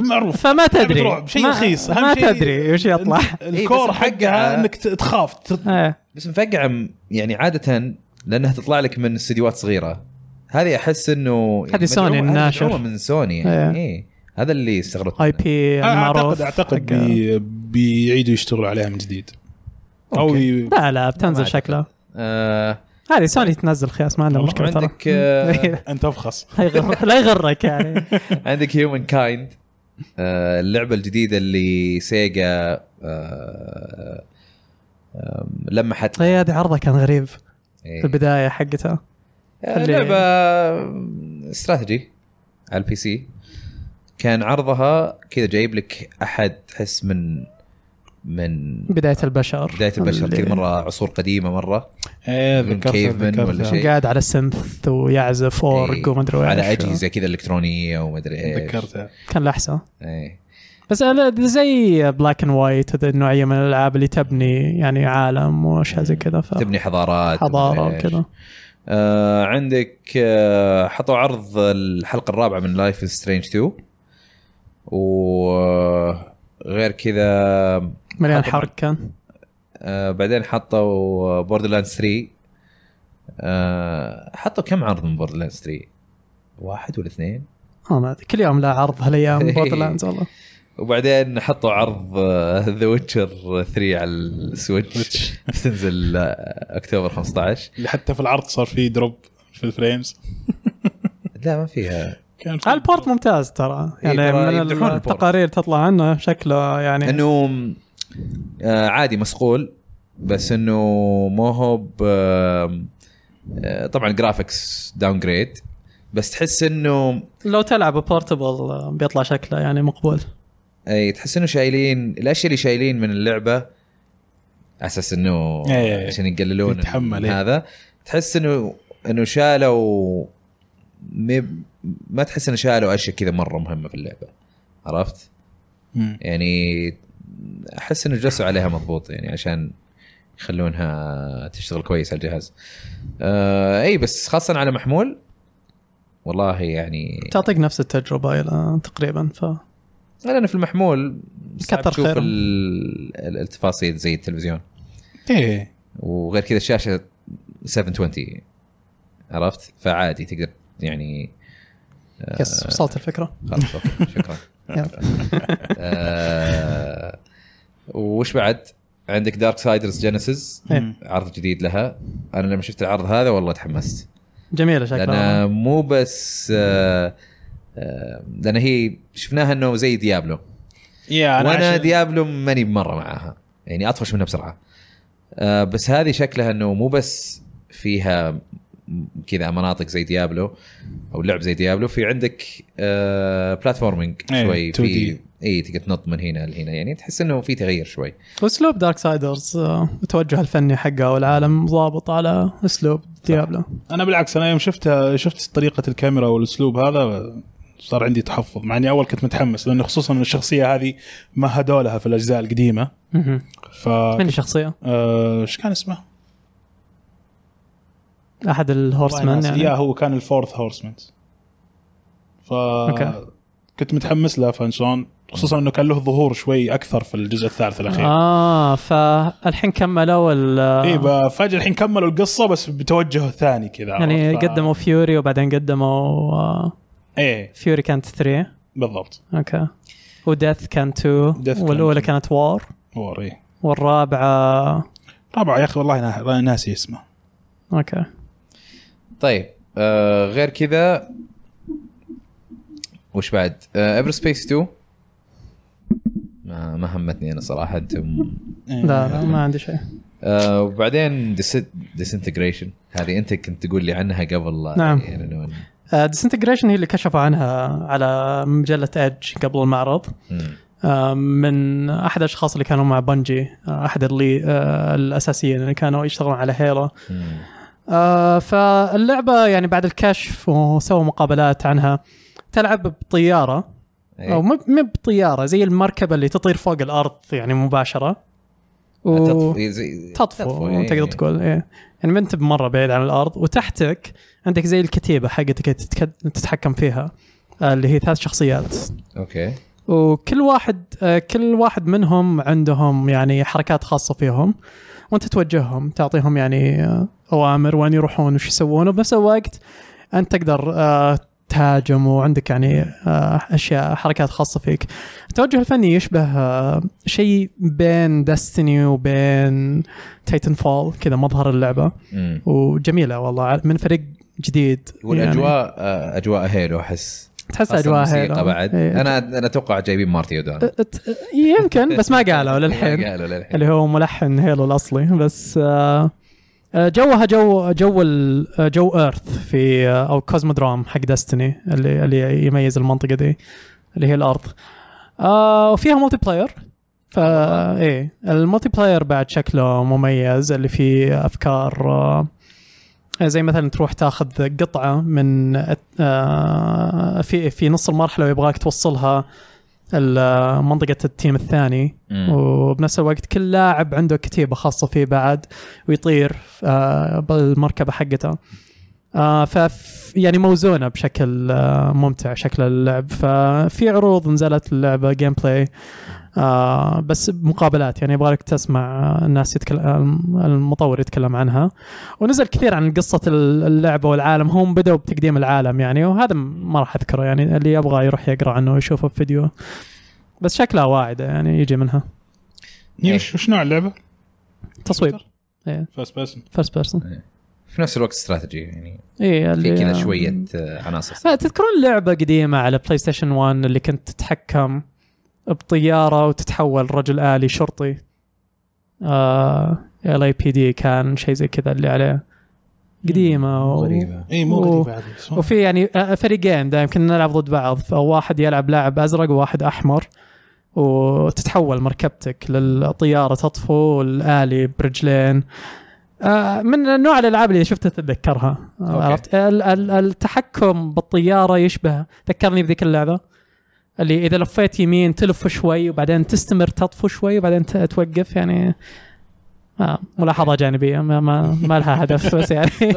S2: معروف
S3: فما تدري
S2: رعب، شيء
S3: ما-
S2: رخيص، أهم
S3: ما
S2: شيء-
S3: تدري وش يطلع
S1: إيه،
S2: الكور
S1: بس
S2: حقها
S1: حقها-
S2: انك ت- تخاف ت-
S3: إيه.
S1: بس مفقعه م- يعني عاده لانها تطلع لك من استديوهات صغيره هذه احس انه يعني
S3: هذه سوني
S1: مدعومة-
S3: الناشر.
S1: مدعومة من سوني يعني ايه هذا اللي استغربت
S3: اي
S1: منه.
S3: بي
S2: اعتقد
S3: المعروف
S2: اعتقد
S3: حق-
S2: بي- بيعيدوا يشتغلوا عليها من جديد او
S1: أوكي.
S2: ي-
S3: لا لا بتنزل
S1: ما أعتقد.
S3: شكلها
S1: آه
S3: هذه سوني تنزل خياس ما عندنا
S2: والله
S3: مشكله ترى
S1: عندك، آه،
S2: انت افخص
S3: لا يغر- لا يغرك يعني
S1: عندك هيومن كايند اللعبه الجديده اللي سيجا آه، آم، لمحت
S3: هي هذه عرضه كان غريب
S1: إيه.
S3: في البدايه حقتها
S1: آه،
S3: اللي-
S1: لعبه استراتيجي على البي سي كان عرضها كذا جايب لك احد تحس من من
S3: بدايه البشر
S1: بدايه البشر
S3: اللي
S1: كذا مره عصور قديمه مره
S2: ايه
S1: من
S2: ذكرت
S1: caveman ولا
S2: ذكرت
S1: شيء.
S3: قاعد على سنث ويعزف اورج
S1: إيه،
S3: وما ادري
S1: على
S3: وإيش.
S1: اجهزه كذا الكترونيه وما ادري ايش
S2: ذكرتها
S3: كان لحسه
S1: إيه.
S3: بس أنا زي بلاك اند وايت هذا النوعيه من الالعاب اللي تبني يعني عالم واشياء زي كذا ف
S1: تبني إيه. حضارات
S3: حضاره
S1: ومدري إيش.
S3: وكذا
S1: آه عندك آه حطوا عرض الحلقه الرابعه من لايف سترينج 2 وغير آه، كذا
S3: مليان
S1: حضارة.
S3: حرق كان
S1: آه بعدين حطوا بوردرلاند 3 آه حطوا كم عرض من بوردرلاند 3 واحد ولا اثنين
S3: آه ما أدري، كل يوم لا عرض هالايام بوردرلاندز والله
S1: وبعدين حطوا عرض آه، ذا ويتشر 3 على السويتش بتنزل آه، اكتوبر 15
S2: اللي حتى في العرض صار فيه دروب في الفريمز
S1: لا ما فيها
S2: كان في-
S3: البورت ممتاز ترى يعني
S1: إيه، ترى
S3: من
S1: يمدحون البورت.
S3: التقارير تطلع عنه شكله يعني
S1: انه آه، عادي مسقول بس انه ما هو ب- آم، آه، طبعا جرافيكس داون جريد بس تحس انه
S3: لو تلعب بورتبل آه، بيطلع شكله يعني مقبول
S1: إيه. اي تحس انه شايلين الاشياء اللي شايلين من اللعبه على اساس انه
S2: إيه، إيه.
S1: عشان يقللون
S2: يتحمل، إيه.
S1: هذا تحس انه انه شالوا مي- ما تحس انه شالوا اشياء كذا مره مهمه في اللعبه عرفت؟
S2: مم.
S1: يعني احس انه جلسوا عليها مضبوط يعني عشان يخلونها تشتغل كويس على الجهاز. آه اي بس خاصه على محمول والله يعني
S3: تعطيك نفس التجربه إلى تقريبا ف
S1: لانه في المحمول صعب
S3: كتر
S1: تشوف
S3: خيرهم.
S1: ال- ال- التفاصيل زي التلفزيون
S2: ايه
S1: وغير كذا الشاشه 720 عرفت فعادي تقدر يعني
S3: يس وصلت الفكره
S1: خلاص اوكي شكرا
S3: يلا.
S1: آه وش بعد عندك دارك سايدرز جينيسيس
S3: إيه.
S2: مم.
S1: عرض جديد لها انا لما شفت العرض هذا والله تحمست
S3: جميله شكلها
S1: لان مو بس آه آه لان هي شفناها انه زي ديابلو
S2: يا انا
S1: وانا
S2: عشان-
S1: ديابلو ماني مره معاها يعني اطفش منها بسرعه آه بس هذه شكلها انه مو بس فيها م- كذا مناطق زي ديابلو او لعب زي ديابلو في عندك آه بلاتفورمينج
S2: إيه،
S1: شوي
S2: 2D.
S1: في اي تقدر تنط من هنا لهنا يعني تحس انه في تغيير شوي
S3: واسلوب دارك سايدرز آه، التوجه الفني حقه والعالم ضابط على اسلوب ديابلو
S2: انا بالعكس انا يوم شفتها شفت طريقه الكاميرا والاسلوب هذا صار عندي تحفظ مع اني اول كنت متحمس لانه خصوصا إن الشخصيه هذه مهدوا لها في الاجزاء القديمه
S3: مهم.
S2: ف
S3: من الشخصيه؟
S2: آه، ايش كان اسمه؟
S3: احد الهورسمان
S2: يعني.
S3: يعني
S2: يا هو كان الفورث هورسمان ف
S3: أوكي.
S2: كنت متحمس له فانشلون خصوصا انه كان له ظهور شوي اكثر في الجزء الثالث الاخير آه.
S3: اه فالحين كملوا ال آه،
S2: اي فجاه الحين كملوا القصه بس بتوجه ثاني كذا
S3: يعني
S2: عرفت؟ ف-
S3: قدموا فيوري وبعدين قدموا آه،
S2: ايه
S3: فيوري كانت 3
S2: بالضبط
S3: اوكي وديث كان 2
S2: Death
S3: والاولى
S2: كان two.
S3: كانت وار
S2: وور ايه
S3: والرابعه
S2: رابعه يا اخي والله نا- ناسي اسمه
S3: اوكي
S1: طيب آه غير كذا وش بعد؟ آه ايفر سبيس 2 ما ما همتني انا صراحه انتم
S2: إيه.
S3: لا لا ما عندي شيء
S1: آه وبعدين ديسنتجريشن هذه انت كنت تقول لي عنها قبل لا يعني،
S3: نعم.
S1: يعلنون.
S3: ديسنتجريشن آه، هي اللي كشفوا عنها على مجله ايدج قبل المعرض
S1: مم.
S3: آه، من احد الاشخاص اللي كانوا مع بنجي آه، احد اللي آه، الاساسيين اللي كانوا يشتغلون على هيلو
S1: مم.
S3: آه، فاللعبة يعني بعد الكشف وسووا مقابلات عنها تلعب بطيارة
S1: إيه.
S3: او مو مو بطياره زي المركبه اللي تطير فوق الارض يعني مباشره
S1: تطفو زي-
S3: تطفو
S1: إيه.
S3: تقدر تقول ايه يعني ما انت بمره بعيد عن الارض وتحتك عندك زي الكتيبه حقتك اللي تتك- تتحكم فيها آه، اللي هي ثلاث شخصيات
S1: اوكي
S3: وكل واحد آه، كل واحد منهم عندهم يعني حركات خاصه فيهم وانت توجههم تعطيهم يعني آه، اوامر وين يروحون وش يسوون وبنفس الوقت انت تقدر آه، تهاجم وعندك يعني آه، اشياء حركات خاصه فيك. التوجه الفني يشبه آه، شيء بين دستني وبين تايتن فول كذا مظهر اللعبه
S1: مم.
S3: وجميله والله من فريق جديد يعني
S1: والاجواء آه، اجواء هيلو احس
S3: تحس
S1: أصلاً
S3: اجواء
S1: موسيقى
S3: هيلو.
S1: بعد
S3: إيه.
S1: انا انا اتوقع جايبين مارتي اودون
S3: أت- يمكن بس ما قالوا للحين
S1: قالوا للحين
S3: اللي هو ملحن هيلو الاصلي بس آه، آه، جوها جو جو ال- آه، جو ايرث في آه، او كوزمودروم حق دستني اللي اللي يميز المنطقه دي اللي هي الارض آه، وفيها ملتي بلاير فا ايه الملتي بلاير بعد شكله مميز اللي فيه افكار آه، زي مثلا تروح تاخذ قطعه من آه، في في نص المرحله ويبغاك توصلها ال- منطقه التيم الثاني
S1: مم.
S3: وبنفس الوقت كل لاعب عنده كتيبه خاصه فيه بعد ويطير آه، بالمركبه حقته آه، فف يعني موزونه بشكل آه، ممتع شكل اللعب ففي عروض نزلت اللعبه جيم بلاي آه، بس مقابلات يعني يبغالك تسمع الناس يتكلم المطور يتكلم عنها ونزل كثير عن قصه اللعبه والعالم هم بدأوا بتقديم العالم يعني وهذا ما راح اذكره يعني اللي يبغى يروح يقرا عنه ويشوفه في فيديو بس شكلها واعده يعني يجي منها
S1: إيه.
S2: وش وش نوع اللعبه؟
S3: تصويب إيه.
S2: فاست بيرسون
S3: فيرست بيرسون
S1: في نفس الوقت استراتيجي يعني
S3: اي
S1: في كذا شويه آه، عناصر
S3: لا تذكرون لعبه قديمه على بلاي ستيشن 1 اللي كنت تتحكم بطياره وتتحول رجل الي شرطي آه، ال اي بي دي كان شيء زي كذا اللي عليه قديمه و...
S1: غريبه
S2: اي إيه، مو
S3: أوه.
S2: غريبه هذه بس ما-
S3: وفي يعني آه، فريقين دائما كنا نلعب ضد بعض فواحد يلعب لاعب ازرق وواحد احمر وتتحول مركبتك للطياره تطفو والالي برجلين آه، من نوع الالعاب اللي شفتها تتذكرها
S1: أوكي.
S3: عرفت ال- ال- التحكم بالطياره يشبه ذكرني بذيك اللعبه اللي اذا لفيت يمين تلف شوي وبعدين تستمر تطفو شوي وبعدين ت- توقف يعني آه، ملاحظه جانبيه ما ما, ما لها هدف بس يعني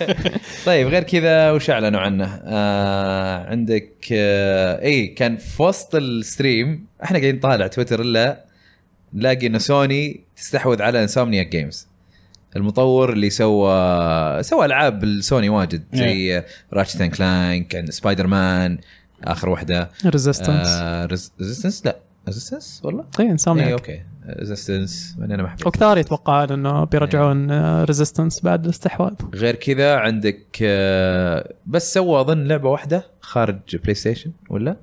S1: طيب غير كذا وش اعلنوا عنه؟ آه عندك آه اي كان في وسط الستريم احنا قاعدين نطالع تويتر الا نلاقي انه سوني تستحوذ على انسومنيا جيمز المطور اللي سوى سوى العاب لسوني واجد زي راتشت اند كلانك عند سبايدر مان اخر واحده
S3: ريزيستنس
S1: آه ريزيستنس لا ريزيستنس والله إيه،
S3: اي
S1: اي
S3: انسومنياك
S1: اوكي ريزيستنس انا ما حبيت
S3: وكثار يتوقعون
S1: إيه.
S3: انه بيرجعون ريزيستنس بعد الاستحواذ
S1: غير كذا عندك آه، بس سوى اظن لعبه واحده خارج بلاي ستيشن ولا؟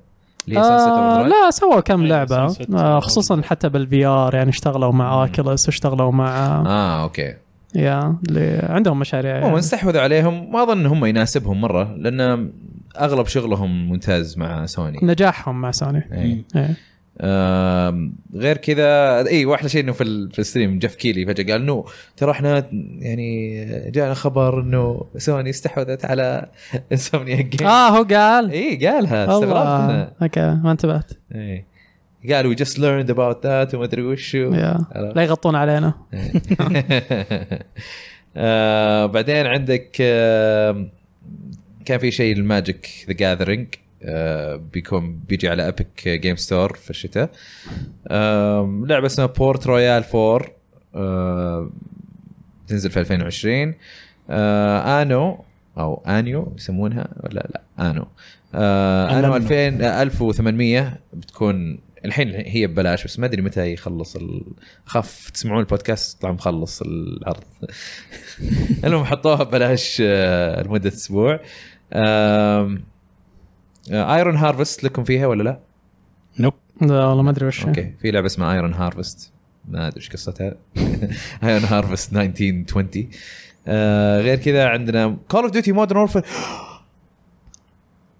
S1: اللي هي Sunset
S3: آه
S1: Overdrive.
S3: لا سووا كم
S1: إيه،
S2: أيوة،
S3: لعبه
S2: Sunset
S3: آه
S2: Overdrive.
S3: خصوصا حتى بالفي ار يعني اشتغلوا مع
S1: مم.
S3: اوكيلس واشتغلوا مع
S1: اه اوكي
S3: يا اللي عندهم مشاريع
S1: هم
S3: يعني.
S1: استحوذوا عليهم ما اظن هم يناسبهم مره لان اغلب شغلهم ممتاز مع سوني
S3: نجاحهم مع سوني
S1: إيه.
S3: إيه.
S1: آم، غير كذا اي واحلى شيء انه في ال- في الستريم جف كيلي فجاه قال انه ترى احنا يعني جانا خبر انه سوني استحوذت على انسومنيا جيم
S3: اه هو قال
S1: اي قالها إيه. استغربت انا
S3: الله اوكي ما انتبهت
S1: ايه قال وي جاست ليرند اباوت ذات وما ادري وش
S3: يا. لا يغطون علينا
S1: إيه. آه، بعدين عندك آه، كان في شيء الماجيك ذا جاذرينج آه، بيكون بيجي على ابيك جيم ستور في الشتاء آم، لعبه اسمها بورت رويال 4 آه، تنزل في 2020 آه، انو او انيو يسمونها ولا لا انو آه، انو
S2: أنانو.
S1: 2000 آه، 1800 بتكون الحين هي ببلاش بس ما ادري متى يخلص ال- اخاف تسمعون البودكاست طلع مخلص العرض المهم حطوها ببلاش آه، لمده اسبوع ايرون هارفست آه، لكم فيها ولا لا؟
S2: نوب
S3: لا والله ما ادري وش
S1: اوكي في لعبه اسمها ايرون هارفست ما ادري ايش قصتها ايرون هارفست 1920 آه غير كذا عندنا كول اوف ديوتي مودرن وورفير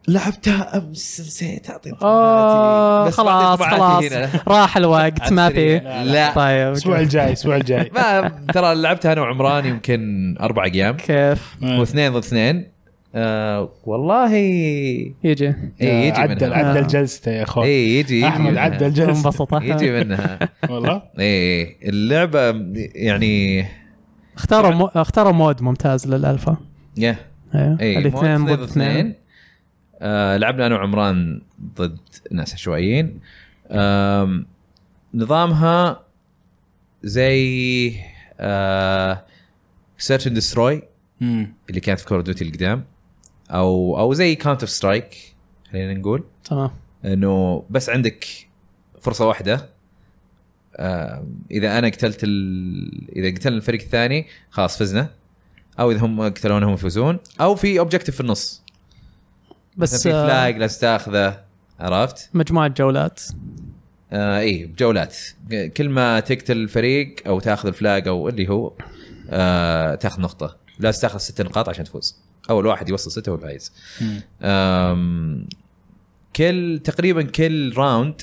S1: لعبتها امس نسيت اعطي
S3: آه
S1: انطباعاتي. بس بعطي
S3: خلاص
S1: انطباعاتي
S3: خلاص
S1: هنا.
S3: راح الوقت ما في
S1: لا، لا.
S3: طيب
S2: الاسبوع الجاي الاسبوع الجاي
S1: ما ترى لعبتها انا وعمران يمكن اربع ايام
S3: كيف
S1: واثنين ضد اثنين آه والله اي
S3: يجي
S1: إيه، يجي
S2: إيه، عدل
S1: منها
S2: عدل
S3: آه.
S2: جلسته يا اخوي
S1: اي يجي
S2: احمد عدل جلسته
S1: يجي
S3: انبسطها
S1: منها
S2: والله
S1: اي اللعبه إيه، يعني
S3: اختاروا مو... اختاروا مود ممتاز للالفا
S1: يا إيه،
S3: ايوه
S1: اي
S3: الاثنين ضد اثنين
S1: آه لعبنا انا وعمران ضد ناس عشوائيين آم، نظامها زي آه، سيرش اند دستروي
S2: مم.
S1: اللي كانت في كور دوتي القدام او او زي كاونتر سترايك خلينا نقول
S3: تمام
S1: انه بس عندك فرصه واحده آه، اذا انا قتلت ال... اذا قتلنا الفريق الثاني خلاص فزنا او اذا هم قتلونا هم يفوزون او في اوبجيكتيف في النص بس
S3: بس
S1: في
S3: آه،
S1: فلاج لازم تاخذه عرفت؟
S3: مجموعه جولات
S1: آه اي بجولات كل ما تقتل الفريق او تاخذ الفلاج او اللي هو آه تاخذ نقطه لازم تاخذ ست نقاط عشان تفوز اول واحد يوصل سته هو الفايز
S2: مم.
S1: أم، كل تقريبا كل راوند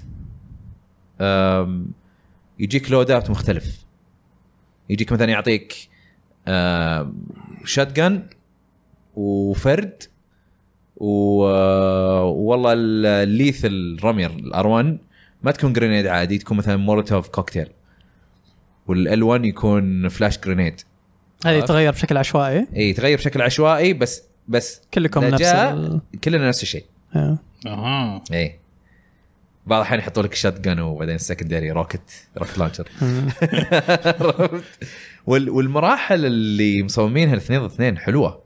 S1: أم، يجيك لود اوت مختلف يجيك مثلا يعطيك شات جن وفرد و آه، والله الليث الرمي الار 1 ما تكون جرينيد عادي تكون مثلا مولوتوف كوكتيل والال 1 يكون فلاش جرينيد
S3: هذه
S1: عرفت؟
S3: تتغير بشكل عشوائي
S1: اي تغير بشكل عشوائي بس بس
S3: كلكم
S1: إذا
S3: نفس
S1: جاء-
S3: ال...
S1: كلنا نفس الشيء
S3: إيه.
S2: اها
S1: ايه بعض الاحيان يحطوا لك الشات جن وبعدين السكندري روكت روكت لانشر
S3: مم.
S1: عرفت؟ وال- والمراحل اللي مصممينها الاثنين ضد اثنين حلوه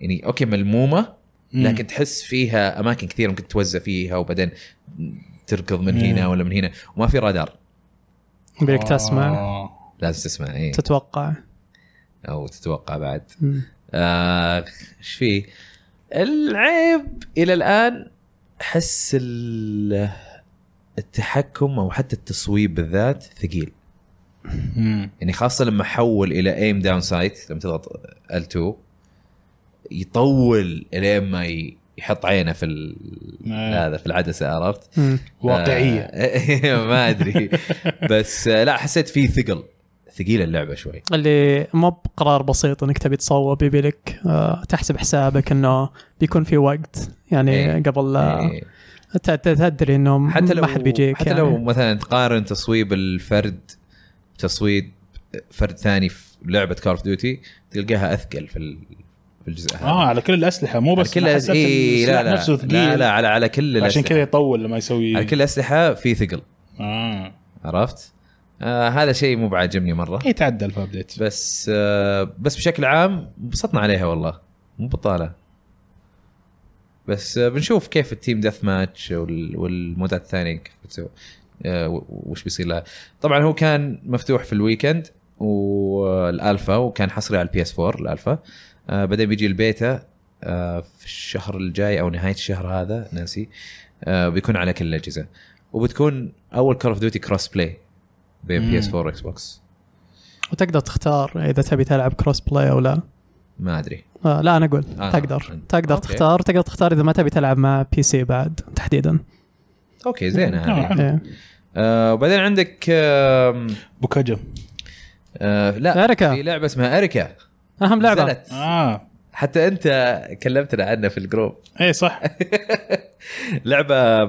S1: يعني اوكي ملمومه
S2: مم.
S1: لكن تحس فيها اماكن كثيره ممكن توزع فيها وبعدين تركض من هنا
S2: مم.
S1: ولا من هنا وما في رادار
S3: بدك تسمع
S2: آه.
S1: لازم تسمع ايه
S3: تتوقع
S1: او تتوقع بعد
S3: مم.
S1: اخ ايش فيه؟ آه، العيب الى الان حس ال- التحكم او حتى التصويب بالذات ثقيل
S2: مم.
S1: يعني خاصه لما حول الى ايم داون سايت لما تضغط L2 يطول الين ما ي- يحط عينه في ال-
S2: آه.
S1: هذا في العدسه عرفت؟
S3: مم.
S2: واقعيه
S1: آه، ما ادري بس آه، لا حسيت فيه ثقل ثقيله اللعبه شوي
S3: اللي مو بقرار بسيط انك تبي تصوب يبي لك آه، تحسب حسابك انه بيكون في وقت يعني
S1: إيه.
S3: قبل آه،
S1: إيه.
S3: ت- ت- تدري انه م-
S1: حتى لو
S3: ما حد بيجيك
S1: حتى
S3: يعني.
S1: لو مثلا تقارن تصويب الفرد تصويب فرد ثاني في لعبه كول اوف ديوتي تلقاها اثقل في ال- في الجزء هذا
S2: اه على كل الاسلحه مو بس
S1: آه. على كل
S2: أنا
S1: الأس-
S2: حسيت
S1: إيه
S2: السلاح
S1: لا لا,
S2: نفسه
S1: لا
S2: ثقيل
S1: لا على على كل
S2: عشان
S1: الأسلحة.
S2: كذا يطول لما يسوي
S1: على كل الاسلحه في ثقل
S2: اه
S1: عرفت؟ آه هذا شيء مو بعاجبني مره
S2: يتعدل في ابديت
S1: بس آه بس بشكل عام انبسطنا عليها والله مو بطاله بس آه بنشوف كيف التيم ديث ماتش وال- والمودات الثانيه كيف بتسوي آه و- وش بيصير لها طبعا هو كان مفتوح في الويكند والالفا وكان حصري على البي اس 4 الالفا آه بعدين بيجي البيتا آه في الشهر الجاي او نهايه الشهر هذا ناسي آه بيكون على كل الاجهزه وبتكون اول كول اوف ديوتي كروس بلاي بين بي اس 4 واكس بوكس
S3: وتقدر تختار اذا تبي تلعب كروس بلاي او لا
S1: ما ادري
S3: آه لا انا اقول
S1: آه،
S3: تقدر
S1: أنت.
S3: تقدر
S1: أوكي.
S3: تختار تقدر تختار اذا ما تبي تلعب مع بي سي بعد تحديدا
S1: اوكي زينه
S2: آه،
S1: هذه
S2: حلو.
S3: إيه.
S1: آه وبعدين عندك آه
S2: بوكاجم
S1: آه لا في
S3: اريكا
S1: لعبه اسمها اريكا
S3: اهم لعبه
S1: نزلت.
S2: اه
S1: حتى انت كلمتنا عنها في الجروب
S2: اي إيه، صح
S1: لعبه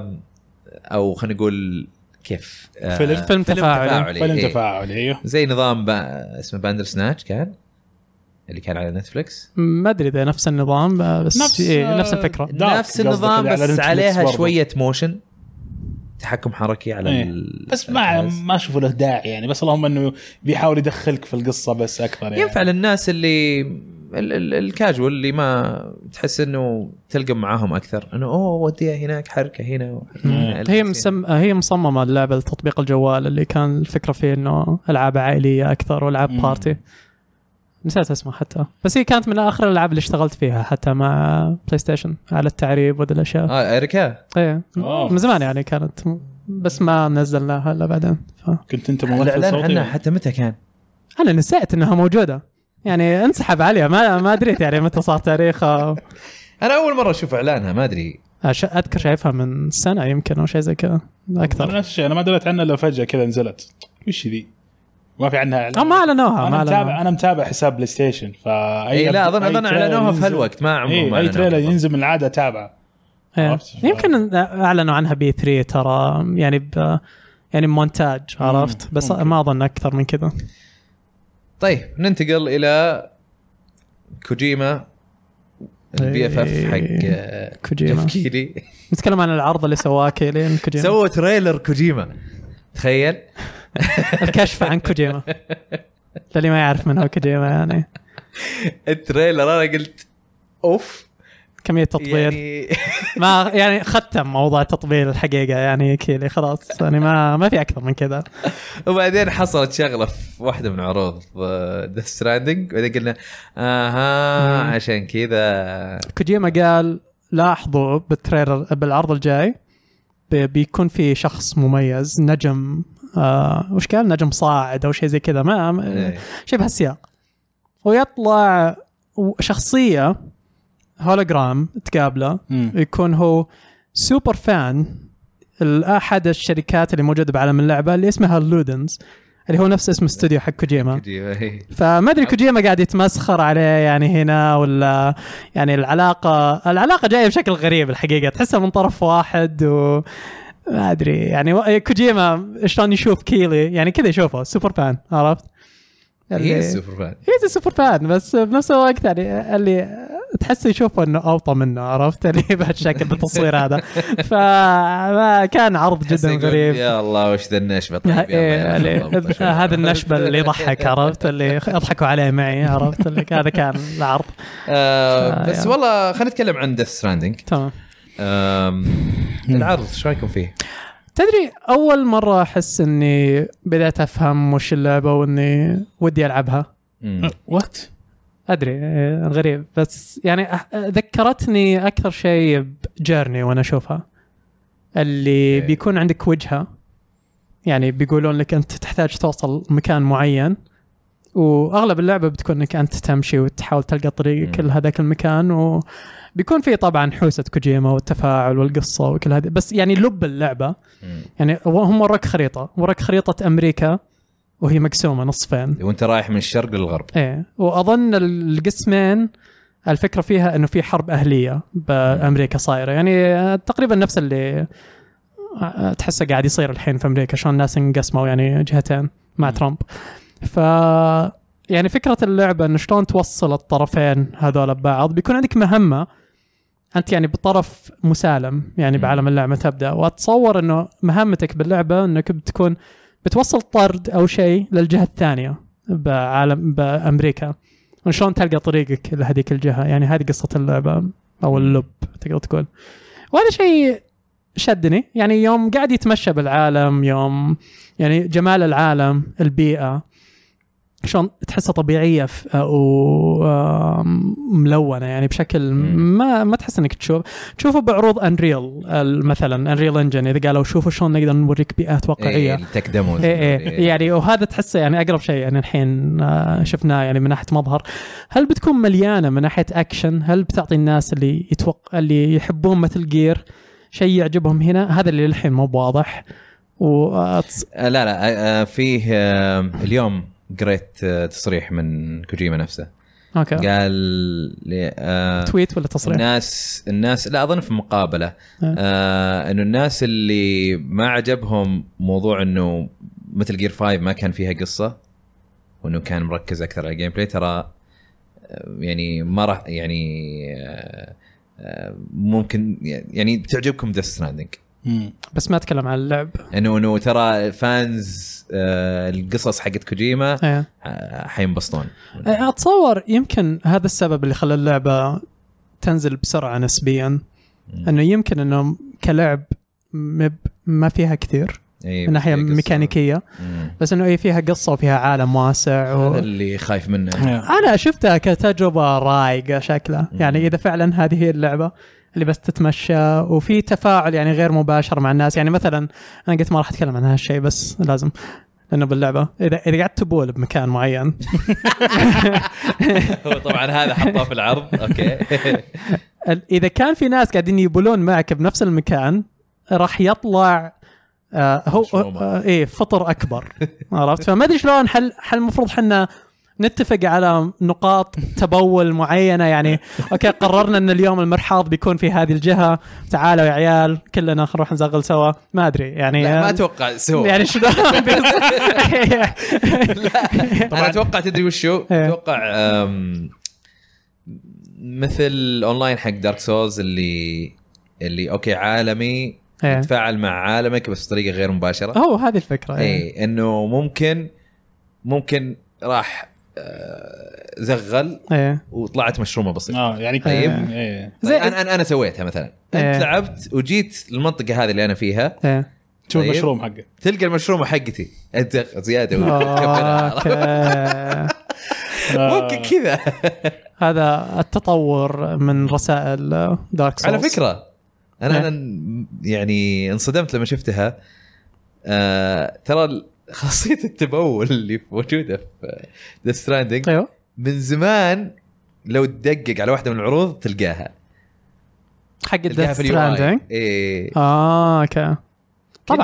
S1: او خلينا نقول كيف آه
S2: فيلم-
S3: فيلم تفاعلي.
S2: فيلم
S1: إيه.
S2: تفاعلي ايوه
S1: زي نظام با... اسمه باندر سناتش كان اللي كان على نتفلكس
S3: ما ادري اذا نفس النظام آه، بس
S2: نفس-
S3: نفس, إيه نفس
S2: آه،
S3: الفكره
S2: دارك
S1: نفس
S2: قصدك
S1: النظام
S2: اللي على
S1: بس
S2: Netflix
S1: عليها
S2: برضو.
S1: شويه موشن تحكم حركي على
S2: إيه.
S1: ال...
S2: بس ما
S1: الجهاز.
S2: ما اشوف له داعي يعني بس اللهم انه بيحاول يدخلك في القصه بس اكثر يعني
S1: ينفع للناس اللي ال- ال- الكاجوال اللي ما تحس انه تلقى معاهم اكثر انه اوه وديها هناك حركه هنا وحركة هنا،
S3: هي
S1: ألبس هنا.
S3: مسم... هي مصممه اللعبه لتطبيق الجوال اللي كان الفكره فيه انه العاب عائليه اكثر والعاب
S2: مم.
S3: بارتي نسيت اسمه حتى بس هي كانت من اخر الالعاب اللي اشتغلت فيها حتى مع بلاي ستيشن على التعريب وذي الاشياء
S1: اه اريكا
S3: ايه
S2: آه.
S3: من زمان يعني كانت بس ما نزلناها الا بعدين ف...
S2: كنت انت ممثل
S1: الاعلان عنها
S2: صوتي
S1: حتى متى كان؟
S3: انا نسيت انها موجوده يعني انسحب عليها ما ما دريت يعني متى صار تاريخها
S1: انا اول مره اشوف اعلانها ما ادري
S3: أش- اذكر شايفها من سنه يمكن او شيء زي كذا
S2: أنا
S3: اكثر
S2: نفس الشيء انا ما دريت عنها الا فجاه كذا نزلت وش ذي؟ ما في عنها اعلان
S3: آه، ما اعلنوها ما
S2: انا متابع
S3: اعلنوها
S2: انا متابع حساب بلاي ستيشن فاي
S1: اي إيه، لا اظن
S2: أي
S1: اظن
S2: تريلر
S1: اعلنوها في
S2: ينزل-
S1: هالوقت ما عمرهم
S2: اي اي
S1: أعلنوها.
S2: تريلر ينزل من العاده اتابعه
S3: إيه.
S2: عرفت؟
S3: يمكن اعلنوا عنها بي 3 ترى يعني ب يعني مونتاج عرفت
S2: مم،
S3: بس
S2: ممكن.
S3: ما اظن اكثر من كذا
S1: طيب ننتقل الى كوجيما البي اف اف حق آه،
S3: كوجيما.
S1: تفكيري
S3: نتكلم عن العرض اللي سواه كيلين كوجيما
S1: سووا تريلر كوجيما تخيل
S3: الكشف عن كوجيما للي ما يعرف من هو كوجيما يعني
S1: التريلر انا قلت اوف
S3: كمية تطبيل
S1: يعني
S3: ما يعني ختم موضوع تطبيل الحقيقة يعني كيلي خلاص يعني ما ما في أكثر من كذا
S1: وبعدين حصلت شغله في واحده من عروض ذا ستراندنج بعدين قلنا اها
S3: مم.
S1: عشان كذا
S3: كوجيما قال لاحظوا بالتريلر بالعرض الجاي بي- بيكون في شخص مميز نجم آه وش قال نجم صاعد او شيء زي كذا ما ما-
S1: إيه.
S3: شيء بهالسياق ويطلع و- شخصيه هولوجرام تقابله
S2: مم.
S3: يكون هو سوبر فان احد الشركات اللي موجوده بعالم اللعبه اللي اسمها لودنز اللي هو نفس اسم استوديو حق كوجيما
S1: كوجيما إيه.
S3: فما ادري كوجيما قاعد يتمسخر عليه يعني هنا ولا يعني العلاقه العلاقه جايه بشكل غريب الحقيقه تحسها من طرف واحد و ما ادري يعني و- كوجيما شلون يشوف كيلي يعني كذا يشوفه سوبر فان عرفت؟
S1: هي
S3: اللي-
S1: السوبر فان
S3: هيز سوبر فان بس بنفس الوقت يعني اللي تحس يشوفه انه اوطى منه عرفت اللي بهالشكل بالتصوير هذا فكان عرض جدا
S1: يقول
S3: غريب
S1: يا الله وش ذا النشبه طيب يلا، يلا،
S3: إيه،
S1: يلا،
S3: اللي-
S1: طيب.
S3: هذا النشبه اللي يضحك عرفت اللي اضحكوا عليه معي عرفت اللي هذا كان العرض
S1: آه،
S3: آه،
S1: بس
S3: يلا.
S1: والله خلينا نتكلم عن ديث ستراندنج
S3: تمام
S1: العرض ايش رايكم فيه؟
S3: تدري اول مره احس اني بدأت افهم وش اللعبه واني ودي العبها
S1: مم.
S2: وات
S3: ادري آه، غريب بس يعني أح- ذكرتني اكثر شيء بجيرني وانا اشوفها اللي
S1: أوكي.
S3: بيكون عندك وجهه يعني بيقولون لك انت تحتاج توصل مكان معين واغلب اللعبه بتكون انك انت تمشي وتحاول تلقى طريقك
S1: مم.
S3: لهذاك المكان وبيكون في طبعا حوسه كوجيما والتفاعل والقصه وكل هذه بس يعني لب اللعبه
S1: مم.
S3: يعني هم وراك خريطه وراك خريطه امريكا وهي مقسومه نصفين
S1: وانت رايح من الشرق للغرب
S3: ايه واظن القسمين الفكره فيها انه في حرب اهليه بامريكا صايره يعني تقريبا نفس اللي تحسه قاعد يصير الحين في امريكا شلون الناس انقسموا يعني جهتين مع
S2: مم.
S3: ترامب ف يعني فكره اللعبه انه شلون توصل الطرفين هذول ببعض بيكون عندك مهمه انت يعني بطرف مسالم يعني
S1: مم.
S3: بعالم اللعبه تبدا واتصور انه مهمتك باللعبه انك بتكون بتوصل طرد او شيء للجهه الثانيه بعالم بامريكا وشلون تلقى طريقك لهذيك الجهه يعني هذه قصه اللعبه او اللب تقدر تقول وهذا شيء شدني يعني يوم قاعد يتمشى بالعالم يوم يعني جمال العالم البيئه شلون تحسها طبيعيه ف- وملونه يعني بشكل
S1: مم.
S3: ما ما تحس انك تشوف تشوفه بعروض انريل مثلا انريل انجن اذا قالوا شوفوا شلون نقدر نوريك بيئات واقعيه
S1: إيه، التك ديموز
S3: ايه ايه يعني وهذا تحسه يعني اقرب شيء يعني الحين آه، شفناه يعني من ناحيه مظهر هل بتكون مليانه من ناحيه اكشن هل بتعطي الناس اللي يتوقع اللي يحبون مثل جير شيء يعجبهم هنا هذا اللي للحين مو بواضح و آه، تص-
S1: آه، لا لا آه، آه، فيه آه، اليوم قريت آه، تصريح من كوجيما نفسه
S3: اوكي
S1: قال لي- آه،
S3: تويت ولا تصريح
S1: الناس الناس لا اظن في مقابله
S3: آه.
S1: آه انه الناس اللي ما عجبهم موضوع انه مثل جير 5 ما كان فيها قصه وانه كان مركز اكثر على الجيم بلاي ترى آه، يعني ما راح يعني آه، آه، ممكن يعني بتعجبكم ذا ستراندنج
S2: مم.
S3: بس ما اتكلم عن اللعب
S1: انه انه ترى فانز آه، القصص حقت كوجيما
S3: ايه
S1: آه، حينبسطون
S3: آه، اتصور إيه، يمكن هذا السبب اللي خلى اللعبه تنزل بسرعه نسبيا انه يمكن انه كلعب مب ما فيها كثير
S1: إيه،
S3: من ناحيه
S1: فيها قصة.
S3: ميكانيكيه
S1: مم.
S3: بس انه اي فيها قصه وفيها عالم واسع و...
S1: هذا اللي خايف منه
S3: انا شفتها كتجربه رايقه شكلها
S1: مم.
S3: يعني اذا فعلا هذه هي اللعبه اللي بس تتمشى وفي تفاعل يعني غير مباشر مع الناس يعني مثلا انا قلت ما راح اتكلم عن هالشيء بس لازم لانه باللعبه اذا اذا قعدت تبول بمكان معين
S1: هو طبعا هذا حطاه في العرض اوكي
S3: ال- اذا كان في ناس قاعدين يبولون معك بنفس المكان راح يطلع آه هو
S1: مشرومة.
S3: آه ايه فطر اكبر عرفت فما ادري شلون هل هل المفروض حنا نتفق على نقاط تبول معينه يعني اوكي قررنا ان اليوم المرحاض بيكون في هذه الجهه تعالوا يا عيال كلنا نروح نزغل سوا ما ادري يعني
S1: لا ما اتوقع سوى
S3: يعني شلون
S1: طبعا انا اتوقع تدري وشو؟
S3: إيه.
S1: اتوقع أم، مثل الاونلاين حق دارك سولز اللي اللي اوكي عالمي
S3: إيه.
S1: يتفاعل مع عالمك بس بطريقه غير مباشره
S3: هو هذه الفكره إيه.
S1: اي انه ممكن ممكن راح آه، زغل
S3: إيه.
S1: وطلعت مشرومه بسيطه
S2: اه يعني
S1: طيب.
S2: ايه
S1: طيب
S3: زي-
S1: انا انا انا سويتها مثلا
S3: إيه.
S1: انت لعبت وجيت المنطقه هذه اللي انا فيها
S3: إيه.
S2: شوف
S1: طيب.
S2: المشروم حقه
S1: تلقى المشرومه حقتي انت زياده
S3: آه. اوكي
S2: آه،
S1: ممكن كذا
S3: هذا التطور من رسائل دارك سولز
S1: على فكره
S3: إيه.
S1: انا انا يعني انصدمت لما شفتها آه ترى خاصيه التبول اللي موجوده في ذا ستراندنج
S3: ايوه
S1: من زمان لو تدقق على واحده من العروض تلقاها
S3: حق
S1: تلقاها في
S3: الديث
S1: اليو اي
S3: ستراندنج
S1: إيه.
S3: اه اوكي
S1: طبعا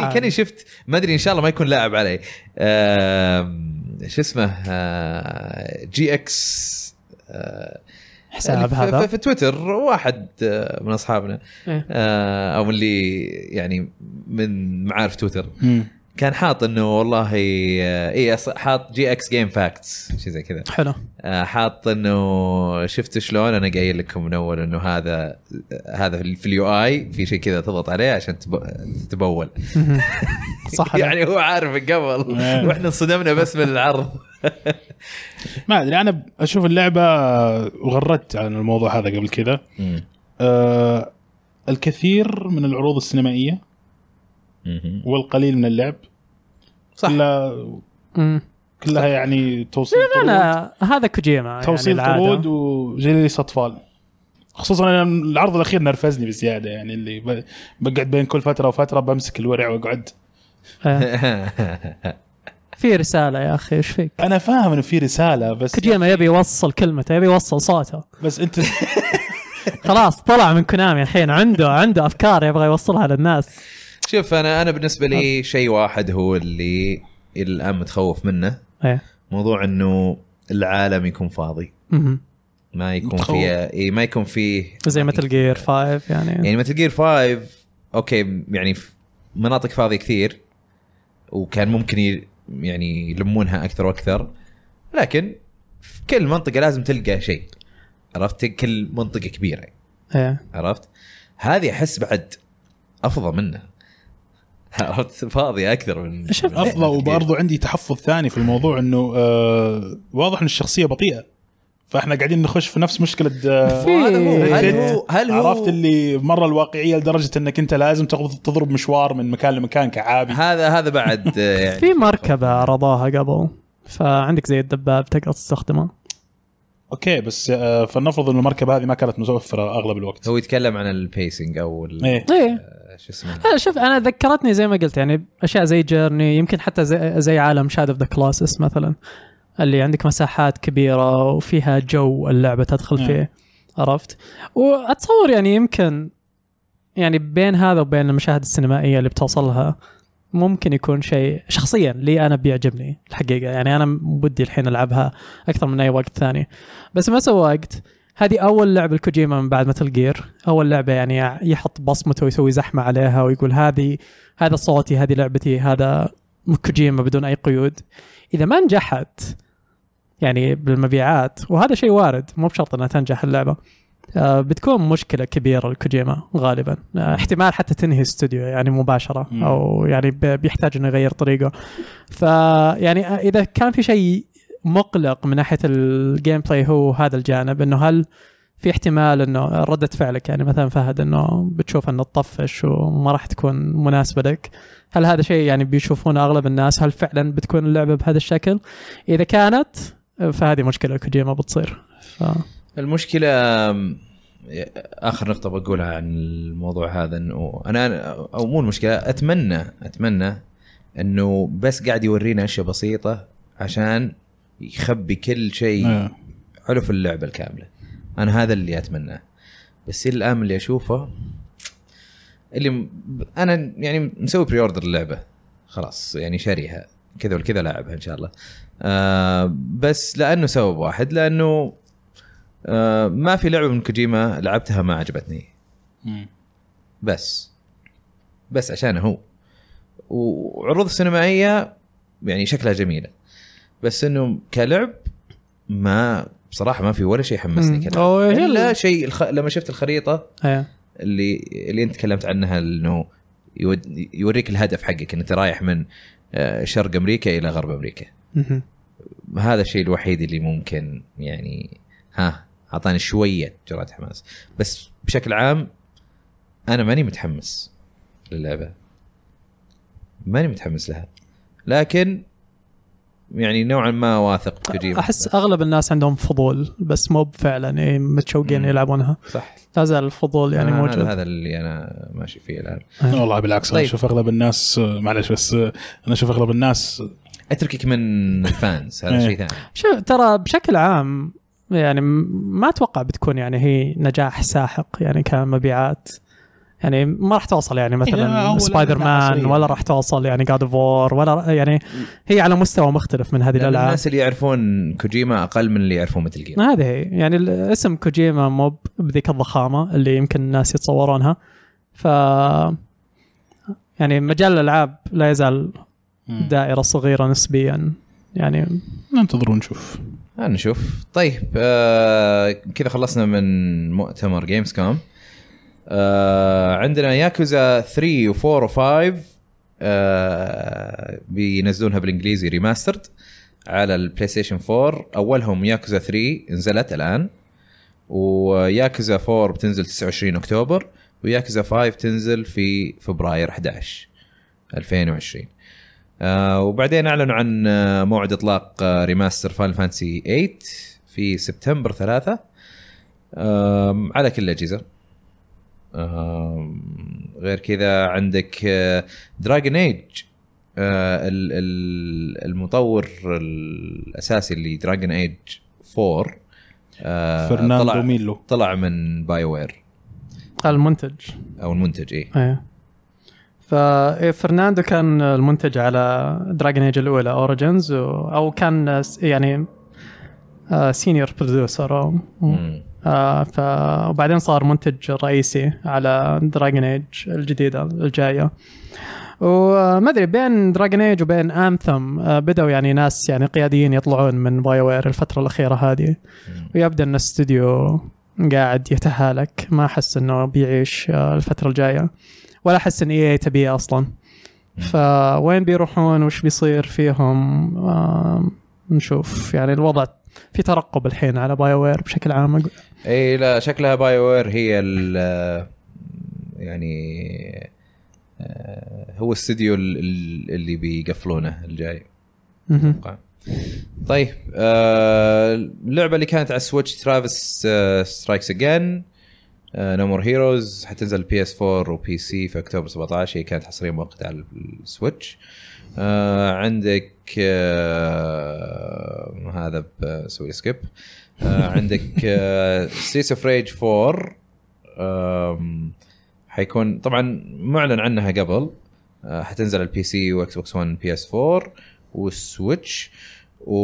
S3: طبعا
S1: كاني شفت ما ادري ان شاء الله ما يكون لاعب علي آم، شو اسمه آه، جي اكس آه،
S3: حساب
S1: في-
S3: هذا
S1: في- في تويتر واحد آه، من اصحابنا
S3: إيه.
S1: آه، او من اللي يعني من معارف تويتر
S2: مم.
S1: كان حاط انه والله آه، اي أص- حاط جي اكس جيم فاكتس شيء زي كذا
S3: حلو
S1: آه، حاط انه شفت شلون انا قايل لكم من اول انه هذا آه، هذا في اليو اي في شيء كذا تضغط عليه عشان تب- تتبول
S3: مهم. صح يعني
S1: يعني هو عارف من قبل واحنا انصدمنا بس من العرض
S2: ما ادري انا اشوف اللعبه آه، وغردت عن الموضوع هذا قبل كذا آه الكثير من العروض السينمائيه والقليل من اللعب
S1: صح.
S2: كلها كلها يعني توصيل طرود
S3: انا هذا كوجيما
S2: توصيل
S3: يعني العادة.
S2: طرود وجليس اطفال خصوصا انا العرض الاخير نرفزني بزياده يعني اللي ب- بقعد بين كل فتره وفتره بمسك الورع واقعد
S3: إيه. في رساله يا اخي ايش فيك
S2: انا فاهم انه في رساله بس
S3: كوجيما يبي يوصل كلمته يبي يوصل صوته
S2: بس انت
S3: خلاص طلع من كونامي الحين عنده عنده افكار يبغى يوصلها للناس
S1: شوف انا انا بالنسبه لي شيء واحد هو اللي الى الان متخوف منه
S3: ايه
S1: موضوع انه العالم يكون فاضي
S3: مهم.
S1: ما يكون
S2: متخوف.
S1: فيه إيه ما يكون فيه
S3: زي مثل جير 5 يعني
S1: يعني مثل جير 5 اوكي يعني ف- مناطق فاضيه كثير وكان ممكن ي- يعني يلمونها اكثر واكثر لكن في كل منطقه لازم تلقى شيء عرفت كل منطقه كبيره
S3: ايه
S1: عرفت هذه احس بعد افضل منها عرفت فاضيه اكثر من
S3: شوف،
S1: من-
S2: افضل وبرضو عندي تحفظ ثاني في الموضوع انه آه واضح ان الشخصيه بطيئه فاحنا قاعدين نخش في نفس مشكله آه،
S1: وهذا هو،
S3: في-
S1: هل هو هل هو
S2: عرفت اللي مره الواقعيه لدرجه انك انت لازم تاخذ تضرب مشوار من مكان لمكان كعابي
S1: هذا هذا بعد آه، يعني
S3: في مركبة عرضوها قبل فعندك زي الدباب تقدر تستخدمه
S2: اوكي بس آه، فلنفرض ان المركبه هذه ما كانت متوفره اغلب الوقت
S1: هو يتكلم عن البيسنج او ال-
S2: ايه
S3: ايه
S1: آه، شو اسمه
S3: انا شوف انا ذكرتني زي ما قلت يعني اشياء زي جيرني يمكن حتى زي, زي عالم شاد اوف ذا كلاسس مثلا اللي عندك مساحات كبيرة وفيها جو اللعبة تدخل
S2: نعم.
S3: فيه عرفت واتصور يعني يمكن يعني بين هذا وبين المشاهد السينمائية اللي بتوصلها ممكن يكون شيء شخصيا لي انا بيعجبني الحقيقه يعني انا ودي الحين العبها اكثر من اي وقت ثاني بس ما سوقت هذه اول لعبه لكوجيما من بعد متل جير اول لعبه يعني يحط بصمته ويسوي زحمه عليها ويقول هذه هذا صوتي هذه لعبتي هذا كوجيما بدون اي قيود اذا ما نجحت يعني بالمبيعات وهذا شيء وارد مو بشرط انها تنجح اللعبه آه، بتكون مشكله كبيره لكوجيما غالبا آه، احتمال حتى تنهي استوديو يعني مباشره
S2: مم.
S3: او يعني ب- بيحتاج انه يغير طريقه فيعني آه، اذا كان في شيء مقلق من ناحيه الجيم بلاي هو هذا الجانب انه هل في احتمال انه رده فعلك يعني مثلا فهد انه بتشوف انه تطفش وما راح تكون مناسبه لك هل هذا شيء يعني بيشوفونه اغلب الناس هل فعلا بتكون اللعبه بهذا الشكل اذا كانت فهذه مشكله كوجيما بتصير ف...
S1: المشكله آم، اخر نقطه بقولها عن الموضوع هذا انه انا او مو المشكله اتمنى اتمنى انه بس قاعد يورينا اشياء بسيطه عشان يخبي كل شيء
S2: آه.
S1: حلو في اللعبه الكامله انا هذا اللي اتمناه بس الى الان من اللي اشوفه اللي م- انا يعني مسوي بري اوردر اللعبه خلاص يعني شاريها كذا والكذا لاعبها ان شاء الله آه بس لانه سبب واحد لانه آه ما في لعبه من كوجيما لعبتها ما عجبتني
S2: مم.
S1: بس بس عشانه هو وعروض سينمائيه يعني شكلها جميله بس انه كلعب ما بصراحه ما في ولا شيء حمسني
S3: مم. طيب،
S1: كلعب
S3: أو
S1: الا
S3: يلا
S1: شيء الخ... لما شفت الخريطه
S3: ايه
S1: اللي اللي انت تكلمت عنها انه يود... يوريك الهدف حقك انت رايح من آه، شرق امريكا الى غرب امريكا
S3: مهم.
S1: هذا الشيء الوحيد اللي ممكن يعني ها اعطاني شويه جرعه حماس بس بشكل عام انا ماني متحمس للعبه ماني متحمس لها لكن يعني نوعا ما واثق بكوجيما
S3: احس اغلب الناس عندهم فضول بس مو فعلا إيه متشوقين
S1: مم.
S3: يلعبونها
S1: صح
S3: لا زال الفضول يعني
S1: أنا- أنا
S3: موجود
S1: هذا اللي انا ماشي فيه الان
S2: والله بالعكس انا
S1: طيب.
S2: اشوف اغلب الناس آه، معلش بس آه، انا اشوف اغلب الناس
S1: اتركك من الفانز هذا
S2: إيه.
S1: شيء ثاني
S3: شو ترى بشكل عام يعني م- ما اتوقع بتكون يعني هي نجاح ساحق يعني كمبيعات يعني ما راح توصل يعني
S2: إيه،
S3: مثلا
S2: أول
S3: سبايدر
S2: ألعاب
S3: مان
S2: عصرية.
S3: ولا راح توصل يعني جاد اوف وور ولا ر- يعني هي على مستوى مختلف من هذه
S1: لأن
S3: الالعاب
S1: الناس اللي يعرفون كوجيما اقل من اللي يعرفون مثل جير
S3: هذه هي يعني الاسم كوجيما مو ب- بذيك الضخامه اللي يمكن الناس يتصورونها ف يعني مجال الالعاب لا يزال
S2: مم.
S3: دائره صغيره نسبيا يعني
S2: ننتظر ونشوف
S1: نشوف طيب آه كذا خلصنا من مؤتمر جيمز كوم آه عندنا ياكوزا 3 و4 و5 آه بينزلونها بالانجليزي ريماسترد على البلاي ستيشن 4 اولهم ياكوزا 3 نزلت الان وياكوزا 4 بتنزل 29 اكتوبر وياكوزا 5 تنزل في فبراير 11 2020 آه وبعدين اعلنوا عن آه، موعد اطلاق آه، ريماستر فان فانسي 8 في سبتمبر 3 آم، على كل الاجهزه آم، غير كذا عندك آه، دراجون ايج آه، المطور الاساسي اللي دراجون ايج 4 آه،
S2: فرناندو
S1: طلع
S2: ميلو
S1: طلع من باي وير
S3: المنتج
S1: او المنتج ايه
S3: ايه ففرناندو إيه، كان المنتج على دراجن ايج الاولى اوريجنز او كان س- يعني آه، سينيور بروديوسر او
S1: مم.
S3: آه، ف وبعدين صار منتج رئيسي على دراجن ايج الجديده الجايه وما ادري بين دراجن ايج وبين انثم بدأوا يعني ناس يعني قياديين يطلعون من باي وير الفتره الاخيره هذه
S1: مم.
S3: ويبدا ان الاستوديو قاعد يتهالك ما احس انه بيعيش آه، الفتره الجايه ولا احس ان اي تبيه اصلا فوين بيروحون وش بيصير فيهم آم، نشوف يعني الوضع في ترقب الحين على باي وير بشكل عام أقول-
S1: اي إيه، لا شكلها باي وير هي ال يعني آه، هو الاستديو ال- ال- اللي بيقفلونه الجاي
S3: مهم.
S1: اتوقع طيب آه، اللعبه اللي كانت على آه، السويتش ترافيس سترايكس اجين نمور هيروز حتنزل بي اس 4 وبي سي في اكتوبر 17 هي كانت حصريه مؤقته على السويتش آه، عندك آه، هذا بسوي سكيب آه، عندك آه، سيس اوف ريج 4 آم، حيكون طبعا معلن عنها قبل آه، حتنزل على البي سي واكس بوكس 1 بي اس 4 والسويتش و...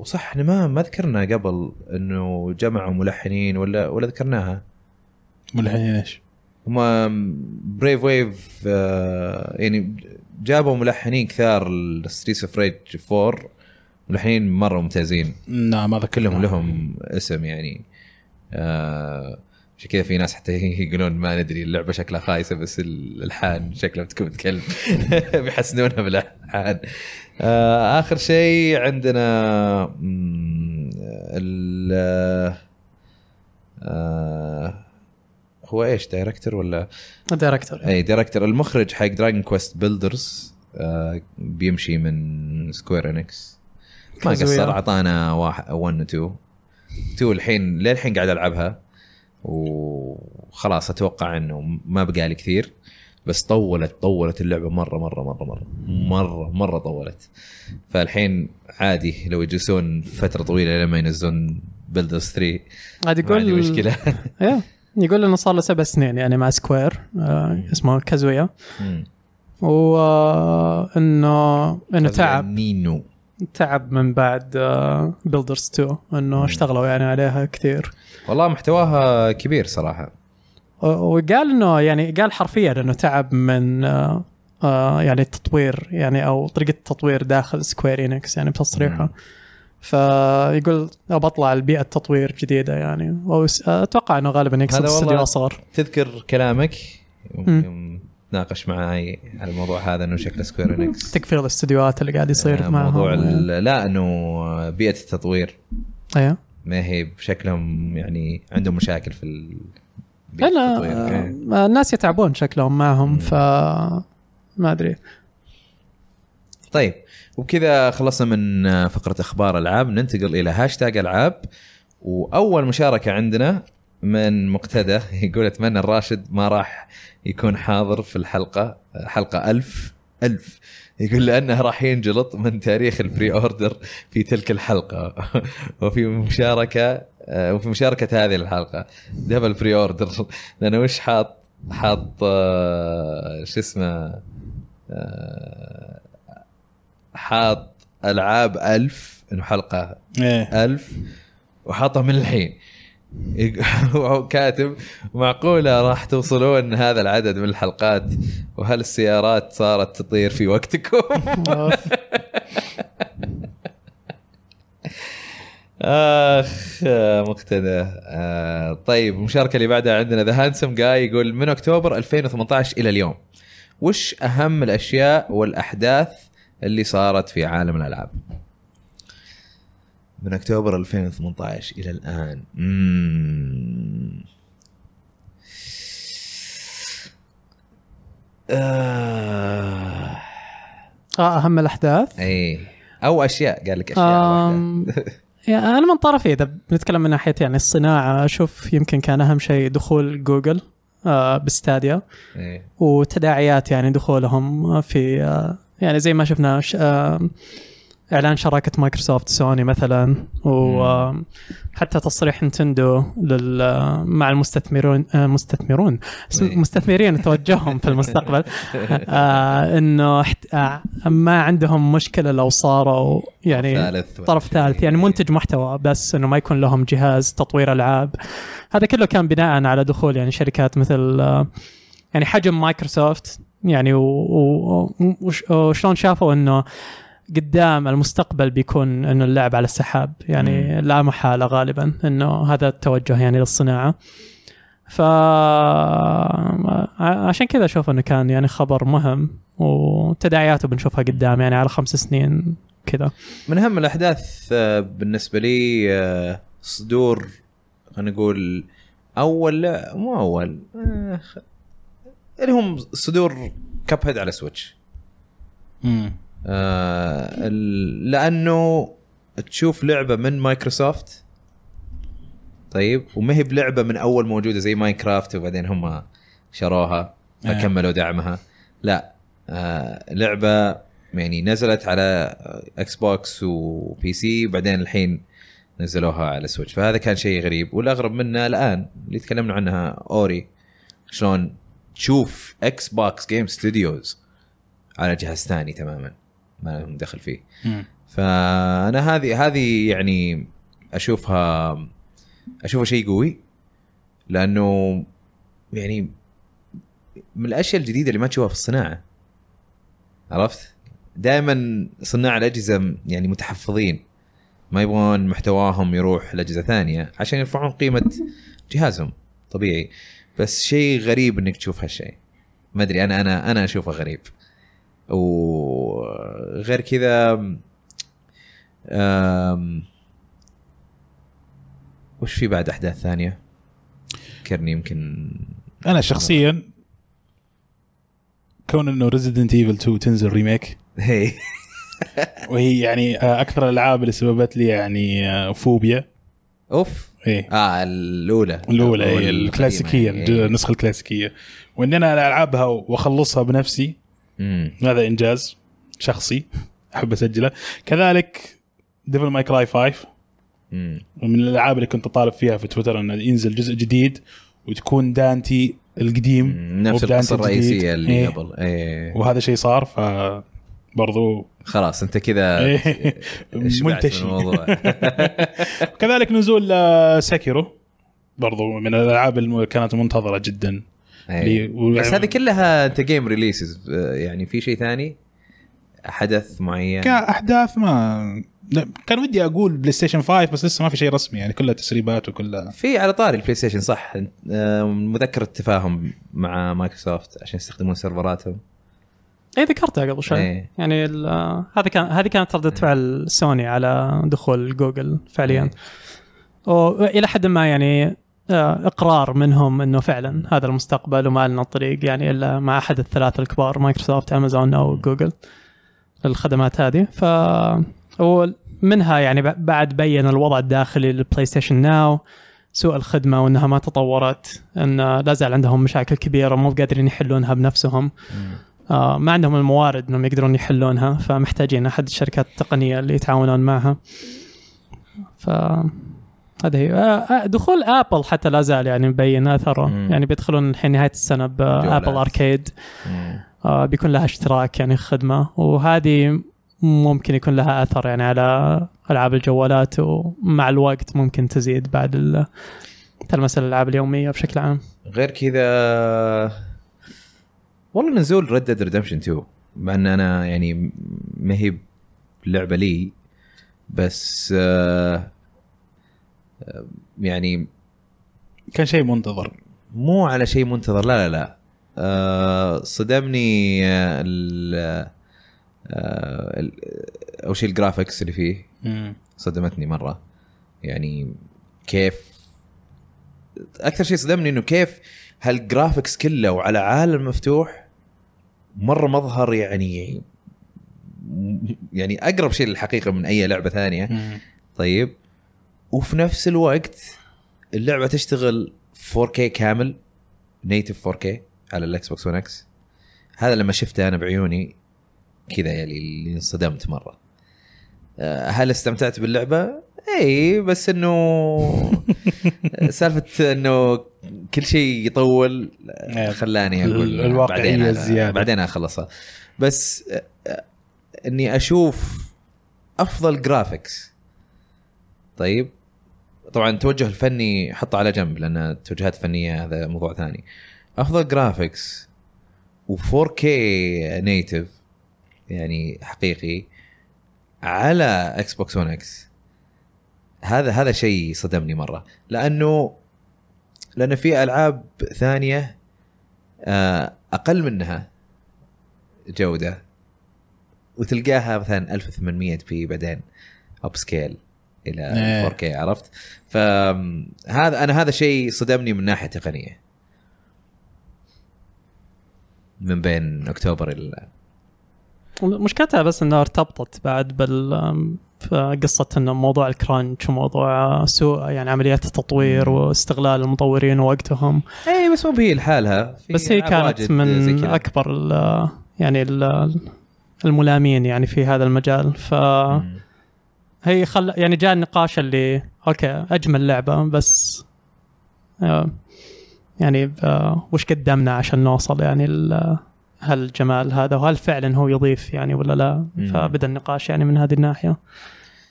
S1: وصح إحنا ما ما ذكرنا قبل انه جمعوا ملحنين ولا ولا ذكرناها
S2: ملحنين ايش؟
S1: هم بريف ويف آه يعني جابوا ملحنين كثار لستريس اوف ريج 4 ملحنين مره ممتازين
S2: لا ما ذكرنا
S1: كلهم لهم اسم يعني آه، عشان كذا في ناس حتى يقولون ما ندري اللعبه شكلها خايسه بس الالحان شكلها بتكون كلب بيحسنونها بالالحان آه، اخر شيء عندنا مم، ال آه، هو ايش دايركتور ولا
S3: الدايركتور
S1: اي دايركتور المخرج حق دراجون كويست بيلدرز آه، بيمشي من سكوير انكس ما
S3: كازويا.
S1: قصر اعطانا واحد 1 و 2 2 الحين للحين قاعد العبها وخلاص اتوقع انه ما بقى لي كثير بس طولت طولت اللعبه مره مره مره مره مره مره طولت فالحين عادي لو يجلسون فتره طويله لما ينزلون بيلدرز 3
S3: عاد
S1: ما عندي
S3: يقول
S1: مشكله
S3: إيه. يقول انه صار له سبع سنين يعني مع سكوير آه اسمه كازويا
S1: مم.
S3: وانه انه تعب
S1: نينو
S3: تعب من بعد آه، بيلدرز 2 انه اشتغلوا يعني عليها كثير
S1: والله محتواها كبير صراحه
S3: وقال انه يعني قال حرفيا انه تعب من آه، آه، يعني التطوير يعني او طريقه التطوير داخل سكوير انكس يعني بتصريحه
S1: مم.
S3: فيقول ابى اطلع لبيئه تطوير جديده يعني أو س- اتوقع انه غالبا يقصد
S1: هذا والله-
S3: استوديو اصغر
S1: تذكر كلامك يوم-
S3: مم.
S1: يوم تناقش معي على الموضوع هذا انه شكل سكوير انكس
S3: تكفير الاستديوهات اللي قاعد يصير معهم
S1: إيه، موضوع ال- لا انه بيئه التطوير
S3: ايوه
S1: ما هي بشكلهم يعني عندهم مشاكل في ال... بيئة
S3: انا
S1: التطوير. إيه.
S3: آه، الناس يتعبون شكلهم معهم
S1: مم.
S3: ف ما ادري
S1: طيب وبكذا خلصنا من آه، فقره اخبار العاب ننتقل الى هاشتاج العاب واول مشاركه عندنا من مقتدى يقول اتمنى الراشد ما راح يكون حاضر في الحلقه حلقه ألف ألف يقول لأنه راح ينجلط من تاريخ البري أوردر في تلك الحلقة وفي مشاركة آه، وفي مشاركة هذه الحلقة دبل بري أوردر لأنه وش حاط حاط آه، شو اسمه آه، حاط العاب ألف انه حلقه
S2: ايه
S1: ألف وحاطها من الحين يق- وهو كاتب معقوله راح توصلون هذا العدد من الحلقات وهل السيارات صارت تطير في وقتكم؟
S3: أوف.
S1: اخ آه، مقتدى آه، طيب المشاركه اللي بعدها عندنا ذا هانسم جاي يقول من اكتوبر 2018 الى اليوم وش اهم الاشياء والاحداث اللي صارت في عالم الالعاب من اكتوبر 2018 الى الان مم. آه.
S3: آه، اهم الاحداث
S1: اي او اشياء قال لك اشياء واحدة.
S3: أم، يعني انا من طرفي اذا بنتكلم من ناحيه يعني الصناعه اشوف يمكن كان اهم شيء دخول جوجل آه، بستاديا
S1: إيه.
S3: وتداعيات يعني دخولهم في آه، يعني زي ما شفنا ش- آه، اعلان شراكه مايكروسوفت سوني مثلا وحتى تصريح نتندو لل آه، مع المستثمرون آه، مستثمرون اسم-
S1: إيه.
S3: مستثمرين توجههم في المستقبل آه، انه حت- آه، ما عندهم مشكله لو صاروا يعني
S1: ثالث
S3: طرف ثالث يعني منتج محتوى بس انه ما يكون لهم جهاز تطوير العاب هذا كله كان بناء على دخول يعني شركات مثل آه، يعني حجم مايكروسوفت يعني و- و- وش- آه، وشلون شافوا انه قدام المستقبل بيكون انه اللعب على السحاب يعني لا محاله غالبا انه هذا التوجه يعني للصناعه ف ع- عشان كذا اشوف انه كان يعني خبر مهم وتداعياته بنشوفها قدام يعني على خمس سنين كذا
S1: من اهم الاحداث آه، بالنسبه لي آه، صدور خلينا نقول اول لا مو اول آه، خ- اللي هم صدور كاب هيد على سويتش
S2: مم.
S1: آه، ال- لانه تشوف لعبه من مايكروسوفت طيب وما هي بلعبه من اول موجوده زي ماينكرافت وبعدين هم شروها فكملوا دعمها لا آه، لعبه يعني نزلت على اكس بوكس وبي سي وبعدين الحين نزلوها على سويتش فهذا كان شيء غريب والاغرب منه الان اللي تكلمنا عنها اوري شلون تشوف اكس بوكس جيم ستوديوز على جهاز ثاني تماما ما لهم دخل فيه
S2: مم.
S1: فانا هذه هذه يعني اشوفها اشوفها شيء قوي لانه يعني من الاشياء الجديده اللي ما تشوفها في الصناعه عرفت؟ دائما صناع الاجهزه م- يعني متحفظين ما يبغون محتواهم يروح لاجهزه ثانيه عشان يرفعون قيمه جهازهم طبيعي بس شيء غريب انك تشوف هالشيء ما ادري انا انا انا اشوفه غريب وغير كذا أم... وش في بعد احداث ثانيه؟ كرني يمكن
S2: انا شخصيا كون انه ريزيدنت ايفل 2 تنزل ريميك
S1: هي
S2: وهي يعني آه، اكثر الالعاب اللي سببت لي يعني آه، فوبيا
S1: اوف
S2: ايه
S1: اه الاولى
S2: الاولى إيه،
S1: القديمة،
S2: الكلاسيكيه
S1: يعني.
S2: الج- النسخه الكلاسيكيه وان انا العبها واخلصها بنفسي
S1: أمم.
S2: هذا انجاز شخصي احب اسجله كذلك ديفل ماي كراي 5
S1: أمم.
S2: من الالعاب اللي كنت اطالب فيها في تويتر انه ينزل جزء جديد وتكون دانتي القديم
S1: نفس
S2: وبداية
S1: القصه الرئيسيه
S2: جديد.
S1: اللي
S2: إيه.
S1: قبل ايه
S2: وهذا شيء صار ف برضو
S1: خلاص انت كذا
S2: إيه.
S1: شبعت من
S2: منتشي
S1: الموضوع.
S2: كذلك نزول آه، ساكيرو برضو من الالعاب اللي كانت منتظره جدا
S1: إيه.
S2: لي- و-
S1: بس هذه كلها انت جيم ريليسز يعني في شيء ثاني حدث معين
S2: كاحداث يعني ما لا، كان ودي اقول بلاي ستيشن 5 بس لسه ما في شيء رسمي يعني كلها تسريبات وكلها
S1: في على طاري البلاي ستيشن صح آه، مذكره تفاهم مع مايكروسوفت عشان يستخدمون سيرفراتهم
S3: اي ذكرتها قبل شوي
S1: إيه.
S3: يعني ال- آه، هذا كان هذه كانت ردة فعل سوني على دخول جوجل فعليا والى حد ما يعني آه، اقرار منهم انه فعلا هذا المستقبل وما لنا طريق يعني الا مع احد الثلاثه الكبار مايكروسوفت امازون او جوجل للخدمات هذه ف ومنها يعني ب- بعد بين الوضع الداخلي للبلاي ستيشن ناو سوء الخدمه وانها ما تطورت ان لا زال عندهم مشاكل كبيره مو قادرين يحلونها بنفسهم آه، ما عندهم الموارد انهم يقدرون يحلونها فمحتاجين احد الشركات التقنيه اللي يتعاونون معها ف هذا هي آه، آه، دخول ابل حتى لا زال يعني مبين اثره
S1: مم.
S3: يعني بيدخلون الحين نهايه السنه بابل
S1: جوالات.
S3: اركيد
S1: مم.
S3: آه، بيكون لها اشتراك يعني خدمه وهذه ممكن يكون لها اثر يعني على العاب الجوالات ومع الوقت ممكن تزيد بعد ال- تلمس الالعاب اليوميه بشكل عام
S1: غير كذا والله نزول ريد ديد ريدمشن 2 مع ان انا يعني ما هي لعبه لي بس آه، آه، يعني
S2: كان شيء منتظر
S1: مو على شيء منتظر لا لا لا آه، صدمني آه، ال آه، ال- اول شيء الجرافكس اللي فيه صدمتني مره يعني كيف اكثر شيء صدمني انه كيف هالجرافكس كله وعلى عالم مفتوح مره مظهر يعني يعني اقرب شيء للحقيقه من اي لعبه ثانيه طيب وفي نفس الوقت اللعبه تشتغل 4K كامل نيتف 4K على الاكس بوكس 1 اكس هذا لما شفته انا بعيوني كذا يعني اللي انصدمت مره آه، هل استمتعت باللعبه؟ اي بس انه سالفه انه كل شيء يطول آه، خلاني اقول
S2: ال- الواقعية
S1: بعدين أنا-
S2: الزيادة.
S1: بعدين اخلصها بس آه، آه، اني اشوف افضل جرافيكس طيب طبعا التوجه الفني حطه على جنب لان التوجهات الفنيه هذا موضوع ثاني افضل جرافيكس و4K نيتف يعني حقيقي على اكس بوكس 1 اكس هذا هذا شيء صدمني مره لانه لان في العاب ثانيه آه، اقل منها جوده وتلقاها مثلا 1800 بي بعدين اب سكيل الى
S2: إيه.
S1: 4K عرفت فهذا انا هذا شيء صدمني من ناحيه تقنيه من بين اكتوبر الى
S3: مشكلتها بس انها ارتبطت بعد بال قصة انه موضوع الكرانش وموضوع سوء يعني عمليات التطوير واستغلال المطورين ووقتهم
S1: اي إيه، بس مو بهي لحالها في
S3: بس هي
S1: ألعاب
S3: كانت
S1: واجد زي
S3: من
S1: كذا.
S3: اكبر ال- يعني ال- الملامين يعني في هذا المجال فهي
S1: مم.
S3: خل يعني جاء النقاش اللي اوكي اجمل لعبة بس آه، يعني آه، وش قدمنا عشان نوصل يعني ال- هالجمال هذا وهل فعلا هو يضيف يعني ولا لا
S1: مم.
S3: فبدا النقاش يعني من هذه الناحيه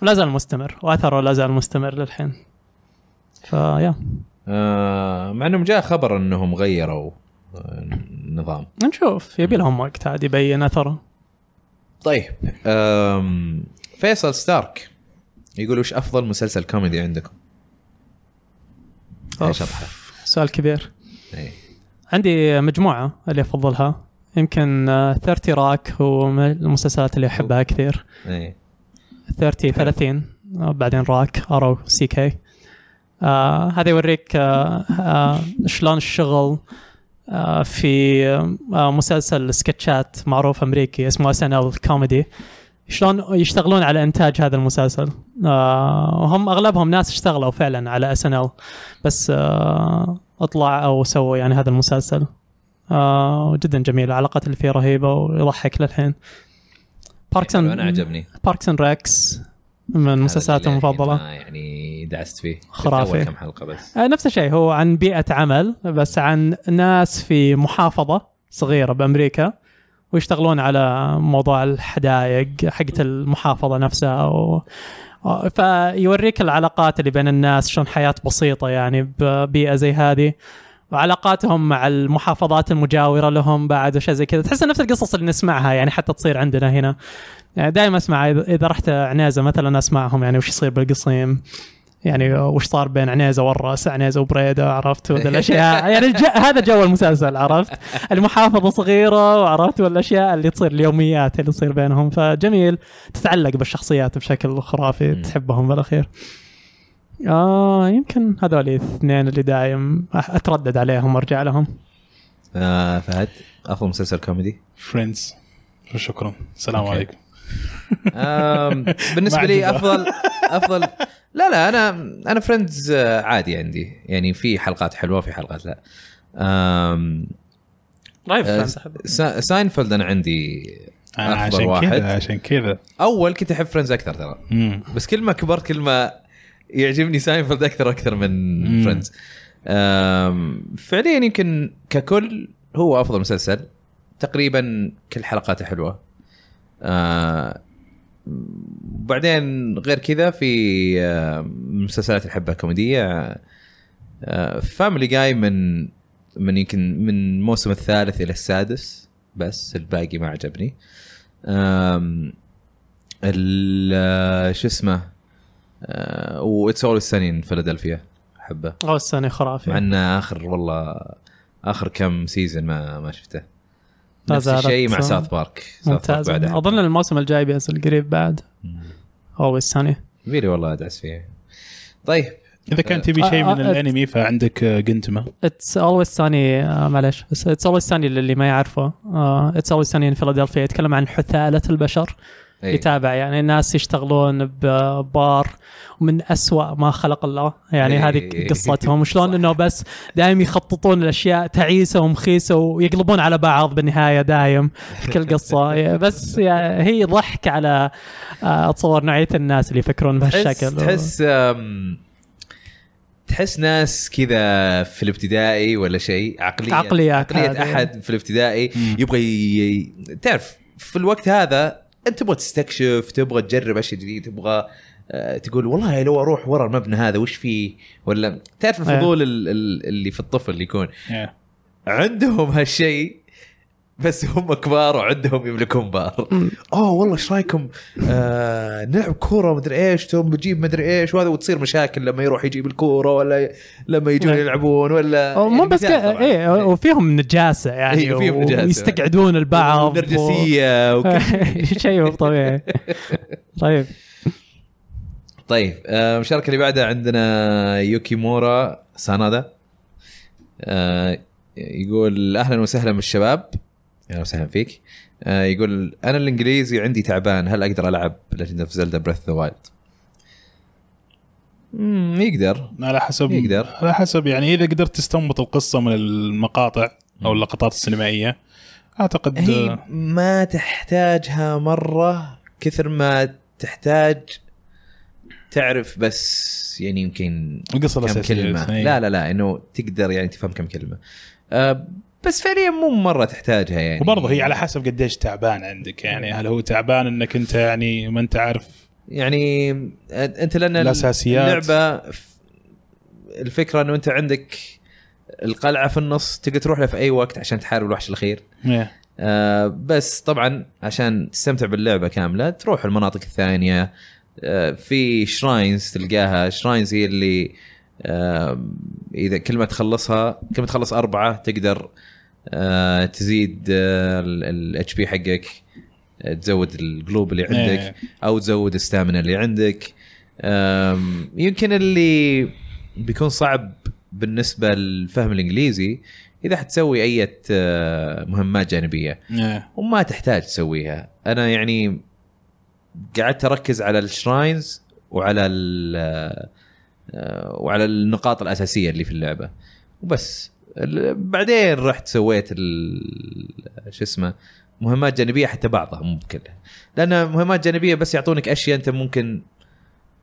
S3: ولا زال مستمر واثره لا زال مستمر للحين فيا
S1: آه مع انهم جاء خبر انهم غيروا آه، النظام
S3: نشوف يبي لهم وقت عاد يبين اثره
S1: طيب آم فيصل ستارك يقول وش افضل مسلسل كوميدي عندكم؟
S3: أوف،
S1: ايش ابحث؟
S3: سؤال كبير
S1: إيه.
S3: عندي مجموعه اللي افضلها يمكن 30 راك هو من المسلسلات اللي احبها كثير
S1: إيه.
S3: 30 30 آه، بعدين راك ار او سي كي آه هذا يوريك آه آه شلون الشغل آه في آه مسلسل سكتشات معروف امريكي اسمه اس ان ال كوميدي شلون يشتغلون على انتاج هذا المسلسل آه وهم اغلبهم ناس اشتغلوا فعلا على اس ان ال بس آه اطلع او سووا يعني هذا المسلسل آه جدا جميل العلاقات اللي فيه رهيبه ويضحك للحين باركس
S1: حلو، انا عجبني
S3: باركس اند ريكس من مسلسلاتي
S1: هذا اللي
S3: المفضله
S1: ما يعني يعني دعست فيه شفت
S3: خرافي.
S1: اول كم حلقه بس
S3: آه، نفس الشيء هو عن بيئة عمل بس عن ناس في محافظة صغيرة بأمريكا ويشتغلون على موضوع الحدائق حقت المحافظة نفسها و... آه، فيوريك العلاقات اللي بين الناس شلون حياة بسيطة يعني ببيئة زي هذه وعلاقاتهم مع المحافظات المجاورة لهم بعد وشيء زي كذا تحس نفس القصص اللي نسمعها يعني حتى تصير عندنا هنا يعني دائما اسمع إذا- اذا رحت عنيزه مثلا اسمعهم يعني وش يصير بالقصيم يعني وش صار بين عنيزه والراس عنيزه وبريده عرفت وذي الاشياء يعني الج... هذا جو المسلسل عرفت المحافظه صغيره وعرفت والاشياء اللي تصير اليوميات اللي تصير بينهم فجميل تتعلق بالشخصيات بشكل خرافي
S1: مم.
S3: تحبهم بالاخير اه يمكن هذول الاثنين اللي دايم أح- اتردد عليهم وارجع لهم
S1: آه فهد افضل مسلسل كوميدي
S2: فريندز شكرا السلام
S1: أوكي.
S2: عليكم
S1: آم، بالنسبه
S2: ما
S1: لي
S2: عجبها.
S1: افضل افضل لا لا انا انا فريندز آه، عادي عندي يعني في حلقات حلوه في حلقات لا آم،
S3: رايف
S1: آه، سا- ساينفيلد انا عندي
S2: انا
S1: أفضل
S2: آه، عشان
S1: واحد.
S2: كذا عشان كذا
S1: اول كنت احب فريندز اكثر ترى
S2: مم.
S1: بس كل ما كبرت كل ما يعجبني ساينفيلد اكثر اكثر من
S2: مم.
S1: فريندز فعليا يمكن ككل هو افضل مسلسل تقريبا كل حلقاته حلوه آه، بعدين غير كذا في آه، مسلسلات اللي احبها كوميديه فاميلي جاي من من يمكن من الموسم الثالث الى السادس بس الباقي ما عجبني آم، ال- آه، شو اسمه آه، واتس اول سنين فيلادلفيا احبه
S3: او السنه
S1: مع
S3: خرافي
S1: ان اخر والله اخر كم سيزون ما ما شفته
S3: لا
S1: نفس
S3: زالت
S1: الشيء مع
S3: ممتازة.
S1: ساوث بارك
S3: ممتاز اظن الموسم الجاي بينزل قريب بعد اولويز سني
S1: بيلي والله ادعس فيه طيب
S2: اذا كان تبي شيء
S3: آه،
S2: من
S3: آه،
S2: الانمي فعندك آه، جنتما
S3: اتس اولويز ساني معلش اتس اولويز ساني للي ما يعرفه آه، اتس اولويز ساني ان فيلادلفيا يتكلم عن حثاله البشر
S1: أي.
S3: يتابع يعني الناس يشتغلون ببار ومن أسوأ ما خلق الله يعني
S1: إيه.
S3: هذه قصتهم وشلون
S1: صح.
S3: انه بس دائم يخططون الاشياء تعيسه ومخيسه ويقلبون على بعض بالنهايه دايم في كل قصه بس يعني هي ضحك على آه، اتصور نوعيه الناس اللي يفكرون
S1: تحس
S3: بهالشكل
S1: تحس آم، تحس ناس كذا في الابتدائي ولا شيء عقليه
S3: عقليات
S1: عقليه
S3: هذه.
S1: احد في الابتدائي
S2: مم.
S1: يبغى ي... ي- تعرف في الوقت هذا انت تبغى تستكشف تبغى تجرب اشياء جديده تبغى آه، تقول والله لو اروح ورا المبنى هذا وش فيه ولا تعرف
S3: إيه.
S1: الفضول ال- ال- اللي في الطفل يكون
S2: إيه.
S1: عندهم هالشيء بس هم كبار وعندهم يملكون بار اوه والله ايش رايكم آه نلعب كوره مدري ايش ثم بجيب مدري ايش وهذا وتصير مشاكل لما يروح يجيب الكوره ولا لما يجون
S3: نعم.
S1: يلعبون ولا
S3: أو مو
S1: يعني
S3: بس
S1: مثال
S3: كده
S1: طبعاً.
S3: ايه وفيهم نجاسه يعني
S1: إيه، وفيهم نجاسة.
S3: ويستقعدون البعض
S1: نرجسيه
S3: و...
S1: وكل
S3: شيء مو طبيعي طيب
S1: طيب آه، المشاركه اللي بعدها عندنا يوكي مورا سانادا آه، يقول اهلا وسهلا بالشباب اهلا وسهلا فيك آه، يقول انا الانجليزي عندي تعبان هل اقدر العب ليجند اوف زلدا بريث ذا وايلد؟ يقدر
S2: على حسب
S1: يقدر.
S2: على حسب يعني اذا قدرت تستنبط القصه من المقاطع او
S1: مم.
S2: اللقطات السينمائيه اعتقد
S1: هي
S2: آه،
S1: ما تحتاجها مره كثر ما تحتاج تعرف بس يعني يمكن
S2: القصه
S1: كم
S2: الاساسيه
S1: كلمة
S2: إيه.
S1: لا يعني لا لا انه تقدر يعني تفهم كم كلمة أه بس فعليا مو مرة تحتاجها يعني
S2: وبرضه هي على حسب قديش تعبان عندك يعني هل هو تعبان انك انت يعني ما انت عارف
S1: يعني أن- انت لان
S2: الأساسيات.
S1: اللعبة ف- الفكرة انه انت عندك القلعة في النص تقدر تروح لها في اي وقت عشان تحارب الوحش الاخير
S2: إيه.
S1: أه بس طبعا عشان تستمتع باللعبة كاملة تروح المناطق الثانية أه في شراينز تلقاها شراينز هي اللي آه، اذا كل ما تخلصها كل ما تخلص اربعه تقدر آه، تزيد آه، الاتش بي حقك آه، تزود القلوب اللي عندك
S2: إيه.
S1: او تزود الستامنا اللي عندك آم، يمكن اللي بيكون صعب بالنسبه للفهم الانجليزي اذا حتسوي اي آه، مهمات جانبيه
S2: إيه.
S1: وما تحتاج تسويها انا يعني قعدت اركز على الشراينز وعلى ال آه، وعلى النقاط الاساسيه اللي في اللعبه وبس ال- بعدين رحت سويت ال- شو اسمه مهمات جانبيه حتى بعضها مو بكلها لان مهمات جانبيه بس يعطونك اشياء انت ممكن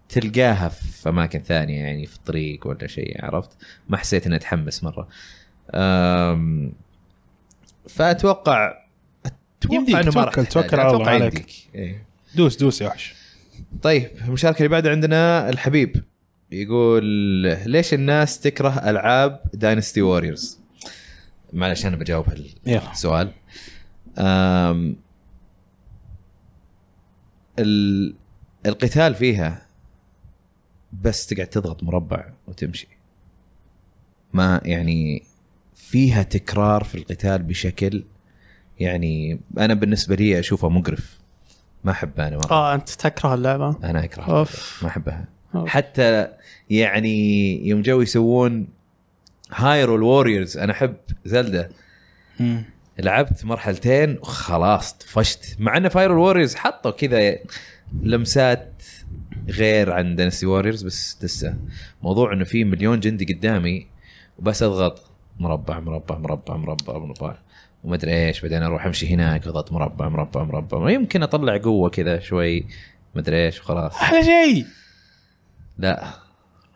S1: تلقاها في اماكن ثانيه يعني في الطريق ولا شيء عرفت ما حسيت اني اتحمس مره أم، فاتوقع
S2: يمديك،
S1: اتوقع انه ما راح
S2: توكل-
S1: تحتاج.
S2: توكل على الله،
S1: اتوقع
S2: ما عليك.
S1: يمديك إيه.
S2: دوس دوس يا وحش
S1: طيب المشاركه اللي بعدها عندنا الحبيب يقول ليش الناس تكره العاب داينستي ووريرز معلش انا بجاوب هال-
S2: يلا
S1: سؤال أم ال- القتال فيها بس تقعد تضغط مربع وتمشي ما يعني فيها تكرار في القتال بشكل يعني انا بالنسبه لي اشوفه مقرف ما احبه انا مره
S3: اه انت تكره اللعبه
S1: انا اكرهها
S3: اوف
S1: ما احبها
S3: أوف.
S1: حتى يعني يوم جو يسوون هايرول ووريرز انا احب زلده
S2: مم.
S1: لعبت مرحلتين وخلاص طفشت مع ان فاير ووريرز حطوا كذا لمسات غير عن دنسي ووريرز بس لسه موضوع انه في مليون جندي قدامي وبس اضغط مربع مربع مربع مربع مربع وما ادري ايش بعدين اروح امشي هناك اضغط مربع مربع مربع يمكن اطلع قوه كذا شوي ما ادري ايش وخلاص
S2: احلى شيء
S1: لا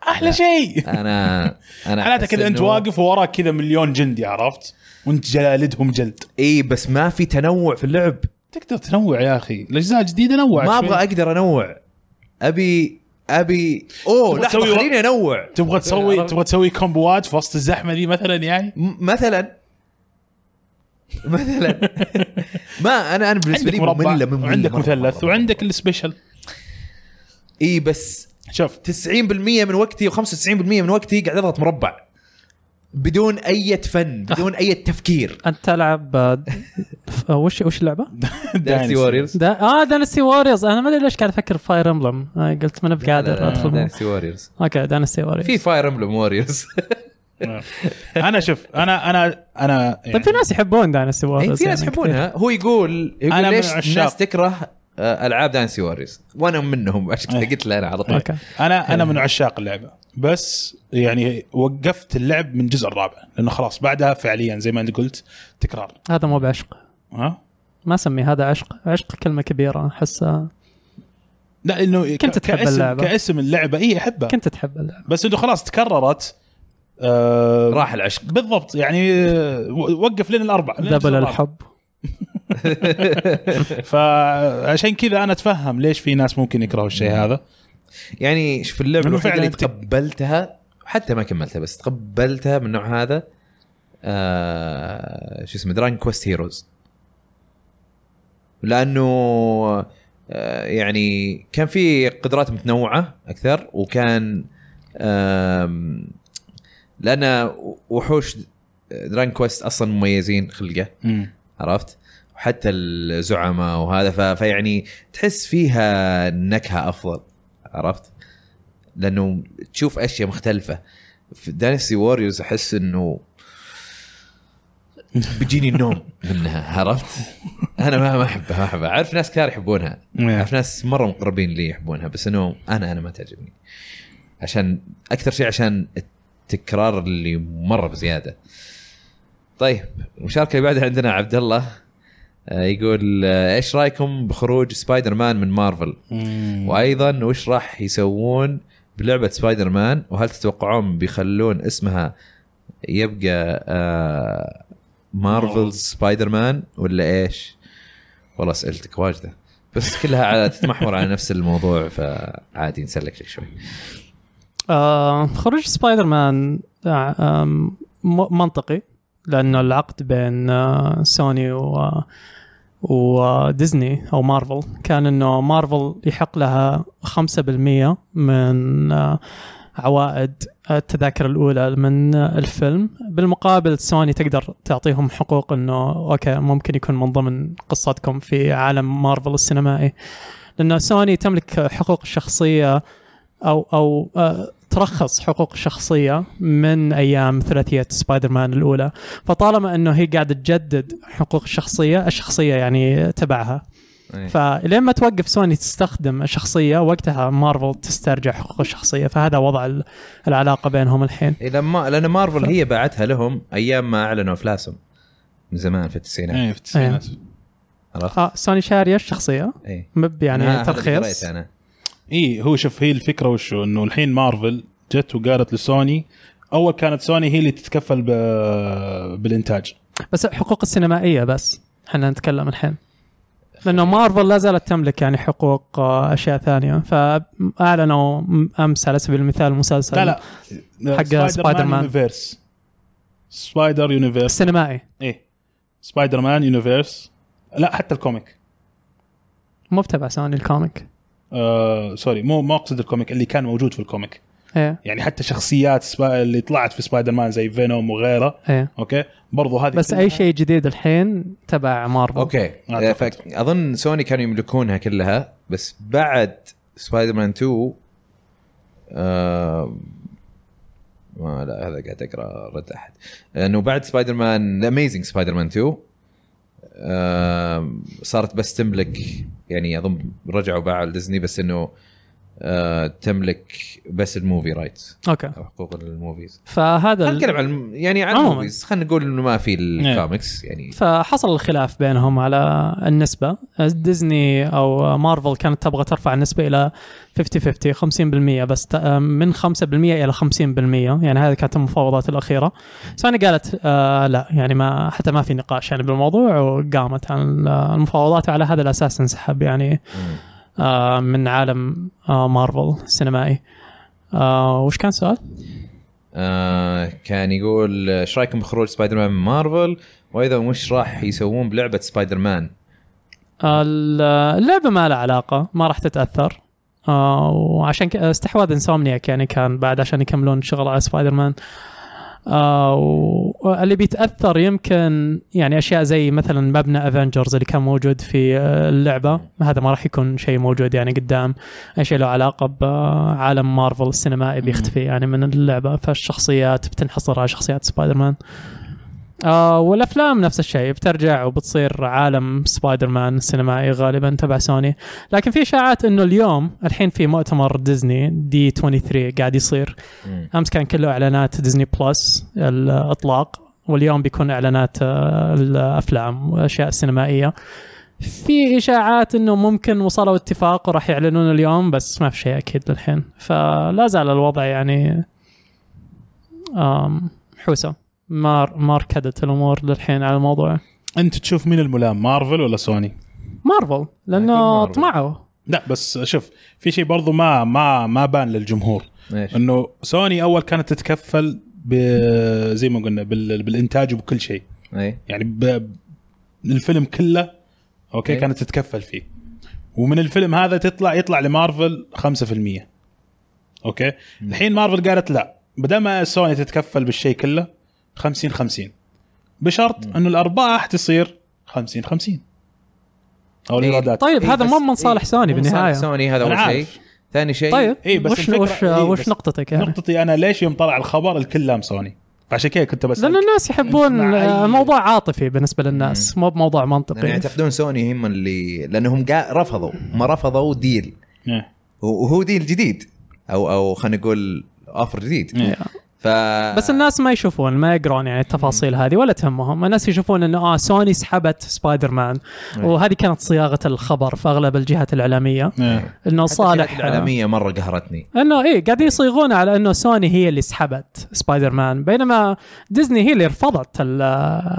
S2: احلى شيء
S1: انا انا
S2: حالاتك
S1: أحس
S2: كذا انت
S1: إنه-
S2: واقف ووراك كذا مليون جندي عرفت وانت جلالدهم جلد
S1: اي بس ما في تنوع في اللعب
S2: تقدر تنوع يا اخي الاجزاء الجديده نوع
S1: ما
S2: شوي.
S1: ابغى اقدر انوع ابي ابي اوه
S2: تبغى
S1: لحظه
S2: تسوي-
S1: خليني انوع
S2: تبغى تسوي
S1: عرفت؟
S2: تبغى تسوي كومبوات في وسط الزحمه دي مثلا يعني
S1: م- مثلا مثلا ما انا انا بالنسبه لي
S2: عندك مربع
S1: ممله ممله
S2: وعندك
S1: مرة،
S2: مثلث
S1: مرة، مرة.
S2: وعندك السبيشل
S1: اي بس
S2: شوف
S1: 90% من وقتي و95% من وقتي قاعد اضغط مربع بدون اي فن بدون اي تفكير
S3: انت تلعب آه، ف- آه، وش وش اللعبه؟
S1: دانسي
S2: داينستي.
S1: ووريرز
S3: دا اه دانستي ووريرز انا ما ادري ليش قاعد افكر في فاير امبلم قلت ما انا بقادر ادخل
S1: دانسي ووريرز
S3: اوكي دانستي ووريرز
S1: في فاير امبلم ووريرز
S2: انا شوف انا انا انا يعني
S3: طيب في ناس يحبون يعني داينستي
S1: اي
S3: ووريرز
S1: إيه، في ناس يحبونها هو يقول يقول
S2: أنا من
S1: ليش
S2: عشاق.
S1: الناس تكره آه، العاب دانسي ووريرز وانا منهم عشان كذا
S2: إيه.
S1: قلت له انا على طول
S3: اوكي
S2: انا انا من عشاق اللعبه بس يعني وقفت اللعب من الجزء الرابع لانه خلاص بعدها فعليا زي ما انت قلت تكرار
S3: هذا مو بعشق
S2: ها
S3: ما اسمي هذا عشق عشق كلمه كبيره احسها
S2: لا انه
S3: كنت تحب
S2: كاسم
S3: اللعبة.
S2: كاسم اللعبه اي احبها
S3: كنت تحب اللعبه
S2: بس انه خلاص تكررت آه
S1: راح العشق
S2: بالضبط يعني آه، وقف لنا الاربع لين الجزء
S3: دبل
S2: الرابع.
S3: الحب
S2: فعشان كذا انا اتفهم ليش في ناس ممكن يكرهوا الشيء هذا
S1: يعني شوف اللعبه
S2: لأنه
S1: الوحيده
S2: فعلاً
S1: اللي
S2: أنت-
S1: تقبلتها حتى ما كملتها بس تقبلتها من النوع هذا آه شو اسمه دراجون كويست هيروز لانه آه يعني كان في قدرات متنوعه اكثر وكان آم، لان وحوش دراجون كويست اصلا مميزين خلقه عرفت وحتى الزعماء وهذا ف... فيعني تحس فيها نكهه افضل عرفت لانه تشوف اشياء مختلفه في دانستي ووريرز احس انه بيجيني النوم منها عرفت انا ما ما احبها ما احبها اعرف ناس كثار يحبونها اعرف ناس مره مقربين لي يحبونها بس انه انا انا ما تعجبني عشان اكثر شيء عشان التكرار اللي مره بزياده طيب المشاركه اللي بعدها عندنا عبد الله آه، يقول آه، ايش رايكم بخروج سبايدر مان من مارفل وايضا وش راح يسوون بلعبه سبايدر مان وهل تتوقعون بيخلون اسمها يبقى آه مارفل سبايدر مان ولا ايش؟ والله سالتك واجده بس كلها على تتمحور على نفس الموضوع فعادي نسلك لك شوي.
S3: آه خروج سبايدر مان آه آم، م- منطقي لانه العقد بين آه سوني و وديزني او مارفل كان انه مارفل يحق لها 5% من آه، عوائد التذاكر الاولى من آه، الفيلم بالمقابل سوني تقدر تعطيهم حقوق انه اوكي ممكن يكون من ضمن قصتكم في عالم مارفل السينمائي لانه سوني تملك حقوق الشخصيه او او آه، ترخص حقوق الشخصيه من ايام ثلاثيه سبايدر مان الاولى فطالما انه هي قاعده تجدد حقوق الشخصيه الشخصيه يعني تبعها
S1: إيه.
S3: فلين ما توقف سوني تستخدم الشخصيه وقتها مارفل تسترجع حقوق الشخصيه فهذا وضع ال- العلاقه بينهم الحين
S1: إيه، لما لان مارفل هي باعتها لهم ايام ما اعلنوا افلاسهم من زمان في التسعينات
S2: ايه في التسعينات
S1: عرفت؟
S3: اه آه، سوني شاريه الشخصيه
S1: اي
S3: مب
S1: آه، هذا
S3: يعني
S1: اللي
S3: ترخيص
S1: قريته انا
S2: اي إيه، هو شوف هي الفكره وشو انه الحين مارفل جت وقالت لسوني اول كانت سوني هي اللي تتكفل ب... بالانتاج
S3: بس الحقوق السينمائيه بس احنا نتكلم الحين لانه مارفل لا زالت تملك يعني حقوق آه، اشياء ثانيه فاعلنوا م- امس على سبيل المثال مسلسل
S2: لا لا
S3: طيب. حق سبايدر مان.
S2: يونيفيرس سبايدر يونيفيرس
S3: السينمائي
S2: ايه سبايدر مان يونيفيرس لا حتى الكوميك
S3: مو بتبع سوني الكوميك
S2: آه سوري مو ما اقصد الكوميك اللي كان موجود في الكوميك
S3: ايه
S2: يعني حتى شخصيات سبا... اللي طلعت في سبايدر مان زي فينوم وغيره
S3: ايه
S2: اوكي برضو هذه
S3: بس
S2: كلها-
S3: اي شيء جديد الحين تبع مارفل
S1: اوكي آه، فك- اظن سوني كانوا يملكونها كلها بس بعد سبايدر مان 2 آه ما لا هذا قاعد اقرا رد احد انه بعد سبايدر مان اميزنج سبايدر مان 2 آه صارت بس تملك يعني اظن رجعوا باعوا لديزني بس انه آه تملك بس الموفي رايتس
S3: اوكي
S1: او حقوق الموفيز
S3: فهذا
S1: خلينا
S3: ال-
S1: نتكلم عن الم- يعني عن
S3: عموماً. إيه.
S1: الموفيز خلينا نقول انه ما في الكوميكس يعني
S3: فحصل الخلاف بينهم على النسبة ديزني أو مارفل كانت تبغى ترفع النسبة إلى 50-50 50% بس ت- من 5% إلى 50% يعني هذه كانت المفاوضات الأخيرة سوني قالت آه لا يعني ما حتى ما في نقاش يعني بالموضوع وقامت عن المفاوضات وعلى هذا الأساس انسحب يعني
S1: مم.
S3: آه من عالم آه مارفل السينمائي آه وش كان سؤال؟
S1: آه كان يقول ايش رايكم بخروج سبايدر مان من مارفل وايضا وش راح يسوون بلعبه سبايدر مان
S3: اللعبه ما لها علاقه ما راح تتاثر آه، وعشان ك- استحواذ انسومنياك يعني كان بعد عشان يكملون الشغل على سبايدر مان آه، واللي بيتاثر يمكن يعني اشياء زي مثلا مبنى افنجرز اللي كان موجود في آه، اللعبه هذا ما راح يكون شيء موجود يعني قدام اي شيء له علاقه بعالم مارفل السينمائي بيختفي يعني من اللعبه فالشخصيات بتنحصر على شخصيات سبايدر مان آه والافلام نفس الشيء بترجع وبتصير عالم سبايدر مان السينمائي غالبا تبع سوني لكن في اشاعات انه اليوم الحين في مؤتمر ديزني دي 23 قاعد يصير
S1: مم.
S3: امس كان كله اعلانات ديزني بلس الاطلاق واليوم بيكون اعلانات آه، الافلام واشياء سينمائيه في اشاعات انه ممكن وصلوا اتفاق وراح يعلنون اليوم بس ما في شيء اكيد للحين فلا زال الوضع يعني آم، حوسه ما ما ركدت الامور للحين على الموضوع
S2: انت تشوف مين الملام مارفل ولا سوني
S3: مارفل
S1: أكيد
S3: لانه
S1: مارفل.
S3: طمعوا
S2: لا بس شوف في شيء برضو ما ما ما بان للجمهور
S1: ايش
S2: انه سوني اول كانت تتكفل ب زي ما قلنا بال... بالانتاج وبكل شيء
S1: اي
S2: يعني ب... الفيلم كله اوكي
S1: إيه.
S2: كانت تتكفل فيه ومن الفيلم هذا تطلع يطلع لمارفل 5% اوكي الحين مارفل قالت لا بدل ما سوني تتكفل بالشيء كله 50 50 بشرط انه الارباح تصير 50 50
S1: إيه.
S2: او الايرادات
S3: طيب
S1: إيه،
S3: هذا
S1: بس-
S3: مو من صالح
S1: إيه،
S3: سوني
S1: مو من صالح
S3: بالنهاية.
S1: سوني هذا
S2: أنا
S1: اول شيء
S2: عارف.
S1: ثاني شيء
S3: طيب
S2: إيه، بس
S3: وش
S2: الفكرة-
S3: وش
S2: إيه،
S3: وش
S2: بس
S3: نقطتك يعني؟
S2: نقطتي انا ليش يوم طلع الخبر الكل لام سوني فعشان كذا كنت بس
S3: لان الناس يحبون
S2: أنت مع أي-
S3: موضوع عاطفي بالنسبه للناس مو بموضوع
S1: لان
S3: منطقي
S1: يعني يعتقدون سوني هم اللي لانهم قا... رفضوا هم رفضوا ديل
S2: إيه.
S1: وهو ديل جديد او او خلينا نقول اوفر جديد
S2: إيه.
S1: ف
S3: بس الناس ما يشوفون ما يقرون يعني التفاصيل هذه ولا تهمهم الناس يشوفون انه اه سوني سحبت سبايدر مان
S1: أي.
S3: وهذه كانت صياغه الخبر في اغلب الجهات الاعلاميه
S2: إيه.
S3: انه
S1: حتى الشركات
S3: صالح
S1: الاعلاميه مره قهرتني
S3: انه ايه قاعدين يصيغون على انه سوني هي اللي سحبت سبايدر مان بينما ديزني هي اللي رفضت ال-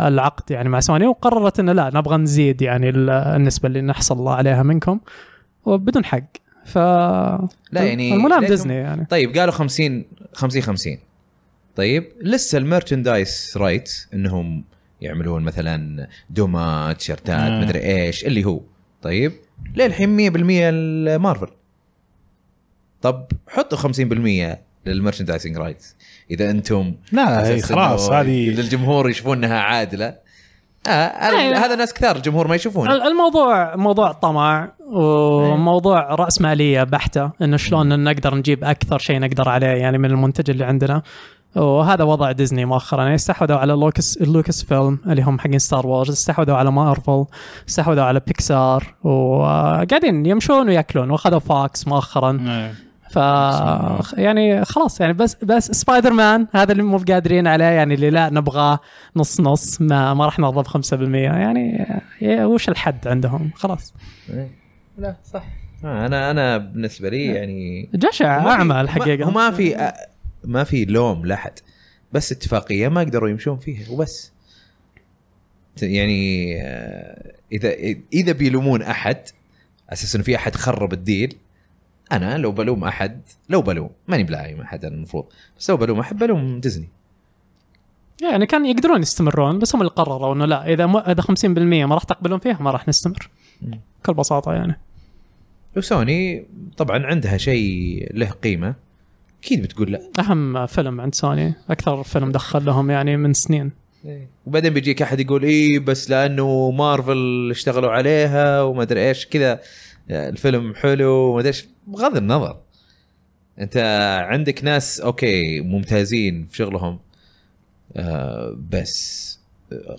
S3: العقد يعني مع سوني وقررت انه لا نبغى نزيد يعني ال- النسبه اللي نحصل عليها منكم وبدون حق ف
S1: لا يعني
S3: الملام
S1: ليتهم-
S3: ديزني يعني
S1: طيب قالوا 50 50 50 طيب لسه المرشندايز رايت انهم يعملون مثلا دمى تيشرتات
S2: آه.
S1: مدري ايش اللي هو طيب للحين 100% المارفل طب حطوا 50% للمرشندايزنج رايت اذا انتم
S2: لا هي
S1: أساس إنه
S2: خلاص هذه
S1: للجمهور يشوفون انها عادله آه
S3: أيوة.
S1: هذا هذا ناس كثار الجمهور ما يشوفونه
S3: الموضوع موضوع طمع وموضوع راسماليه بحته انه شلون نقدر نجيب اكثر شيء نقدر عليه يعني من المنتج اللي عندنا وهذا وضع ديزني مؤخرا يعني استحوذوا على لوكس لوكس فيلم اللي هم حقين ستار وورز استحوذوا على مارفل استحوذوا على بيكسار وقاعدين يمشون وياكلون واخذوا فاكس مؤخرا
S2: إيه.
S3: ف يعني خلاص يعني بس بس سبايدر مان هذا اللي مو قادرين عليه يعني اللي لا نبغاه نص نص ما ما راح نرضى ب 5% يعني يا- وش الحد عندهم خلاص
S1: لا صح آه، انا انا بالنسبه لي يعني
S3: جشع
S1: ما في-
S3: اعمى
S1: ما-
S3: الحقيقه
S1: ما في آه، ما في لوم لاحد بس اتفاقيه ما قدروا يمشون فيها وبس يعني آه، اذا اذا بيلومون احد اساس انه في احد خرب الديل انا لو بلوم احد لو بلوم ماني بلاعي احد أنا المفروض بس لو بلوم احد بلوم ديزني
S3: يعني كان يقدرون يستمرون بس هم اللي قرروا انه لا اذا م... اذا 50% ما راح تقبلون فيها ما راح نستمر
S1: مم.
S3: بكل بساطه يعني
S1: وسوني طبعا عندها شيء له قيمه اكيد بتقول لا
S3: اهم فيلم عند سوني اكثر فيلم دخل لهم يعني من سنين
S1: وبعدين بيجيك احد يقول ايه بس لانه مارفل اشتغلوا عليها وما ادري ايش كذا الفيلم حلو وما ادري ايش بغض النظر انت عندك ناس اوكي ممتازين في شغلهم آه بس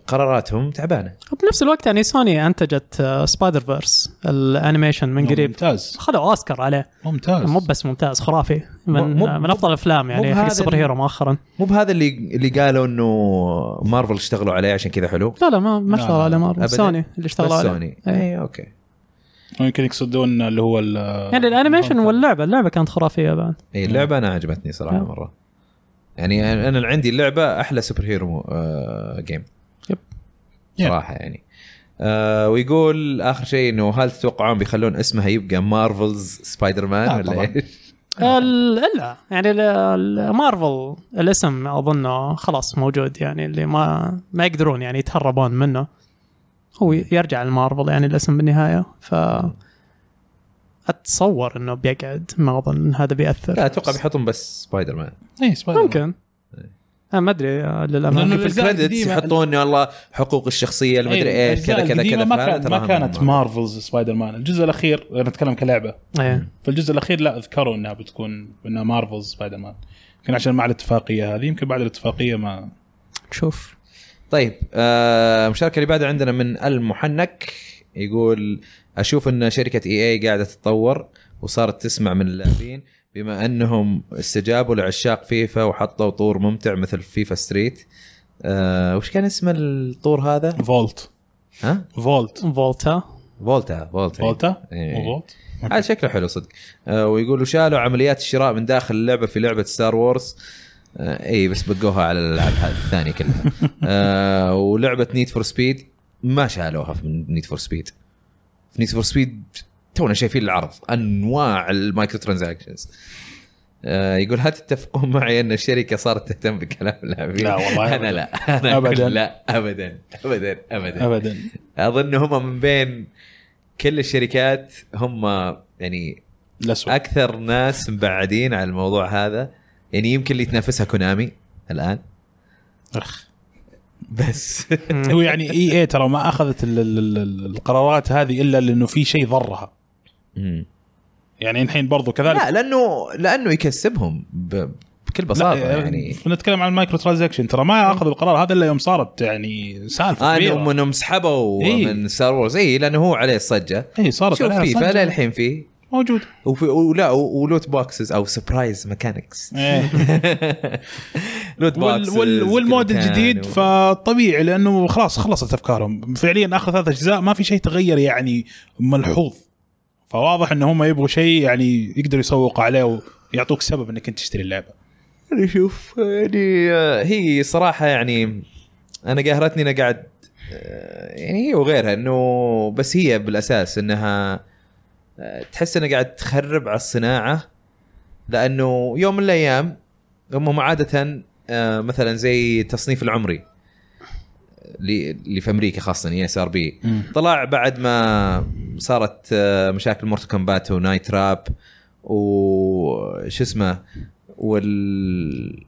S1: قراراتهم تعبانه
S3: وبنفس الوقت يعني سوني انتجت آه، سبايدر فيرس الانيميشن من قريب
S2: ممتاز
S3: خذوا اوسكار عليه
S2: ممتاز
S3: مو بس ممتاز خرافي من
S1: مو-
S3: من افضل الافلام يعني حق
S1: بهذا
S3: السوبر
S1: ال-
S3: هيرو مؤخرا
S1: مو بهذا اللي اللي قالوا انه مارفل اشتغلوا عليه عشان كذا حلو
S3: لا لا ما ما
S2: لا،
S3: اشتغلوا
S2: لا،
S3: على مارفل
S1: أبداً.
S3: سوني
S1: بس
S3: اللي اشتغلوا عليه
S1: سوني إيه، اي اوكي
S2: يمكن يقصدون اللي هو ال-
S3: يعني الانيميشن واللعبه اللعبه كانت خرافيه بعد
S1: اي
S2: نعم.
S1: اللعبه انا إيه، عجبتني صراحه
S3: نعم.
S1: مره يعني انا أنا عندي اللعبه احلى سوبر هيرو آه، جيم
S3: يب.
S2: يب.
S1: صراحه يعني آه ويقول اخر شيء انه هل تتوقعون بيخلون اسمها يبقى مارفلز سبايدر مان
S2: آه،
S1: ولا
S2: طبعاً.
S1: ايش؟
S3: آه، ال- الا يعني ال- ال- مارفل الاسم اظنه خلاص موجود يعني اللي ما ما يقدرون يعني يتهربون منه هو يرجع لمارفل يعني الاسم بالنهايه ف اتصور انه بيقعد ما اظن إن هذا بياثر
S1: لا اتوقع بيحطون بس سبايدر مان
S2: اي إيه، سبايدر مان.
S3: ممكن انا ما ادري آه، للامانه
S2: لأنه
S1: في
S2: الأجزاء
S1: الكريدتس
S2: القديمة-
S1: يحطون والله حقوق الشخصيه المدري
S2: أي،
S1: ايش إيه، كذا
S2: الأجزاء
S1: كذا
S2: القديمة
S1: كذا
S2: ما,
S1: فهذا
S2: كان
S1: تراهم
S2: ما كانت مارفلز سبايدر مان الجزء الاخير انا اتكلم كلعبه
S3: إيه.
S2: فالجزء الاخير لا اذكروا انها بتكون انها مارفلز سبايدر مان يمكن عشان مع الاتفاقيه هذه يمكن بعد الاتفاقيه ما
S3: نشوف
S1: طيب آه، المشاركه اللي بعدها عندنا من المحنك يقول اشوف ان شركه اي اي قاعده تتطور وصارت تسمع من اللاعبين بما انهم استجابوا لعشاق فيفا وحطوا طور ممتع مثل فيفا ستريت آه، وش كان اسم الطور هذا؟
S2: فولت
S1: ها؟
S2: فولت
S3: فولتا
S1: فولتا فولتا
S2: فولتا
S1: إيه.
S2: مو فولت
S1: هذا شكله حلو صدق آه، ويقولوا شالوا عمليات الشراء من داخل اللعبه في لعبه ستار وورز آه، اي بس بقوها على الالعاب الثانيه كلها آه، ولعبه نيد فور سبيد ما شالوها في نيد فور سبيد في نيد فور سبيد تونا شايفين العرض انواع المايكرو ترانزاكشنز آه، يقول هل تتفقون معي ان الشركه صارت تهتم بكلام اللاعبين؟
S2: لا والله
S1: انا لا انا
S2: أبداً.
S1: أبداً. لا ابدا ابدا ابدا
S2: ابدا
S1: اظن هم من بين كل الشركات هم يعني
S2: الاسود
S1: اكثر ناس مبعدين عن الموضوع هذا يعني يمكن اللي تنافسها كونامي الان
S2: اخ
S1: بس
S2: هو يعني اي اي ترى ما اخذت ال- ال- ال- القرارات هذه الا لانه في شيء ضرها
S1: مم.
S2: يعني الحين برضو كذلك
S1: لا لانه لانه يكسبهم ب- بكل بساطه
S2: لا،
S1: يعني
S2: آه، نتكلم عن المايكرو ترانزكشن ترى ما اخذوا القرار هذا الا يوم صارت يعني سالفه
S1: آه
S2: كبيره
S1: انهم انهم سحبوا
S2: إيه.
S1: من ستار وورز اي لانه هو عليه الصجه
S2: اي صارت
S1: شوف
S2: عليها
S1: فيفا
S2: صجة.
S1: للحين فيه
S2: موجود
S1: وفي ولا و- ولوت بوكسز او سبرايز ميكانكس
S2: إيه.
S1: لوت
S2: وال
S1: بوكسز
S2: وال والمود
S1: كل مكان
S2: الجديد
S1: و-
S2: فطبيعي لانه خلاص خلصت افكارهم فعليا اخر ثلاث اجزاء ما في شيء تغير يعني ملحوظ فواضح ان هم يبغوا شيء يعني يقدروا يسوقوا عليه ويعطوك سبب انك انت تشتري اللعبه
S1: انا شوف يعني آه، هي صراحه يعني انا قهرتني انا قاعد آه، يعني هي وغيرها انه بس هي بالاساس انها آه، تحس انها قاعد تخرب على الصناعه لانه يوم من الايام هم عاده آه، مثلا زي التصنيف العمري آه، اللي اللي في امريكا خاصه اي اس ار يعني بي طلع بعد ما صارت آه، مشاكل مورتو كومبات ونايت راب وش اسمه وال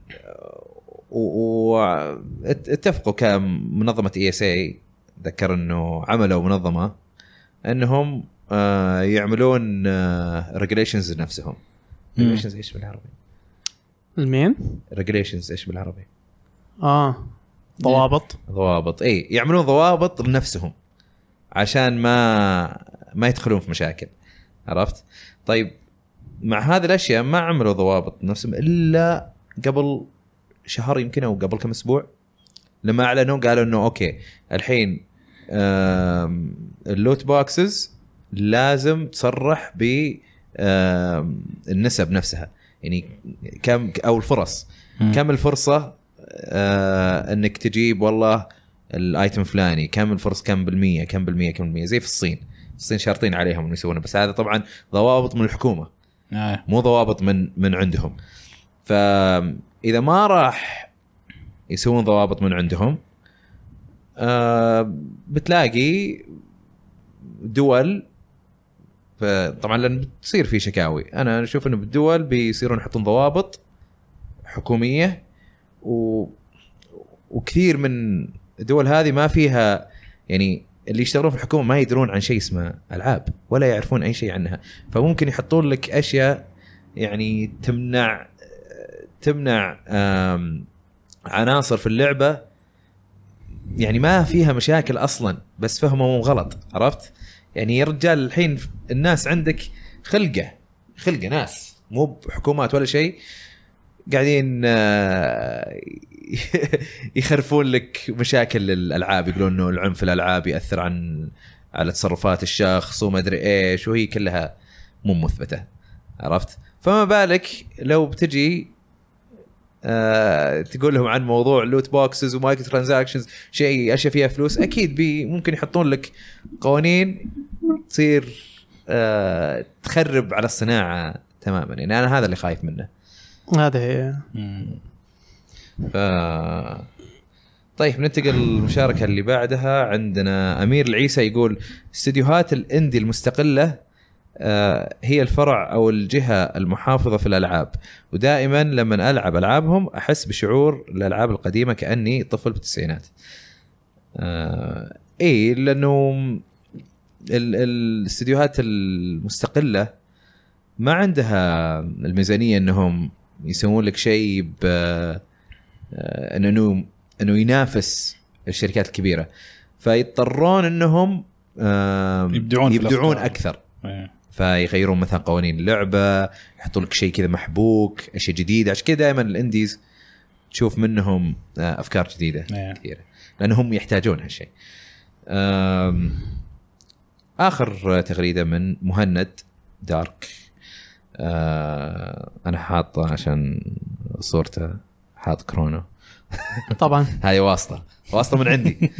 S1: واتفقوا كمنظمه اي اس اي ذكر انه عملوا منظمه انهم آه، يعملون ريجليشنز لنفسهم
S2: مم.
S1: ريجليشنز ايش بالعربي؟
S3: المين؟
S1: ريجليشنز ايش بالعربي؟
S3: اه ضوابط
S1: ضوابط اي يعملون ضوابط لنفسهم عشان ما ما يدخلون في مشاكل عرفت طيب مع هذه الاشياء ما عملوا ضوابط لنفسهم الا قبل شهر يمكن او قبل كم اسبوع لما اعلنوا قالوا انه اوكي الحين آم، اللوت بوكسز لازم تصرح ب آم، النسب نفسها يعني كم او الفرص
S2: مم.
S1: كم الفرصه آه انك تجيب والله الايتم فلاني كم الفرص كم بالميه كم بالميه كم بالميه زي في الصين الصين شارطين عليهم انه يسوونه بس هذا طبعا ضوابط من الحكومه
S2: آه.
S1: مو ضوابط من من عندهم فاذا ما راح يسوون ضوابط من عندهم آه، بتلاقي دول ف- طبعا لان بتصير في شكاوي انا اشوف انه بالدول بيصيرون يحطون ضوابط حكوميه و... وكثير من الدول هذه ما فيها يعني اللي يشتغلون في الحكومه ما يدرون عن شيء اسمه العاب ولا يعرفون اي شيء عنها فممكن يحطون لك اشياء يعني تمنع تمنع آم، عناصر في اللعبه يعني ما فيها مشاكل اصلا بس فهمهم غلط عرفت؟ يعني يا رجال الحين الناس عندك خلقه خلقه ناس مو بحكومات ولا شيء قاعدين آه، يخرفون لك مشاكل الالعاب يقولون انه العنف في الالعاب ياثر عن على تصرفات الشخص وما ادري ايش وهي كلها مو مثبته عرفت فما بالك لو بتجي آه تقول لهم عن موضوع لوت بوكسز ومايكرو ترانزاكشنز شيء اشياء فيها فلوس اكيد بي ممكن يحطون لك قوانين تصير آه تخرب على الصناعه تماما يعني انا هذا اللي خايف منه
S3: هذه هي
S2: مم.
S1: ف طيب ننتقل للمشاركه اللي بعدها عندنا امير العيسى يقول استديوهات الاندي المستقله آه، هي الفرع او الجهه المحافظه في الالعاب ودائما لما العب العابهم احس بشعور الالعاب القديمه كاني طفل بالتسعينات. آه، اي لانه ال- ال- الاستديوهات المستقله ما عندها الميزانيه انهم يسوون لك شيء ب آه، إنه- انه انه ينافس الشركات الكبيره فيضطرون انهم آم،
S2: يبدعون في
S1: يبدعون
S2: الأفكار.
S1: اكثر
S2: إيه.
S1: فيغيرون مثلا قوانين اللعبه يحطوا لك شيء كذا محبوك اشياء جديده عشان كذا دائما الانديز تشوف منهم آه، افكار جديده
S2: إيه.
S1: كثيره لانهم يحتاجون هالشيء آم، اخر تغريده من مهند دارك آه، انا حاطه عشان صورته حاط كرونو
S3: طبعا
S1: هاي واسطه واسطه من عندي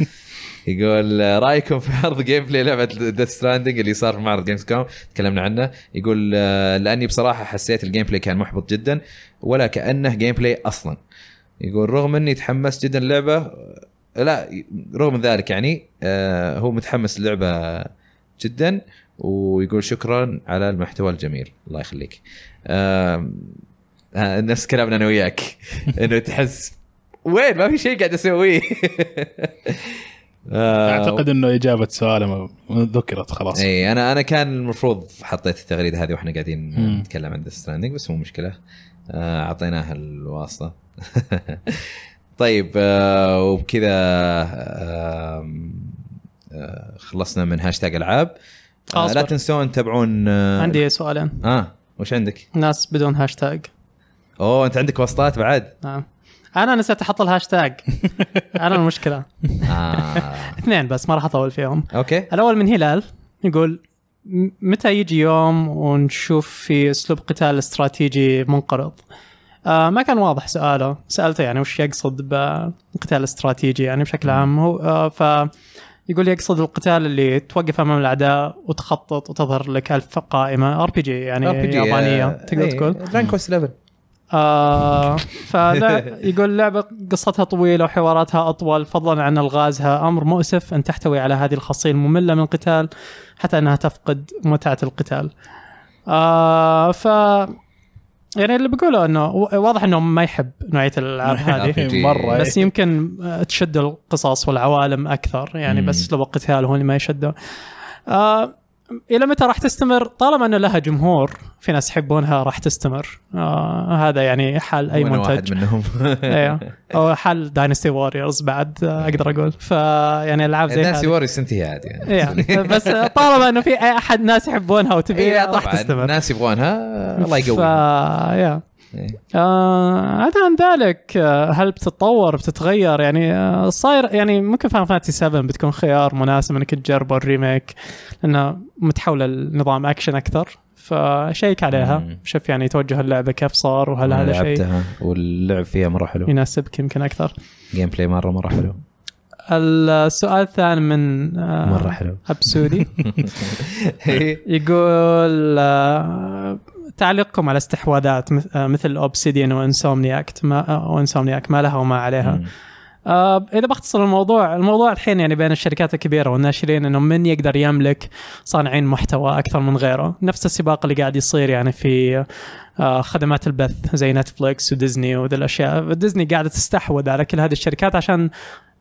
S1: يقول آه، رايكم في عرض جيم بلاي لعبه ديث ستراندنج اللي صار في معرض جيمز كوم تكلمنا عنه يقول آه، لاني بصراحه حسيت الجيم بلاي كان محبط جدا ولا كانه جيم بلاي اصلا يقول رغم اني تحمست جدا اللعبه آه، لا رغم ذلك يعني آه، هو متحمس اللعبه جدا ويقول شكرا على المحتوى الجميل الله يخليك آم، آه، نفس كلامنا انا وياك انه تحس وين ما في شيء قاعد اسويه آه،
S2: اعتقد انه اجابه سؤاله ما- ما ذكرت خلاص
S1: اي انا انا إيه، كان المفروض حطيت التغريده هذه واحنا قاعدين
S2: مم.
S1: نتكلم عن ستراندنج بس مو مشكله آه، اعطيناها الواسطه طيب آه، وبكذا آم، آه، خلصنا من هاشتاج العاب آه، لا
S3: أصبر.
S1: تنسون تتابعون آه،
S3: عندي سؤالين
S1: اه وش عندك؟
S3: ناس بدون هاشتاج
S1: اوه انت عندك واسطات بعد؟
S3: نعم انا نسيت احط الهاشتاج انا المشكله
S1: اه
S3: اثنين بس ما راح اطول فيهم
S1: اوكي
S3: الاول من هلال يقول م- متى يجي يوم ونشوف في اسلوب قتال استراتيجي منقرض آه ما كان واضح سؤاله سالته يعني وش يقصد بالقتال الاستراتيجي يعني بشكل عام هو آه ف يقول يقصد القتال اللي توقف امام الاعداء وتخطط وتظهر لك الف قائمه ار بي جي يعني
S1: RPG، آه،
S3: يابانيه تقدر
S1: إيه،
S3: تقول
S1: رانك كويست 11
S3: آه فلا يقول لعبة قصتها طويلة وحواراتها أطول فضلا عن ألغازها أمر مؤسف أن تحتوي على هذه الخاصية المملة من القتال حتى أنها تفقد متعة القتال آه ف يعني اللي بقوله أنه و- واضح أنه ما يحب نوعية الألعاب هذه
S1: RPG.
S2: مره
S3: بس
S2: إيه.
S3: يمكن آه، تشد القصص والعوالم اكثر يعني
S1: مم.
S3: بس اسلوب القتال هو اللي ما يشده آه الى متى راح تستمر طالما انه لها جمهور في ناس يحبونها راح تستمر آه هذا يعني حال اي
S1: وأنا
S3: منتج
S1: واحد منهم
S3: ايوه او حال داينستي ووريرز بعد آه، اقدر اقول فيعني يعني العاب زي
S1: إيه. الناس
S3: هذه
S1: يوري سنتي عادي يعني
S3: إيه، بس طالما انه في اي احد ناس يحبونها وتبيها
S1: اي
S3: راح
S1: طبعا
S3: تستمر
S1: الناس يبغونها إيه، الله يقوي
S3: ف... يا.
S1: إيه.
S3: آه عدا عن ذلك آه هل بتتطور بتتغير يعني آه صاير يعني ممكن فان فانتسي 7 بتكون خيار مناسب انك تجربه الريميك لانها متحوله لنظام اكشن اكثر فشيك عليها
S1: مم.
S3: شوف يعني توجه اللعبه كيف صار وهل
S1: أنا
S3: هذا شيء
S1: لعبتها واللعب فيها مره حلو
S3: يناسبك يمكن اكثر
S1: جيم بلاي مره مره حلو
S3: السؤال الثاني من آه
S1: مره حلو إيه.
S3: ابسودي يقول آه، تعليقكم على استحواذات مث- آه، مثل اوبسيديان وانسومنياك ما وانسومنياك ما لها وما عليها
S1: مم.
S3: آه، اذا بختصر الموضوع الموضوع الحين يعني بين الشركات الكبيره والناشرين انه من يقدر يملك صانعين محتوى اكثر من غيره نفس السباق اللي قاعد يصير يعني في آه، خدمات البث زي نتفليكس وديزني وذي الاشياء ديزني قاعده تستحوذ على كل هذه الشركات عشان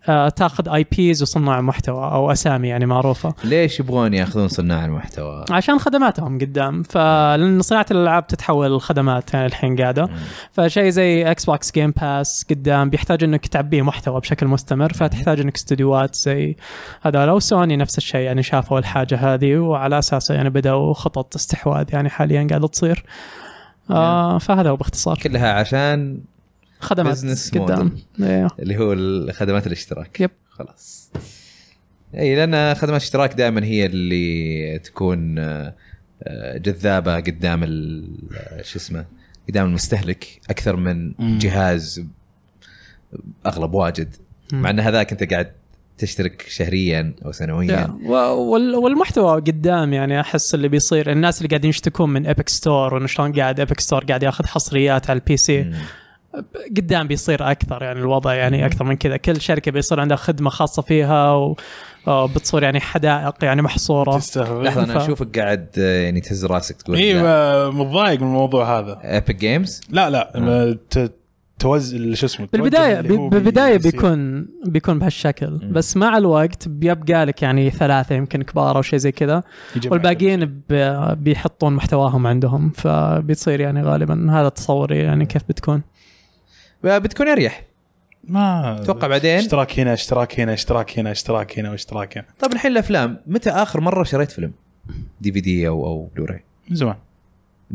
S3: آه، تاخذ اي بيز وصناع محتوى او اسامي يعني معروفه
S1: ليش يبغون ياخذون صناع المحتوى؟
S3: عشان خدماتهم قدام فلان صناعه الالعاب تتحول لخدمات يعني الحين قاعده
S1: مم.
S3: فشيء زي اكس بوكس جيم باس قدام بيحتاج انك تعبيه محتوى بشكل مستمر فتحتاج انك استديوهات زي هذا لو سوني نفس الشيء يعني شافوا الحاجه هذه وعلى اساسها يعني بداوا خطط استحواذ يعني حاليا قاعده تصير آه
S1: نعم.
S3: فهذا هو باختصار
S1: كلها عشان
S3: خدمات
S1: business
S3: قدام ايوه
S1: اللي هو ال- خدمات الاشتراك
S3: يب.
S1: خلاص اي لان خدمات الاشتراك دائما هي اللي تكون آه، آه، جذابه قدام ال- آه، شو اسمه قدام المستهلك اكثر من
S2: مم.
S1: جهاز اغلب واجد
S3: مم.
S1: مع ان هذاك انت قاعد تشترك شهريا او سنويا
S3: Yeah. و- وال- والمحتوى قدام يعني احس اللي بيصير الناس اللي قاعدين يشتكون من ايبك ستور وانه شلون قاعد ايبك ستور قاعد ياخذ حصريات على البي سي
S1: مم.
S3: قدام بيصير اكثر يعني الوضع يعني اكثر من كذا كل شركه بيصير عندها خدمه خاصه فيها و- وبتصير يعني حدائق يعني محصوره
S2: تستهبل
S1: لحظه انا
S3: ف-
S1: اشوفك قاعد آه، يعني تهز راسك تقول
S3: إيه،
S1: لا.
S2: ايوه متضايق من الموضوع هذا
S1: ايبك جيمز
S2: لا لا
S1: مم.
S2: ما ت- توزع شو اسمه التوجه
S3: بالبدايه
S2: اللي هو
S3: ب- بالبدايه
S2: بيصير.
S3: بيكون بيكون بهالشكل
S1: مم.
S3: بس مع الوقت بيبقى لك يعني ثلاثه يمكن كبار او شيء زي كذا
S2: يجمع
S3: والباقيين ب- بيحطون محتواهم عندهم فبتصير يعني غالبا هذا تصوري يعني كيف بتكون
S1: آه، بتكون اريح
S2: ما
S1: اتوقع بعدين
S2: اشتراك هنا اشتراك هنا اشتراك هنا اشتراك هنا واشتراك هنا
S1: طب طيب، الحين الافلام متى اخر مره شريت فيلم دي في دي او او بلوراي
S2: من زمان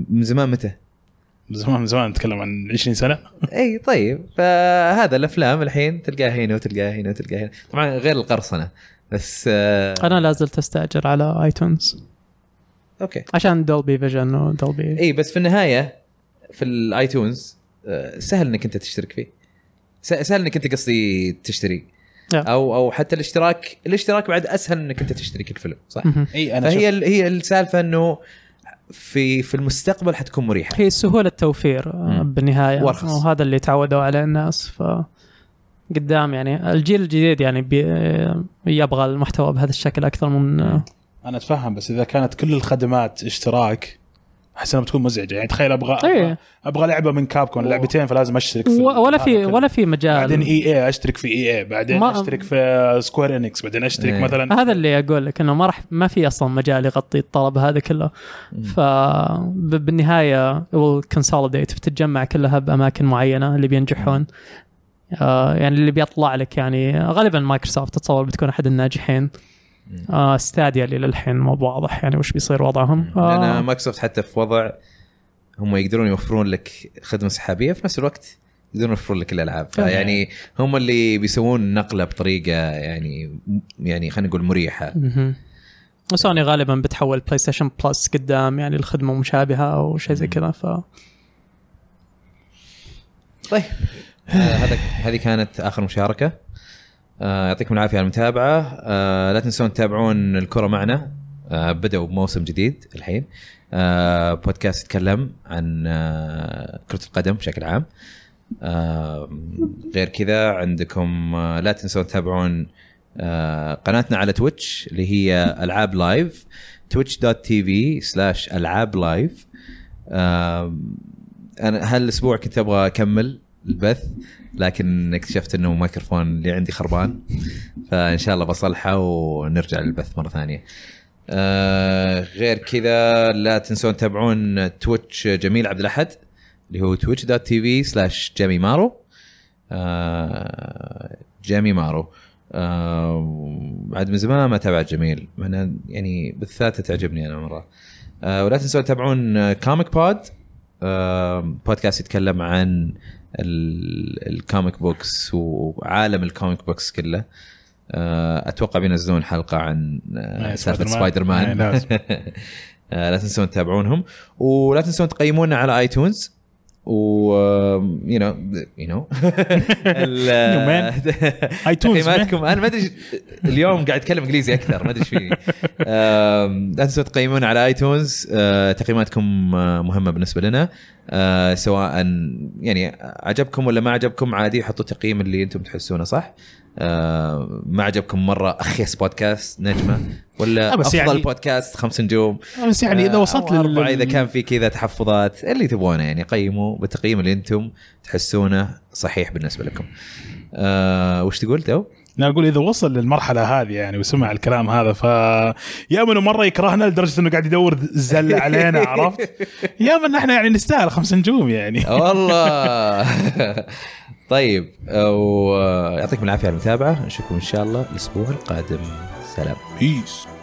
S1: من زمان متى
S2: من زمان من زمان نتكلم عن 20 سنه
S1: اي طيب فهذا الافلام الحين تلقاها هنا وتلقاها هنا وتلقاها هنا طبعا غير القرصنه بس آه
S3: انا لا زلت استاجر على ايتونز
S1: اوكي
S3: عشان دولبي فيجن ودولبي
S2: إيه.
S1: اي إيه، بس في النهايه في الايتونز آه سهل انك انت تشترك فيه س- سهل انك انت قصدي تشتري
S3: نعم.
S1: او او حتى الاشتراك الاشتراك بعد اسهل انك انت تشتري كل فيلم صح
S3: مهم.
S2: اي انا
S1: فهي ال- هي السالفه انه في في المستقبل حتكون مريحه
S3: هي سهولة توفير آه،
S1: مم.
S3: بالنهاية
S1: وأرخص.
S3: وهذا اللي تعودوا عليه الناس ف قدام يعني الجيل الجديد يعني بي يبغى المحتوى بهذا الشكل اكثر من آه،
S2: انا اتفهم بس اذا كانت كل الخدمات اشتراك احس انها بتكون مزعجه يعني تخيل ابغى
S3: إيه.
S2: ابغى, أبغى لعبه من كابكون
S3: و-
S2: لعبتين فلازم اشترك في
S3: و- ولا
S2: هذا
S3: في
S2: كله.
S3: ولا في
S2: بعدين إيه؟ اي
S3: مجال
S2: اي اشترك في اي اي بعدين
S3: ما-
S2: اشترك في سكوير انكس بعدين اشترك
S1: إيه.
S2: مثلا
S3: هذا اللي اقول لك انه ما راح ما في اصلا مجال يغطي الطلب هذا كله ف ب- بالنهايه كونسوليديت بتتجمع كلها باماكن معينه اللي بينجحون آه يعني اللي بيطلع لك يعني غالبا مايكروسوفت اتصور بتكون احد الناجحين
S1: مم.
S3: آه ستاديا اللي للحين مو واضح يعني وش بيصير وضعهم
S1: لان
S3: آه
S1: مايكروسوفت حتى في وضع هم يقدرون يوفرون لك خدمه سحابيه في نفس الوقت يقدرون يوفرون لك الالعاب
S2: تمام.
S1: فيعني هم اللي بيسوون نقله بطريقه يعني يعني خلينا نقول مريحه
S3: مهم. وسوني غالبا بتحول بلاي ستيشن بلس قدام يعني الخدمه مشابهه او شيء زي كذا ف
S1: طيب آه، هذا هذه كانت اخر مشاركه آه، يعطيكم العافيه على المتابعه آه، لا تنسون تتابعون الكره معنا آه، بدأوا بموسم جديد الحين آه، بودكاست يتكلم عن آه، كرة القدم بشكل عام آه، غير كذا عندكم آه، لا تنسون تتابعون آه، قناتنا على تويتش اللي هي العاب لايف twitch.tv slash العاب لايف انا هالاسبوع كنت ابغى اكمل البث لكن اكتشفت انه الميكروفون اللي عندي خربان فان شاء الله بصلحه ونرجع للبث مره ثانيه آه غير كذا لا تنسون تتابعون تويتش جميل عبد الاحد اللي هو تويتش دوت تي في سلاش جيمي مارو آه جيمي مارو آه بعد من زمان ما تابعت جميل أنا يعني بالذات تعجبني انا مره آه ولا تنسون تتابعون كوميك بود آم، بودكاست يتكلم عن ال- الكوميك بوكس وعالم الكوميك بوكس كله آه، اتوقع بينزلون حلقه عن آه،
S2: إيه،
S1: سالفه
S2: سبايدر
S1: سبايدر
S2: مان.
S1: مان
S2: إيه، لازم.
S1: آه، لا تنسون تتابعونهم ولا تنسون تقيمونا على ايتونز و يو نو يو نو
S2: You iTunes، man.
S1: آه، تقييماتكم انا ما ادري اليوم قاعد اتكلم انجليزي اكثر ما ادري ايش آم، لا تنسوا تقيمونا على ايتونز آه، تقييماتكم آه، مهمه بالنسبه لنا آه، سواء يعني عجبكم ولا ما عجبكم عادي حطوا التقييم اللي انتم تحسونه صح آه، ما عجبكم مره اخيس بودكاست نجمه
S2: لا
S1: ولا
S2: بس
S1: افضل
S2: يعني-
S1: يعني بودكاست خمس نجوم
S3: أه،
S2: بس يعني اذا
S1: آه،
S2: وصلت
S1: أو
S2: لل
S1: أربعة اذا كان في كذا تحفظات اللي تبغونه يعني قيموا بالتقييم اللي انتم تحسونه صحيح بالنسبه لكم آه، وش تقول تو؟
S2: انا اقول اذا وصل للمرحله هذه يعني وسمع الكلام هذا ف يا اما إنه مره يكرهنا لدرجه انه قاعد يدور زله علينا عرفت يا اما إن احنا يعني نستاهل خمس نجوم يعني
S1: والله طيب آه، ويعطيكم العافيه على المتابعه نشوفكم ان شاء الله الاسبوع القادم سلام
S2: بيس